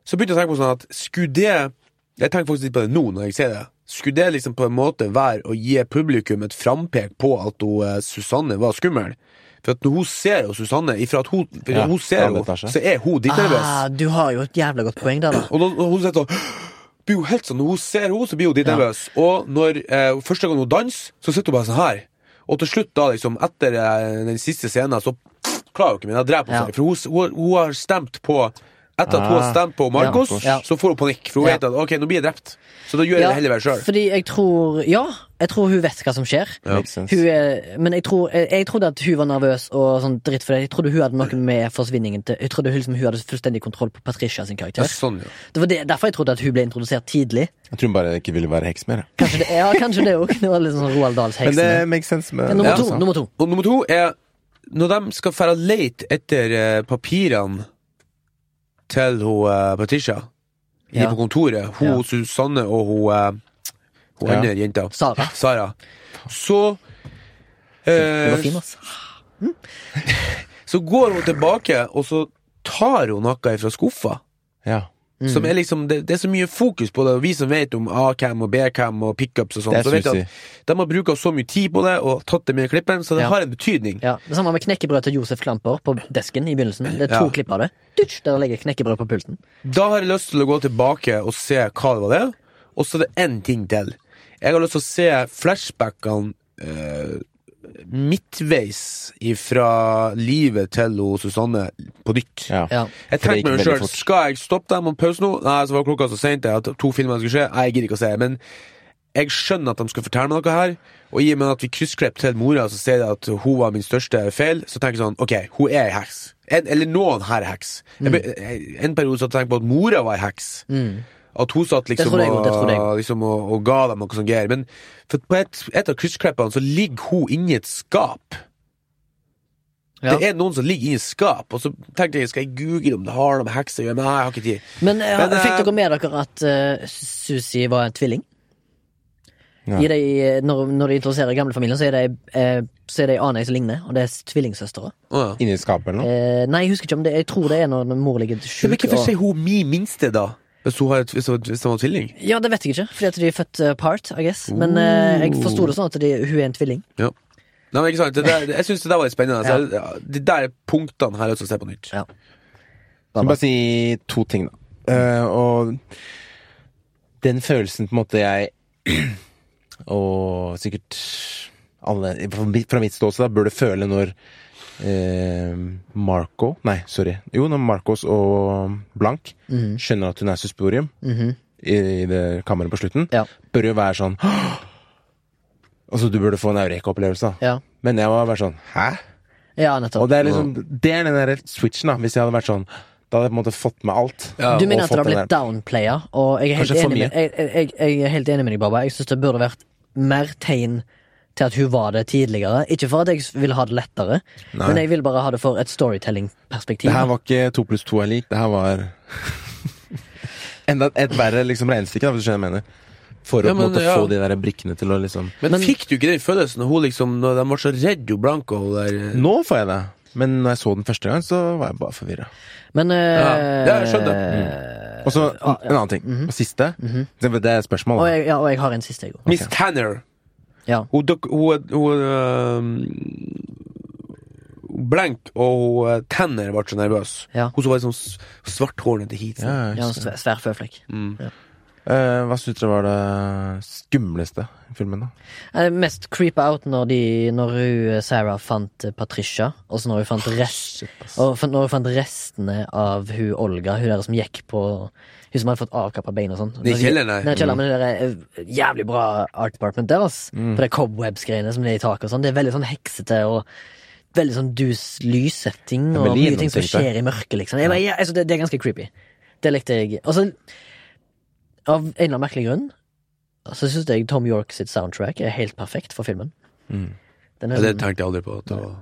Speaker 3: Så begynte jeg å tenke på sånn at skulle det Jeg tenker faktisk litt på det nå når jeg ser det. Skulle det liksom på en måte være å gi publikum et frampek på at hun, eh, Susanne var skummel? For at når hun ser jo Susanne, ifra at hun, for
Speaker 1: Ja,
Speaker 3: hun ser
Speaker 1: andre
Speaker 3: henne,
Speaker 1: etasje.
Speaker 3: så er hun drittnervøs.
Speaker 2: Ah, du har jo et jævla godt poeng der, da.
Speaker 3: Og da, når hun sitter og blir jo helt sånn, Når hun ser henne, så blir hun litt nervøs. Og når eh, første gang hun danser, så sitter hun bare sånn her. Og til slutt, da, liksom, etter eh, den siste scenen, så klarer hun ikke mer. Da dreper hun
Speaker 2: Ja.
Speaker 3: seg. For hun, hun, hun har stemt på Etter at hun har
Speaker 1: Ah.
Speaker 3: stemt på Marcos,
Speaker 2: Ja.
Speaker 3: så får hun panikk. For hun
Speaker 2: Ja.
Speaker 3: vet at ok, nå blir jeg drept. Så da gjør jeg det heller sjøl.
Speaker 2: fordi jeg tror Ja, jeg tror hun vet hva som skjer.
Speaker 1: Makes sense.
Speaker 2: Hun er, men jeg, tror, jeg, jeg trodde at hun var nervøs og sånn dritt for det. Jeg trodde hun hadde noe med forsvinningen til Jeg trodde hun, liksom, hun hadde fullstendig kontroll på Patricia sin
Speaker 3: Ja,
Speaker 2: karakter.
Speaker 3: sånn, ja.
Speaker 2: Det var det, derfor jeg trodde at hun ble introdusert tidlig.
Speaker 1: Jeg tror hun bare ikke ville være heks mer. jeg.
Speaker 2: Kanskje det, ja, kanskje det òg. Det var litt sånn Roald Dahls
Speaker 1: Men det
Speaker 2: heksene.
Speaker 1: makes sense. Med,
Speaker 2: Nummer
Speaker 1: Ja,
Speaker 2: to.
Speaker 1: altså.
Speaker 2: Nummer to.
Speaker 3: Og nummer to er når de skal fære og lete etter eh, papirene til hun, eh, Patricia inne
Speaker 2: Ja.
Speaker 3: på kontoret, hun
Speaker 2: Ja.
Speaker 3: Susanne og hun, eh, hun
Speaker 1: Ja.
Speaker 3: andre jenta,
Speaker 2: Sara.
Speaker 3: Sara, så
Speaker 2: Det var
Speaker 3: eh,
Speaker 2: fin, altså. ass.
Speaker 3: Så går hun tilbake, og så tar hun noe fra skuffa.
Speaker 1: Ja.
Speaker 2: Mm.
Speaker 3: Som er liksom, det, det er så mye fokus på det, og vi som vet om A-cam og B-cam og pickups og sånn,
Speaker 1: Det er
Speaker 3: så vet vi
Speaker 1: Susi.
Speaker 3: at de har bruka så mye tid på det og tatt det med i klippen, så det
Speaker 2: Ja.
Speaker 3: har en betydning.
Speaker 2: Ja, Det samme med knekkebrød til Josef Klamper på desken i begynnelsen. Det er to
Speaker 3: Ja.
Speaker 2: klipp av det. Dutsch, der ligger knekkebrød på pulten.
Speaker 3: Da har jeg lyst til å gå tilbake og se hva det var det. Og så er det én ting til. Jeg har lyst til å se flashbackene eh, midtveis fra livet til hun Susanne på nytt.
Speaker 1: Ja.
Speaker 2: Ja.
Speaker 1: For
Speaker 3: Jeg
Speaker 1: det
Speaker 3: tenkte
Speaker 1: gikk
Speaker 3: meg
Speaker 1: veldig
Speaker 3: sjøl,
Speaker 1: fort.
Speaker 3: skal jeg stoppe dem og pause nå? Nei, så var klokka så seint at to filmer skulle skje. Nei, jeg gidder ikke å se. Men jeg skjønner at de skal fortelle meg noe her. Og i og med at vi kryssklipper til mora, så ser jeg at hun var min største feil. Så tenker jeg sånn, ok, hun er ei heks. En, eller noen her er heks. Jeg be-
Speaker 1: Mm.
Speaker 3: jeg- En periode så tenkte jeg på at mora var ei heks. At hun satt liksom,
Speaker 2: trodde jeg også, det trodde jeg
Speaker 3: og, liksom og, og ga dem noe som greier. Men for på et, et av kryssklippene så ligger hun inni et skap.
Speaker 2: Ja.
Speaker 3: Det er noen som ligger inni et skap, og så tenkte jeg skal jeg google om det har noe med hekser å gjøre. Men Nei, jeg har ikke tid.
Speaker 2: Men, eh,
Speaker 3: Men, eh,
Speaker 2: fikk dere med dere at eh, Susi var en tvilling?
Speaker 1: Ja.
Speaker 2: I de, når, når de introduserer gamlefamilien, så er det eh, Så er det en annen jeg som ligner, og det er tvillingsøstre.
Speaker 3: Å, ja.
Speaker 1: Inni skapet eller noe?
Speaker 2: Eh, nei, jeg husker ikke om det Jeg tror det er når mor ligger
Speaker 3: Men
Speaker 2: sjuk.
Speaker 3: hvorfor
Speaker 2: og-
Speaker 3: sier hun min minste, da? Hvis hun har et, hvis hun, hvis hun har tvilling?
Speaker 2: Ja, det vet jeg ikke, fordi at de er født eh, part, I guess. Men eh, jeg forsto det sånn at de, hun er en tvilling.
Speaker 3: Ja. Nei, men ikke sant? Det der, jeg syns det der var litt spennende. Så jeg- ja. De der punktene her er også å se på nytt.
Speaker 2: Ja.
Speaker 1: Så bare si to ting, da. Eh, og den følelsen på en måte jeg Og sikkert alle fra mitt- fra mitt ståsted da, burde føle når eh, Marco Nei, sorry. Jo, når Marcos og Blank skjønner at hun er susporium i, i det kammeret på slutten,
Speaker 2: Ja.
Speaker 1: bør jo være sånn Altså, du burde få en eureka-opplevelse, da.
Speaker 2: Ja.
Speaker 1: Men jeg må være sånn Hæ?
Speaker 2: ja,
Speaker 1: Og
Speaker 2: nettopp.
Speaker 1: det er liksom Det er den der switchen, da. Hvis jeg hadde vært sånn Da hadde jeg på en måte fått med alt.
Speaker 2: Du
Speaker 1: og
Speaker 2: mener at det har
Speaker 1: fått den
Speaker 2: blitt
Speaker 1: der-
Speaker 2: downplaya, og jeg er helt,
Speaker 1: Kanskje for
Speaker 2: enig
Speaker 1: mye.
Speaker 2: med, jeg, jeg, jeg- jeg er helt enig med deg, Baba. Jeg syns det burde vært mer tegn til at hun var det tidligere. Ikke for at jeg vil ha det lettere, men jeg vil bare ha det for et
Speaker 1: Det
Speaker 2: storytelling-perspektiv.
Speaker 1: her var ikke to pluss to er lik, det her var Enda et verre liksom regnestykke, da, hvis du skjønner hva jeg mener. For å
Speaker 3: Ja,
Speaker 1: på en
Speaker 3: men,
Speaker 1: måte
Speaker 3: ja.
Speaker 1: få de der brikkene til å liksom
Speaker 3: Men,
Speaker 2: Men-
Speaker 3: fikk du ikke den følelsen når hun liksom Når de var så redd jo Blanco og der eh,
Speaker 1: Nå får jeg det! Men når jeg så den første gang, så var jeg bare forvirra.
Speaker 2: Men eh,
Speaker 3: Ja, jeg skjønner.
Speaker 1: Og så
Speaker 2: ah,
Speaker 1: en annen ting.
Speaker 2: mhm.
Speaker 1: Og siste. Det det er et spørsmål.
Speaker 2: Og,
Speaker 1: Da.
Speaker 2: jeg, ja, og jeg har en siste, jeg òg.
Speaker 3: Miss Tanner.
Speaker 2: Ja.
Speaker 3: Hun duk- Hun, hun, øh, Blank og hun, øh, Tanner ble så nervøs.
Speaker 2: Ja.
Speaker 3: Hun som var liksom s- svarthårnete hit.
Speaker 1: Ja,
Speaker 3: sånn.
Speaker 2: Ja, en svær, svær føflekk.
Speaker 1: Mm. Eh, hva syns dere var det skumleste i filmen, da?
Speaker 2: Jeg er mest creepa out når, de, når hun, Sarah fant eh, Patricia, og så når hun fant, rest, og fant- når hun fant restene av hun Olga, hun der som gikk på Hun som hadde fått avkappa bein og sånn.
Speaker 3: Det er kjelleren, nei. Mm.
Speaker 2: Nei, kjelleren, men det der er eh, jævlig bra art department der, ass. For det er cobwebs-greiene som er i taket og sånn. Det er veldig sånn heksete og veldig sånn dus lyssetting og
Speaker 1: veldig
Speaker 2: mye ting som
Speaker 1: gjennomtenkt, det.
Speaker 2: skjer i mørket, liksom. Jeg, bare, ja, altså, det, det er ganske creepy. Det likte jeg. Og så, av en eller annen merkelig grunn, så syns jeg Tom York sitt soundtrack er helt perfekt for filmen.
Speaker 3: Mm.
Speaker 2: Den er,
Speaker 3: Ja, det tenkte jeg aldri på. Det var,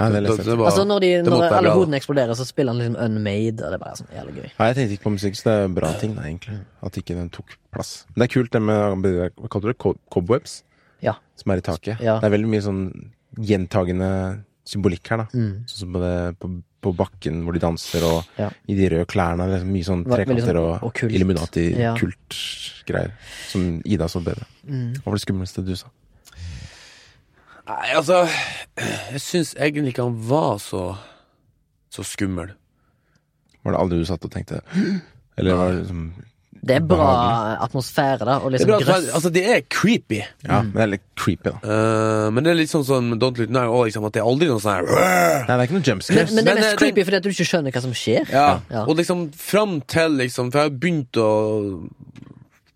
Speaker 1: Ja, det
Speaker 3: det,
Speaker 1: leste jeg.
Speaker 3: det var,
Speaker 2: altså når, de,
Speaker 3: det måtte
Speaker 2: når
Speaker 3: være
Speaker 2: alle
Speaker 3: bra, da.
Speaker 2: hodene eksploderer, så spiller han liksom Unmade, og det er bare sånn jævlig gøy.
Speaker 1: Nei, jeg tenkte ikke på musikk, så det er en bra ting, da, egentlig. At ikke den tok plass. Men det er kult, det med hva kaller du det, Co- cobwebs,
Speaker 2: Ja.
Speaker 1: som er i taket.
Speaker 2: Ja.
Speaker 1: Det er veldig mye sånn gjentagende symbolikk her, da. Sånn som på, det, på, på bakken hvor de danser, og
Speaker 2: Mm. Ja.
Speaker 1: i de røde klærne. Det er mye sånn
Speaker 2: Hva- veldig
Speaker 1: trekanter
Speaker 2: sånn
Speaker 1: og,
Speaker 2: okkult. Ja.
Speaker 1: Illuminati-kultgreier. Som Ida så bedre.
Speaker 2: Mm.
Speaker 1: Hva var det skumleste du sa?
Speaker 3: Nei, altså Jeg syns egentlig ikke han var så Så skummel.
Speaker 1: Var det aldri du satt og tenkte Eller var det liksom
Speaker 2: Det er bra atmosfære, da, og
Speaker 3: Det er
Speaker 2: liksom
Speaker 3: bra, at han-
Speaker 2: grøss.
Speaker 3: altså, det er creepy.
Speaker 1: Ja,
Speaker 2: Mm.
Speaker 1: men det er litt creepy, da.
Speaker 3: Eh, men det er litt sånn som Don't Look Now, og liksom, at det er aldri noe sånn her «Åh!»
Speaker 1: Nei, det er ikke noe
Speaker 2: Men,
Speaker 1: jumpscares.
Speaker 2: men det
Speaker 3: Men,
Speaker 2: er
Speaker 3: eh,
Speaker 2: mest creepy
Speaker 3: den-
Speaker 2: fordi at du ikke skjønner hva som skjer.
Speaker 3: ja.
Speaker 2: Ja.
Speaker 3: Og liksom fram til liksom For jeg har begynt å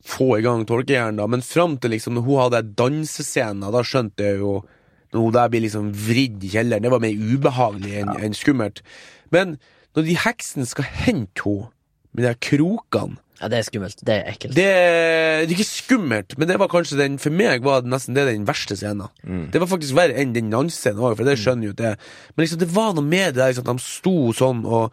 Speaker 3: få i gang tolkehjernen, da, men fram til liksom når hun hadde dansescenen, da skjønte jeg jo Når hun der blir liksom vridd i kjelleren, det var mer ubehagelig enn enn skummelt. Men når de heksene skal hente henne med de her krokene
Speaker 2: Ja, det er skummelt. Det er ekkelt.
Speaker 3: Det det er ikke skummelt, men det var kanskje den for meg var det nesten det den verste scenen.
Speaker 2: Mm.
Speaker 3: Det var faktisk verre enn den dansescenen òg, for det skjønner jo det. Men liksom, det var noe med det der liksom, at de sto sånn og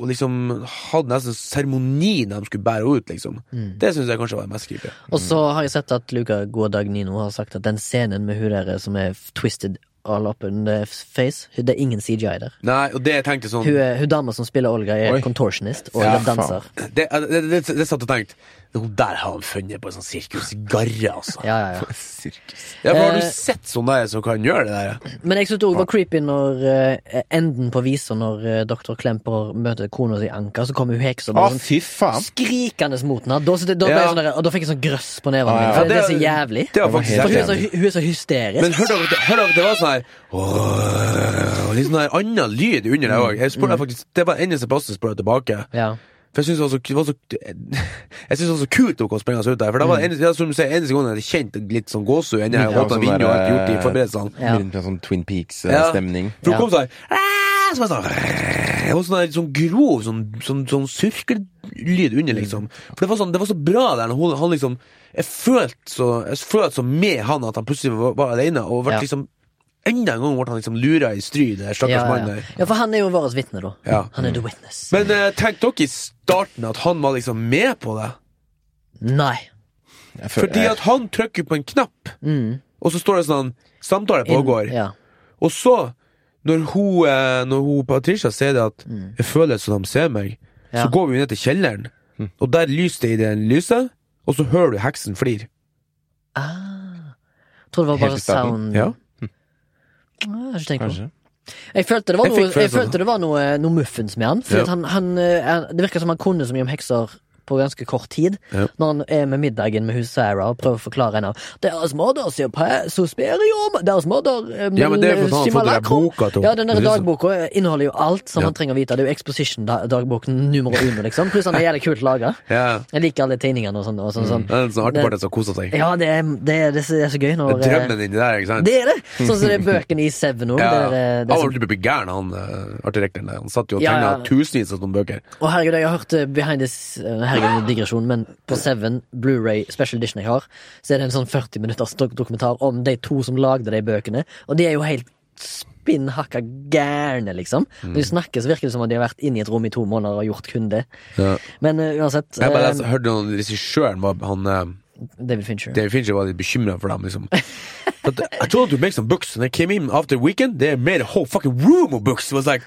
Speaker 3: og liksom hadde nesten seremoni når de skulle bære henne ut, liksom.
Speaker 2: Mm.
Speaker 3: Det syns jeg kanskje var det mest creepy.
Speaker 2: Og så har jeg sett at Luca Gårdag Nino har sagt at den scenen med hun der som er f- twisted all up in the f- face, det er ingen CGI der.
Speaker 3: Nei, og det jeg tenkte sånn
Speaker 2: Hun, er- hun dama som spiller Olga, er
Speaker 1: Oi.
Speaker 2: contortionist og
Speaker 1: Ja,
Speaker 2: en danser.
Speaker 3: Det, eh, det, det, det, det satt og tenkte Hun der har han funnet på en sånn sirkusgarre, altså.
Speaker 2: Ja, ja, ja.
Speaker 1: Sirkus.
Speaker 3: Ja, for Har
Speaker 2: Eh.
Speaker 3: du sett sånne der som kan gjøre det der?
Speaker 2: Men jeg syntes det også var creepy når eh, enden på visa, når eh, doktor Klemper møter kona si Anka, så kommer hun heksa
Speaker 1: Å,
Speaker 2: bare sånn
Speaker 1: fy faen!
Speaker 2: skrikende mot henne. Da, da, ble jeg
Speaker 3: Ja.
Speaker 2: sånn der, og da fikk jeg sånn grøss på nevene
Speaker 1: Ja,
Speaker 2: mine.
Speaker 1: ja.
Speaker 2: For det,
Speaker 3: Ja, det-
Speaker 2: er så jævlig.
Speaker 3: Det var
Speaker 1: var
Speaker 3: faktisk
Speaker 1: helt
Speaker 2: For hun er
Speaker 3: jævlig.
Speaker 2: så, hy- hun er så hysterisk.
Speaker 3: Men hør dere, hør dere, det var sånn her «Åh», Litt sånn her annen lyd under der òg. Jeg spurte faktisk Det var eneste plass jeg spurte tilbake.
Speaker 2: ja.
Speaker 3: For jeg syns det var så, det var så Jeg synes det var så kult dere sprang oss ut der. For det var eneste, det er som du sier, eneste gangen jeg kjente litt sånn gåsehud inni
Speaker 1: Ja,
Speaker 3: åpna
Speaker 1: sånn
Speaker 3: vinduet
Speaker 1: der,
Speaker 3: og alt gjort i
Speaker 1: eh,
Speaker 3: forberedelsene.
Speaker 2: Ja.
Speaker 1: Rundt med sånn Twin
Speaker 3: Ja.
Speaker 1: Peaks-stemning.
Speaker 3: For hun
Speaker 2: Ja.
Speaker 3: kom sånn «Æ», så var jeg sånn «Æ», Det var sånn, der, sånn grov sånn, sånn, sånn surkellyd under, liksom. For det var, sånn, det var så bra der. når Hun, han liksom Jeg følte så, jeg følte så med han at han plutselig var, var alene, og
Speaker 2: Ja.
Speaker 3: ble liksom Enda en gang ble han liksom lura i stry, det stakkars
Speaker 2: Ja,
Speaker 3: mannen
Speaker 2: ja.
Speaker 3: der.
Speaker 2: ja, for han er jo vårt vitne, da.
Speaker 3: Ja.
Speaker 2: Han er the witness.
Speaker 3: Men eh, tenkte dere i starten at han var liksom med på det?
Speaker 2: Nei.
Speaker 1: Jeg føler-
Speaker 3: Fordi at han trykker på en knapp,
Speaker 2: Mm.
Speaker 3: og så står det sånn Samtale
Speaker 2: Inn-
Speaker 3: pågår.
Speaker 2: Ja.
Speaker 3: Og så, når hun, eh, når hun Patricia ser det at jeg føler som de ser meg,
Speaker 2: Mm. Ja.
Speaker 3: så går vi ned til kjelleren, og der lyser det i det lyset, og så hører du heksen flir.
Speaker 2: Ah. Jeg tror det var
Speaker 1: Helt
Speaker 2: bare
Speaker 1: i starten,
Speaker 2: sound
Speaker 3: ja.
Speaker 2: Ah, jeg har ikke tenkt på det.
Speaker 1: Kanskje.
Speaker 2: Jeg følte det var
Speaker 3: Jeg
Speaker 2: noe,
Speaker 3: fikk
Speaker 2: jeg
Speaker 3: følelsen.
Speaker 2: følte det var noe, eh, noe muffens med han. Fordi
Speaker 3: Ja.
Speaker 2: at han, han, eh, han Det virka som han kunne så mye om hekser på ganske kort tid.
Speaker 3: Ja.
Speaker 2: Når han er med middagen med hun Sarah og prøver å forklare henne Deres mother sier på- suspirium Deres mother eh,
Speaker 3: Ja, men det er for sånn han har fått den der
Speaker 2: simulacrum».
Speaker 3: boka til
Speaker 2: Ja, den der
Speaker 3: Det er sånn-
Speaker 2: dagboka inneholder jo alt som
Speaker 3: Ja.
Speaker 2: han trenger å vite. Det er jo Exposition-dagboken nummer uno, liksom. Pluss han er jævlig kult laga.
Speaker 3: Ja.
Speaker 2: Jeg liker alle tegningene og sånn. Og sånn, sånn.
Speaker 3: Det er en sånn artig
Speaker 2: Det-
Speaker 3: part som koser seg.
Speaker 2: Ja, det er, det, er, det er så gøy når eh,
Speaker 3: Drømmen inni der, ikke sant?
Speaker 2: Det er det! Sånn som det er bøkene i Seven òg.
Speaker 3: Ja.
Speaker 2: Det er, eh,
Speaker 3: Han
Speaker 2: det er
Speaker 3: var type gæren, han eh, artdirektøren der. Han satt jo og
Speaker 2: Ja,
Speaker 3: tegna
Speaker 2: ja.
Speaker 3: tusenvis av sånne bøker.
Speaker 2: Og herregud, jeg har hørt eh, behind this eh, Herregud, en digresjon, men på Seven Blu-ray Special Edition jeg har, så er det en sånn 40 minutters dok- dokumentar om de to som lagde de bøkene, og de er jo helt spinn hakka gærne, liksom.
Speaker 3: Mm.
Speaker 2: Når de snakker, så virker det som om de har vært inne i et rom i to måneder og gjort kun det.
Speaker 3: Ja.
Speaker 2: Men eh, uansett,
Speaker 3: Jeg bare
Speaker 2: eh,
Speaker 3: leste- hørte noen regissøren var han eh,
Speaker 2: David Fincher.
Speaker 3: David Fincher var litt bekymra for dem, liksom. But I told you to make some books, and I came in after the weekend, they made a whole fucking room of books. It was like,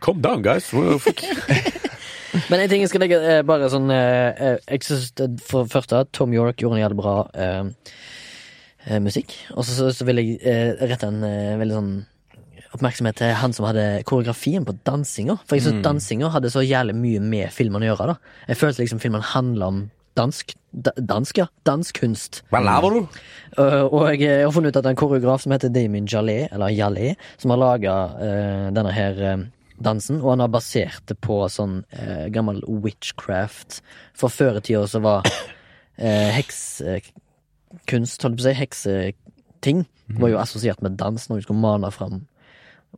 Speaker 3: calm down, guys. Well, fuck.
Speaker 2: Men en ting jeg skal legge eh, bare sånn eh, eh, Jeg synes det, For det første, Tom York gjorde en jævlig bra eh, eh, musikk. Og så, så, så vil jeg eh, rette en eh, veldig sånn oppmerksomhet til han som hadde koreografien på dansinga. For jeg synes dansinga hadde så jævlig mye med filmen å gjøre. da Jeg følte liksom filmen handla om dansk da, Dansk, ja. Dansk kunst.
Speaker 3: Hva laver du?
Speaker 2: Uh, og jeg har funnet ut at det er en koreograf som heter Damien Jallet, eller Jallet, som har laga denne her eh, dansen, og han har basert det på sånn eh, gammel witchcraft. For før i tida så var eh, heksekunst, holdt jeg på å si, hekseting, var jo
Speaker 3: Mhm.
Speaker 2: assosiert med dans når du skulle mane fram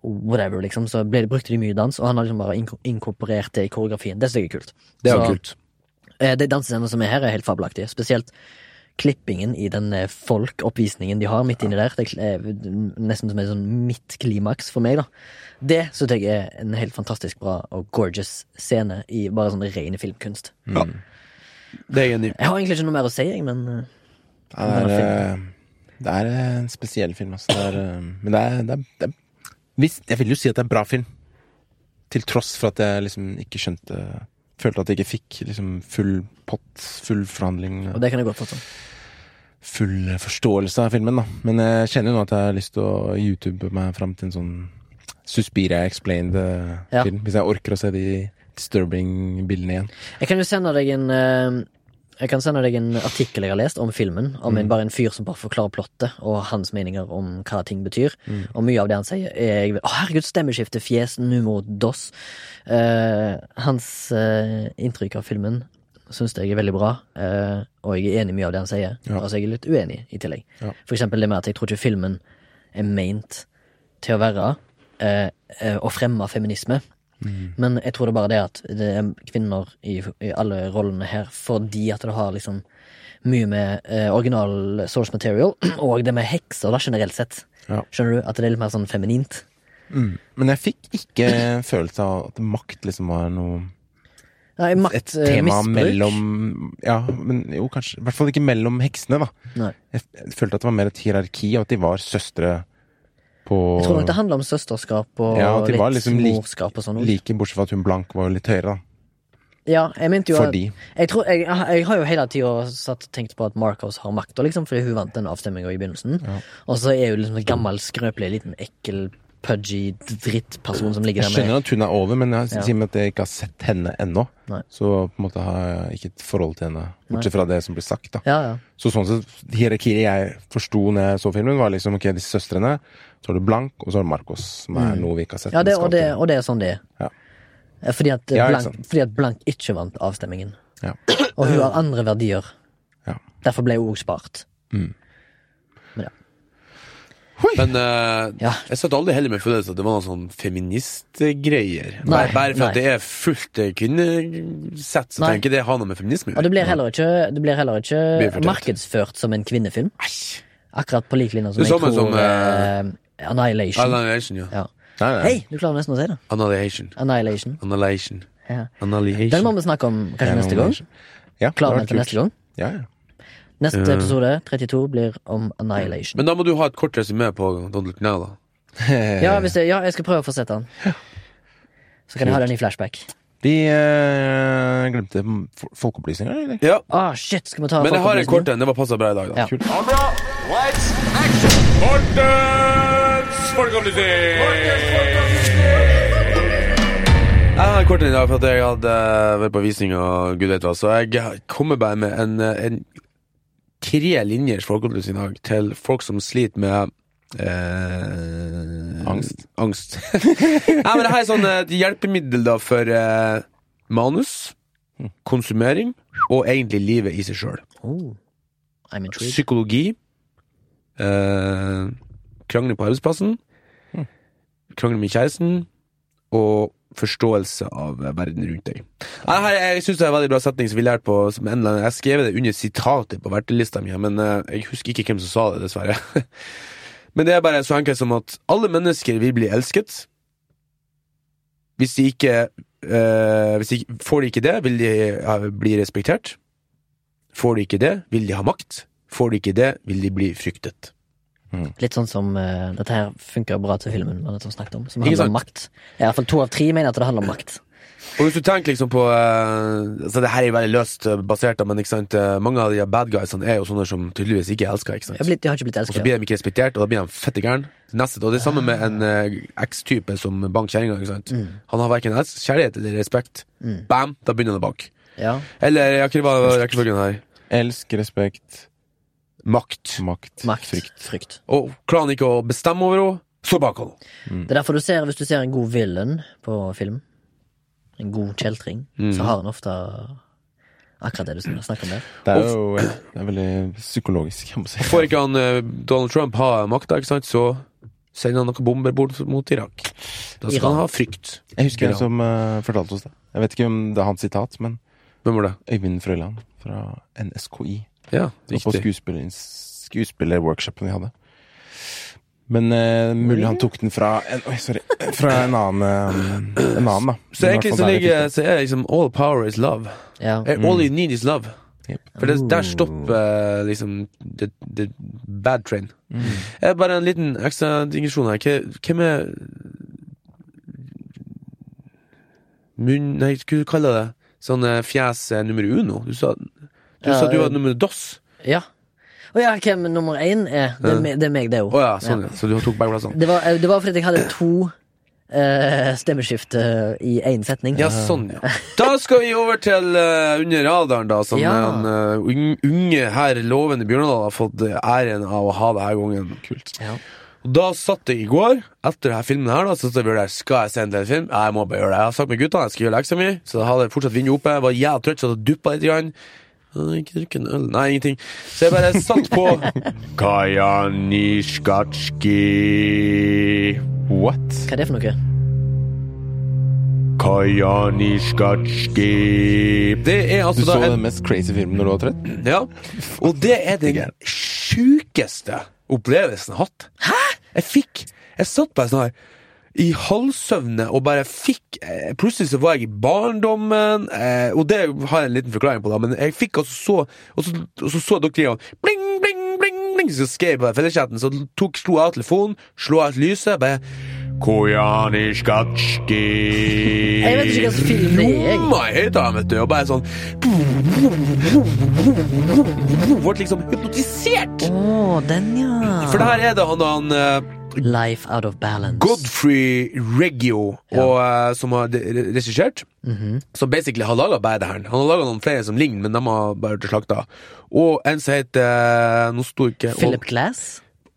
Speaker 2: whatever, liksom, så ble, brukte de mye dans, og han har liksom bare inko- inkorporert det i koreografien. Det synes jeg er kult.
Speaker 3: Det er
Speaker 2: Så-
Speaker 3: jo kult.
Speaker 2: Eh, De dansescenene som er her, er helt fabelaktige. Spesielt klippingen i den eh, folk-oppvisningen de har midt inni der. Det er kl- eh, nesten som en sånn midtklimaks for meg, da. Det syns jeg er en helt fantastisk bra og gorgeous scene i bare sånn ren filmkunst.
Speaker 3: Det er jeg enig i.
Speaker 2: Jeg har egentlig ikke noe mer å si, jeg, men eh,
Speaker 1: Ja, det, er, eh, det er eh, en spesiell film, altså. Det er, eh, men det er, det er, det er hvis, Jeg vil jo si at det er en bra film. Til tross for at jeg liksom ikke skjønte Følte at jeg ikke fikk liksom full pott, full forhandling.
Speaker 2: Og det kan jeg godt forstå.
Speaker 1: full forståelse av filmen, da. Men jeg kjenner jo nå at jeg har lyst til å YouTube meg fram til en sånn Suspiria Explained-film.
Speaker 2: Ja.
Speaker 1: Hvis jeg orker å se de disturbing bildene igjen.
Speaker 2: Jeg kan jo sende deg en eh, jeg kan sende deg en artikkel jeg har lest om filmen, om
Speaker 1: Mm.
Speaker 2: en, bare en fyr som bare forklarer plottet og hans meninger om hva ting betyr.
Speaker 1: Mm.
Speaker 2: Og mye av det han sier, er jeg, Å, herregud, stemmeskifte, fjes, numero dos. Eh, hans eh, inntrykk av filmen syns jeg er veldig bra, eh, og jeg er enig i mye av det han sier.
Speaker 1: Ja.
Speaker 2: Altså, jeg er litt uenig i tillegg.
Speaker 1: Ja.
Speaker 2: For eksempel det med at jeg tror ikke filmen er meint til å være eh, eh, å fremme feminisme. Men jeg tror det er bare det at det er kvinner i, i alle rollene her fordi at det har liksom mye med eh, original source material og det med hekser da generelt sett.
Speaker 1: Ja.
Speaker 2: Skjønner du? At det er litt mer sånn feminint.
Speaker 1: Men jeg fikk ikke følelse av at makt liksom var noe
Speaker 2: Nei,
Speaker 1: Et
Speaker 2: makt, eh,
Speaker 1: tema
Speaker 2: misbruk.
Speaker 1: mellom Ja, men jo, kanskje I hvert fall ikke mellom heksene, da.
Speaker 2: Nei.
Speaker 1: Jeg f- jeg følte at det var mer et hierarki, og at de var søstre på
Speaker 2: Jeg tror nok det handler om søsterskap og
Speaker 1: Ja, at de
Speaker 2: litt
Speaker 1: var liksom lik-
Speaker 2: morskap og sånn. også.
Speaker 1: Like, bortsett fra at hun blank var litt høyere, da.
Speaker 2: Ja, jeg mente jo at-
Speaker 1: Fordi.
Speaker 2: Jeg, tror, jeg, jeg har jo hele tida satt og tenkt på at Marcos har makta, liksom, fordi hun vant den avstemminga i begynnelsen. Og så er hun liksom en gammel, skrøpelig, liten ekkel, pudgy drittperson som ligger
Speaker 1: Jeg
Speaker 2: der med
Speaker 1: skjønner at hun er over, men jeg
Speaker 2: Ja.
Speaker 1: sier meg at jeg ikke har sett henne ennå.
Speaker 2: Nei.
Speaker 1: Så på en måte har jeg ikke et forhold til henne, bortsett fra det som blir sagt. da.
Speaker 2: Ja, ja.
Speaker 1: Så sånn sett, hierarkiet jeg forsto når jeg så filmen, var liksom ok, disse søstrene, så har du Blank, og så har du Marcos, som er noe vi ikke har sett.
Speaker 2: Mm. ja
Speaker 1: men
Speaker 2: det,
Speaker 1: skal
Speaker 2: og, det,
Speaker 1: til.
Speaker 2: og det er sånn det er.
Speaker 1: Ja.
Speaker 2: Eh, Fordi at, eh,
Speaker 1: Ja, ikke
Speaker 2: Blank,
Speaker 1: sant.
Speaker 2: fordi at Blank ikke vant avstemmingen.
Speaker 1: Ja.
Speaker 2: Og hun har andre verdier.
Speaker 1: Ja.
Speaker 2: Derfor ble hun òg spart.
Speaker 3: Men eh,
Speaker 2: Ja.
Speaker 3: jeg satt aldri heller med følelsen at det var noen sånn feministgreier.
Speaker 2: Nei,
Speaker 3: Bare, bare for
Speaker 2: nei.
Speaker 3: at det er fullt eh, kvinnesett, så
Speaker 2: Nei.
Speaker 3: tenker jeg det har noe med feminisme å
Speaker 2: Og
Speaker 3: gjøre.
Speaker 2: det blir heller ikke, det blir heller
Speaker 3: Blir
Speaker 2: ikke
Speaker 3: fortalt.
Speaker 2: markedsført som en kvinnefilm.
Speaker 3: Æsj.
Speaker 2: Akkurat på lik linje som
Speaker 3: Det
Speaker 2: jeg
Speaker 3: er
Speaker 2: tror
Speaker 3: samme som,
Speaker 2: eh, Annihilation.
Speaker 3: Annihilation, ja.
Speaker 2: Ja.
Speaker 1: Nei, nei.
Speaker 2: Hei, du klarer nesten å si det.
Speaker 3: Annihilation.
Speaker 2: Annihilation.
Speaker 3: Annihilation.
Speaker 2: Ja. Den må
Speaker 3: Annihilation.
Speaker 2: vi snakke om kanskje
Speaker 1: Ja,
Speaker 2: neste gang.
Speaker 1: Ja, det
Speaker 2: Klar
Speaker 1: hadde vært
Speaker 2: med til
Speaker 1: kult.
Speaker 2: neste gang.
Speaker 1: Ja, ja.
Speaker 2: Neste
Speaker 3: Ja.
Speaker 2: episode, 32, blir om Annihilation.
Speaker 3: Men da må du ha et kort resymé på Donald Knell, da.
Speaker 2: Ja, hvis det, ja, jeg skal prøve å få sett den. Så kan jeg ha den i flashback.
Speaker 1: Vi eh, glemte fo- folkeopplysninger, eller?
Speaker 3: Ja.
Speaker 2: Ah, shit, skal vi ta
Speaker 3: Men jeg har en
Speaker 2: folkeopplysning?
Speaker 3: kort en. Det var passa bra i dag, da.
Speaker 2: Ja.
Speaker 3: Jeg har en kort en i dag for at jeg hadde eh, vært på visning og gud vet hva, så jeg kommer bare med en, eh, en tre linjers folkeopplysning i dag til folk som sliter med eh,
Speaker 1: Angst.
Speaker 3: Angst. Nei, men det her er sånn eh, et hjelpemiddel da for eh, manus, konsumering og egentlig livet i seg sjøl.
Speaker 2: Oh, I'm intrigued.
Speaker 3: Psykologi. Eh, krangling på arbeidsplassen. Krangling med kjæresten. Og forståelse av eh, verden rundt deg. Nei, her, jeg syns det er en veldig bra setning som vi lærte på som en eller annen, Jeg skrev det under sitatet på vertelista mi, men eh, jeg husker ikke hvem som sa det, dessverre. men det er bare så enkelt som at alle mennesker vil bli elsket. Hvis de ikke eh, hvis de, ikke- Får de ikke det, vil de eh, bli respektert. Får de ikke det, vil de ha makt. Får de ikke det, vil de bli fryktet.
Speaker 2: Litt sånn som eh, Dette her funker bra til filmen vi nettopp snakket om, som
Speaker 3: Ikke
Speaker 2: handler om makt. I hvert fall to av tre mener at det handler om makt.
Speaker 3: Og hvis du tenker liksom på eh, Så det her er jo veldig løst eh, basert, da, men ikke sant? eh, mange av de her bad guysene er jo sånne som tydeligvis ikke er elska.
Speaker 2: Jeg, har blitt, jeg har ikke blitt
Speaker 3: Og så
Speaker 2: elsket.
Speaker 3: blir de ikke respektert, og da blir de fette gærne. Neste, og det er samme med en eh, ekstype som banker kjerringa. ikke sant? Han har verken kjærlighet eller respekt. Bam, da begynner han å banke.
Speaker 2: Ja.
Speaker 3: Eller jeg har ikke hva hva er rekkefølgen her.
Speaker 1: Elsk, respekt,
Speaker 3: Makt.
Speaker 1: makt,
Speaker 2: Makt.
Speaker 1: frykt.
Speaker 2: Frykt.
Speaker 3: Og klarer han ikke å bestemme over henne, så banker han henne.
Speaker 2: Det er derfor du ser, hvis du ser en god villain på film, en god kjeltring,
Speaker 3: Mm.
Speaker 2: så har han ofte akkurat det du snakker om der.
Speaker 1: Det er jo eh, det er veldig psykologisk, jeg må si.
Speaker 3: Får ikke han eh, Donald Trump ha makta, ikke sant, så sender han noen bomber bort mot Irak. Da skal
Speaker 2: Iran.
Speaker 3: han ha frykt.
Speaker 1: Jeg husker
Speaker 3: Iran.
Speaker 1: en som eh, fortalte oss det. Jeg vet ikke om det er hans sitat, men
Speaker 3: Hvem var det?
Speaker 1: Øyvind Frøyland fra NSKI.
Speaker 3: Ja,
Speaker 1: Og på
Speaker 3: riktig.
Speaker 1: skuespiller- skuespillerworkshopen vi hadde. Men eh, mulig han tok den fra en, oi, sorry, fra en annen, eh, en annen da.
Speaker 3: Så
Speaker 1: Men i hvert
Speaker 3: egentlig så
Speaker 1: fall der
Speaker 3: ligger
Speaker 1: fikk
Speaker 3: så er liksom all power is love.
Speaker 2: Ja.
Speaker 3: Eh, All you need is love.
Speaker 1: Mm. Yep.
Speaker 3: For det, der stopper eh, liksom the, the bad train.
Speaker 1: Mm.
Speaker 3: Eh, bare en liten ekstra digresjon her. Hva- Hvem er Munn Nei, hva du kaller du det? Sånn eh, fjes eh, nummer uno? Du sa, du,
Speaker 2: Ja,
Speaker 3: sa du
Speaker 2: eh,
Speaker 3: var nummer dos.
Speaker 2: ja. Og ja, hvem nummer én er? Det er, me- det er meg, det
Speaker 3: Eh. Å
Speaker 2: òg.
Speaker 3: ja, sånn, ja. Så du tok begge plassene.
Speaker 2: Det, var- eh, det var fordi jeg hadde to eh, stemmeskift eh, i én setning.
Speaker 3: Ja, sånn, ja. Da skal vi over til eh, Under radaren, da, som
Speaker 2: Ja.
Speaker 3: en eh, ung- unge her, lovende Bjørndal, har fått eh, æren av å ha det her gangen. Kult.
Speaker 2: Ja.
Speaker 3: Og da satt jeg i går, etter denne filmen her, da, så satt jeg og vurderte, skal jeg se en del film. Nei, Jeg må bare gjøre det. Jeg har sagt med gutta, jeg skal gjøre leksa mi, så da hadde jeg fortsatt vinduet oppe. Jeg var jævlig trøtt, så det duppa litt. Grann. Jeg hadde Ikke drukket en øl. Nei, ingenting. Så jeg bare satt på.
Speaker 4: Kajanishkatski.
Speaker 1: What?
Speaker 2: Hva er det for noe?
Speaker 4: Kajanishkatski.
Speaker 3: Det er
Speaker 1: Du
Speaker 3: altså
Speaker 1: så
Speaker 3: da en
Speaker 1: den mest crazy filmen når du var trøtt?
Speaker 3: Ja. Og det er den sjukeste opplevelsen jeg har hatt. Hæ?! Jeg fikk Jeg satt bare sånn her i halvsøvne og bare fikk eh, Plutselig så var jeg i barndommen, eh, og det har jeg en liten forklaring på, da, men jeg fikk altså så Og så, og så, så dere de og bling, bling, bling, bling, så skrev jeg på felleschatten, så tok, slo jeg av telefonen, slo av lyset, bare
Speaker 4: Kajanishkatski.
Speaker 2: Jeg vet ikke hva slags film det er. jeg.
Speaker 3: lomma i høyttaleren, vet du, og bare sånn Ble liksom hypnotisert!
Speaker 2: Å, den, ja.
Speaker 3: For der er det han, han eh,
Speaker 2: Life out of balance.
Speaker 3: Godfrey Reggio og, eh, som har de- re- regissert.
Speaker 2: Mhm.
Speaker 3: Som basically har laga bare det her. Han har laga noen flere som ligner, men de har bare til slakta. Og en som heter eh, Nå sto ikke og-
Speaker 2: Philip Glass.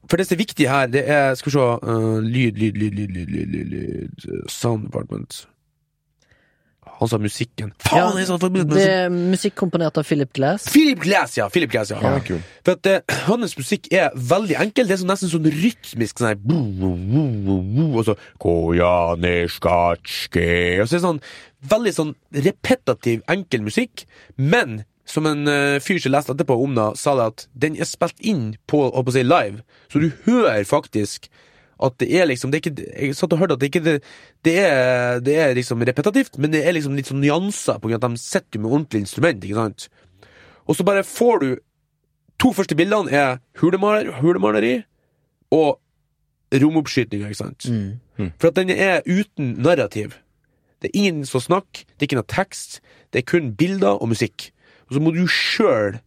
Speaker 3: For det som er viktig her, det er Skal vi se eh, Lyd, lyd, lyd, lyd, lyd, lyd, lyd, lyd. eh, Sound Department. Han sa musikken. Faen,
Speaker 2: Ja,
Speaker 3: jeg er så forbudt med
Speaker 2: Det
Speaker 3: musikk!
Speaker 2: er musikk komponert av Philip Glass.
Speaker 3: Philip Glass, ja! Philip Glass, ja.
Speaker 1: Ja, kul.
Speaker 3: For at eh, hans musikk er veldig enkel. Det er sånn, nesten sånn rytmisk sånn her bo, bo, bo, bo, bo, Og så
Speaker 4: Kajanishkatski.
Speaker 3: Og så er det sånn veldig sånn repetativ, enkel musikk, men som en eh, fyr som leste etterpå om det, sa det at den er spilt inn på, holdt på å si, live, så du hører faktisk at det er liksom det er ikke, Jeg satt og hørte at det ikke det, det, er, det er liksom repetativt, men det er liksom litt sånn nyanser, på grunn av at de sitter jo med ordentlig instrument, ikke sant? Og så bare får du to første bildene er hulemaler, hulemaleri og romoppskytninger, ikke sant?
Speaker 2: Mm.
Speaker 3: For at den er uten narrativ. Det er ingen som snakker, det er ikke noe tekst, det er kun bilder og musikk. Og så må du sjøl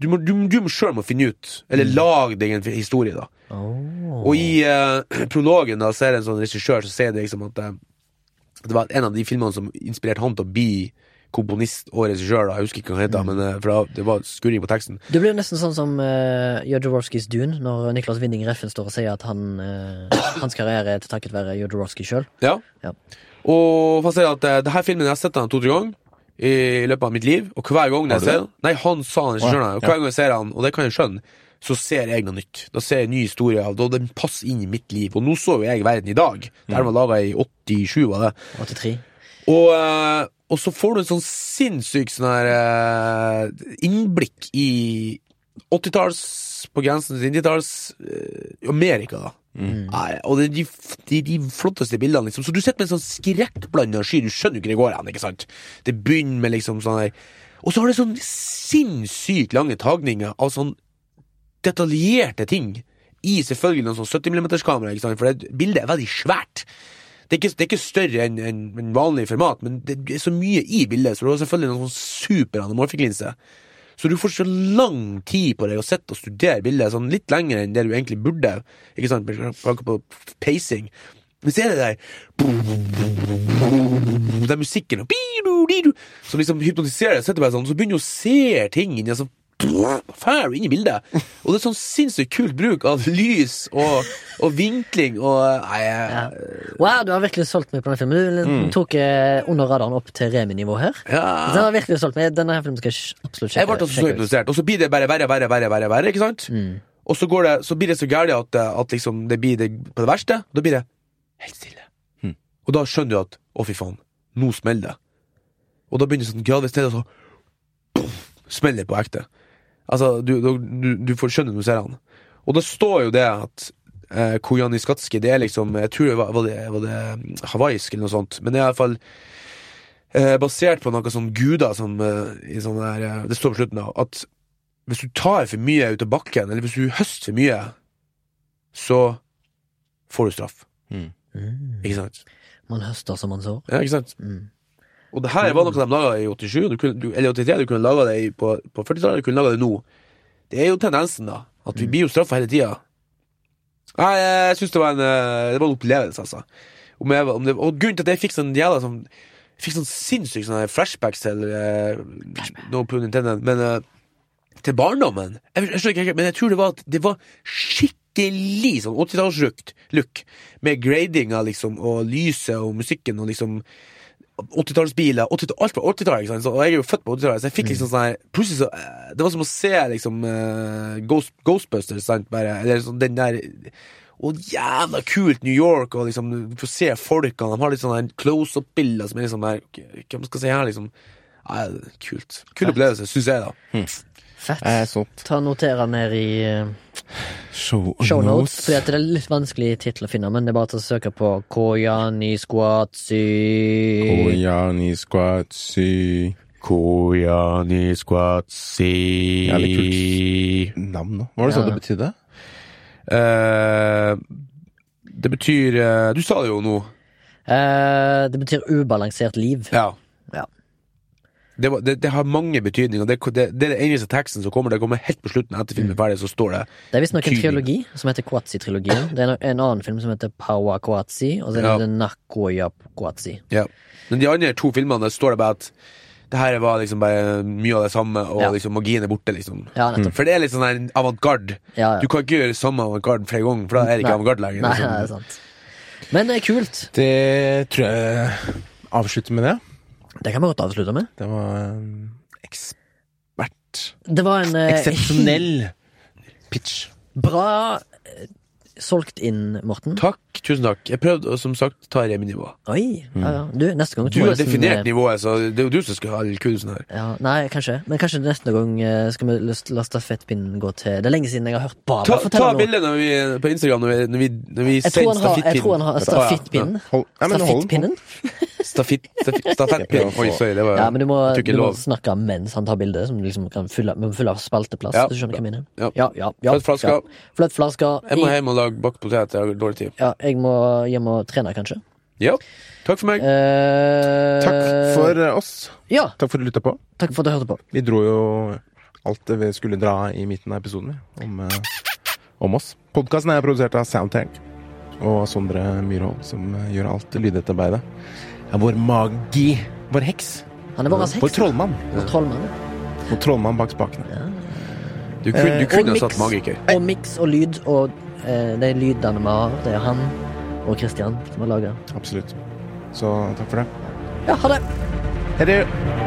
Speaker 3: Du må, du, du må sjøl må finne ut, eller lage deg en historie, da.
Speaker 2: Oh.
Speaker 3: Og i eh, prologen da, så er det en sånn regissør som sier det liksom at eh, det var en av de filmene som inspirerte han til å bli komponist og regissør. da, Jeg husker ikke hva han het, da, men eh, for da, det var skurring på teksten.
Speaker 2: Det blir nesten sånn som uh, Jodorowskys Dune, når Niklas Winding Reffen står og sier at han, eh, hans karriere er til takket være Jodorowsky sjøl.
Speaker 3: Ja.
Speaker 2: Ja.
Speaker 3: Og for å si at eh, det her filmen jeg har sett den to-tre ganger i løpet av mitt liv, og hver gang jeg
Speaker 1: Har du
Speaker 3: ser den Nei, han sa han
Speaker 1: Å,
Speaker 3: ikke
Speaker 1: ja.
Speaker 3: skjønner det, og hver gang jeg ser han, og det kan jeg skjønne, så ser jeg noe nytt. Da ser jeg en ny historie, og da- den passer inn i mitt liv. Og nå så jo jeg verden i dag. Der den var laga i 87, var det.
Speaker 2: 83.
Speaker 3: Og, eh, og så får du en sånn sinnssyk sånn her eh, innblikk i 80-talls, på grensen til 90-talls eh, Amerika, da. Nei, og det er de, f- de, de flotteste bildene, liksom. Så du sitter med en sånn skrekkblanda sky. Du skjønner jo ikke det går an, ikke sant? Det begynner med liksom sånn her Og så har det sånn sinnssykt lange tagninger av sånn detaljerte ting. I selvfølgelig noen sånn 70 mm-kamera, ikke sant? for det, bildet er veldig svært. Det er ikke, det er ikke større enn enn enn vanlig format, men det er så mye i bildet, så du har selvfølgelig noen sånn superanamorfiklinse. Så du får så lang tid på deg å sitte og studere bildet, sånn litt lenger enn det du egentlig burde. Ikke sant, med tanke på pacing. Men så er det der Den musikken og Som liksom hypnotiserer deg, setter bare sånn, så begynner du å se ting inni sånn Fær du inn i bildet. Og det er sånn sinnssykt kult bruk av lys og, og vinkling og Nei, jeg-
Speaker 2: Wow, du har virkelig solgt meg på den filmen. Du
Speaker 3: Mm.
Speaker 2: tok eh, under radaren opp til Remi-nivå her.
Speaker 3: ja.
Speaker 2: Den har virkelig solgt meg. Denne her filmen skal jeg sj- absolutt
Speaker 3: Jeg
Speaker 2: sjekke.
Speaker 3: ble altså så
Speaker 2: sjekke ut.
Speaker 3: hypnotisert, og så blir det Mm. bare verre, verre, verre, verre, verre ikke sant? Og så, går det, så blir det så gærlig at, eh, at liksom det blir det på det verste, og da blir det helt stille.
Speaker 1: Mm.
Speaker 3: Og da skjønner du at, å fy faen, nå smeller det. Og da begynner det sånn gradvis ned, og så puff, smeller det på ekte. Altså, du, du, du, du får skjønne når du ser han. Og da står jo det at eh, Koyaanisqatski, det er liksom, jeg tror det var, var, det, var det mm, hawaiisk eller noe sånt, men det er i hvert fall eh, basert på noe sånn guder som eh, i sånn der, eh, Det står på slutten, da. At hvis du tar for mye ut av bakken, eller hvis du høster for mye, så får du straff.
Speaker 2: Mm.
Speaker 3: Ikke sant?
Speaker 2: Man høster som man sår.
Speaker 3: Ja, ikke sant?
Speaker 2: Mm.
Speaker 3: Og det her var noe de laga i 87, du kunne, du, eller 83. Du kunne laga det i- på, på 40-tallet, du kunne laga det nå. Det er jo tendensen, da. At vi blir jo straffa hele tida. Nei, jeg syns det var en eh, Det var en opplevelse, altså. Om jeg, var- om det, og grunnen til at jeg fikk sånn jævla sånn jeg Fikk sånn sinnssykt sånne flashbacks til eh, No pun intended, men eh, til barndommen. Jeg, jeg skjønner ikke, helt, men jeg tror det var at det var skikkelig sånn 80-tallslook. Med gradinga, liksom, og lyset og musikken og liksom 80-tallsbiler. 80 alt var 80-tallet, ikke sant. Så, og jeg er jo født på 80-tallet, så jeg fikk liksom sånn her Plutselig så eh, Det var som å se liksom eh, Ghost, Ghostbusters, sant, bare. Eller sånn den der og jævla kult New York, og liksom du får se folkene. De har litt sånne her close-up-bilder som er liksom her ok, Hvem skal se her, liksom? Nei, det er kult. Kul opplevelse, syns jeg, da.
Speaker 2: Fett.
Speaker 1: Jeg er solgt.
Speaker 2: Ta Noterer ned i eh,
Speaker 1: Show,
Speaker 2: show notes,
Speaker 1: notes.
Speaker 2: fordi at det er litt vanskelig tittel å finne, men det er bare å søke på Koyaanisqatsi
Speaker 1: Koyaanisqatsi.
Speaker 3: Koyaanisqatsi
Speaker 1: Jævlig kult. Navn nå. Var det sånn
Speaker 2: Ja.
Speaker 1: det betydde?
Speaker 3: Eh, det betyr eh, Du sa det jo nå.
Speaker 2: Eh, det betyr ubalansert liv.
Speaker 3: Ja.
Speaker 2: Ja.
Speaker 3: Det, var, det, det har mange betydninger. Det, det, det er den eneste teksten som kommer. Det kommer helt på slutten etter filmen er ferdig, så står det
Speaker 2: Det er visstnok en
Speaker 3: Tydelig.
Speaker 2: trilogi som heter Kwatsi-trilogien. Det er no- en annen film som heter Pawa Kwatsi, og så er det
Speaker 3: Ja.
Speaker 2: ja. Nakoya Kwatsi.
Speaker 3: Ja. Men de andre to filmene der står det bare at det her var liksom bare mye av det samme, og
Speaker 2: Ja.
Speaker 3: liksom magien er borte, liksom.
Speaker 2: Ja, nettopp.
Speaker 3: For det er litt sånn her avantgarde.
Speaker 2: Ja, ja.
Speaker 3: Du kan ikke gjøre samme avantgarde flere ganger, for da er det ikke
Speaker 2: Nei.
Speaker 3: avantgarde lenger.
Speaker 2: Nei, det
Speaker 3: liksom.
Speaker 2: er sant. Men det er kult.
Speaker 1: Det tror jeg avslutter med det.
Speaker 2: Det kan vi godt avslutte med.
Speaker 1: Det var en ekspert
Speaker 2: Det var en eh,
Speaker 1: Eksepsjonell pitch.
Speaker 2: Bra eh, solgt inn, Morten.
Speaker 3: Takk. takk, tusen takk. Jeg prøvde å, som sagt ta reminivå.
Speaker 2: Oi, ja, ja. Du, neste gang
Speaker 3: Mm. Du
Speaker 2: må
Speaker 3: har
Speaker 2: nesten, eh,
Speaker 3: definert nivået, så det er jo du som skal ha all kunsten her.
Speaker 2: ja, Nei, kanskje. Men kanskje neste gang eh, skal vi la- la stafettpinnen gå til Det er lenge siden jeg har hørt Baba
Speaker 3: Ta, ta
Speaker 2: fortelle noe.
Speaker 3: bildet når vi, på Instagram når vi, når vi, når vi
Speaker 2: Jeg tror, han har, jeg tror han har stafettpinnen.
Speaker 1: Hold, nei, men hold den på.
Speaker 2: Stafettpinnen?
Speaker 3: Stafitt, stafitt, stafettpinnen. Oi, sorry, det var
Speaker 2: Ja, men du må,
Speaker 3: jeg tror ikke
Speaker 2: du må
Speaker 3: lov.
Speaker 2: snakke mens han tar bildet, som liksom kan fylle, vi må fylle av spalteplass.
Speaker 3: Ja,
Speaker 2: hvis du skjønner hva jeg mener.
Speaker 3: Ja.
Speaker 2: Ja, ja, ja,
Speaker 3: Fløtt flasker.
Speaker 2: Ja. Fløtt flasker.
Speaker 3: Jeg må
Speaker 2: I-
Speaker 3: hjem og lage bakt potet. Jeg har dårlig tid.
Speaker 2: Ja, jeg må hjem og trene, kanskje.
Speaker 3: Ja. Takk for meg.
Speaker 2: Eh,
Speaker 1: Takk for eh, oss.
Speaker 2: Ja,
Speaker 1: Takk for at du lytta på.
Speaker 2: takk for at du hørte på.
Speaker 1: Vi dro jo alt det vi skulle dra i midten av episoden, vi, om, eh, om oss. Podkasten er produsert av Soundtank og Sondre Myrhold, som eh, gjør alt lydetterarbeidet. Ja, vår magi. Vår heks.
Speaker 2: Han er vår
Speaker 1: Vår
Speaker 2: seks.
Speaker 1: trollmann.
Speaker 2: Vår trollmann.
Speaker 1: Vår trollmann bak spakene.
Speaker 3: Du, kun,
Speaker 1: eh,
Speaker 3: du
Speaker 2: og
Speaker 3: kunne ha satt
Speaker 2: mix.
Speaker 3: magiker.
Speaker 2: Og miks og lyd og eh, de lydene vi har, det er han og Christian som har laga.
Speaker 1: Absolutt. Så takk for det.
Speaker 2: Ja, ha det!
Speaker 1: Ha det.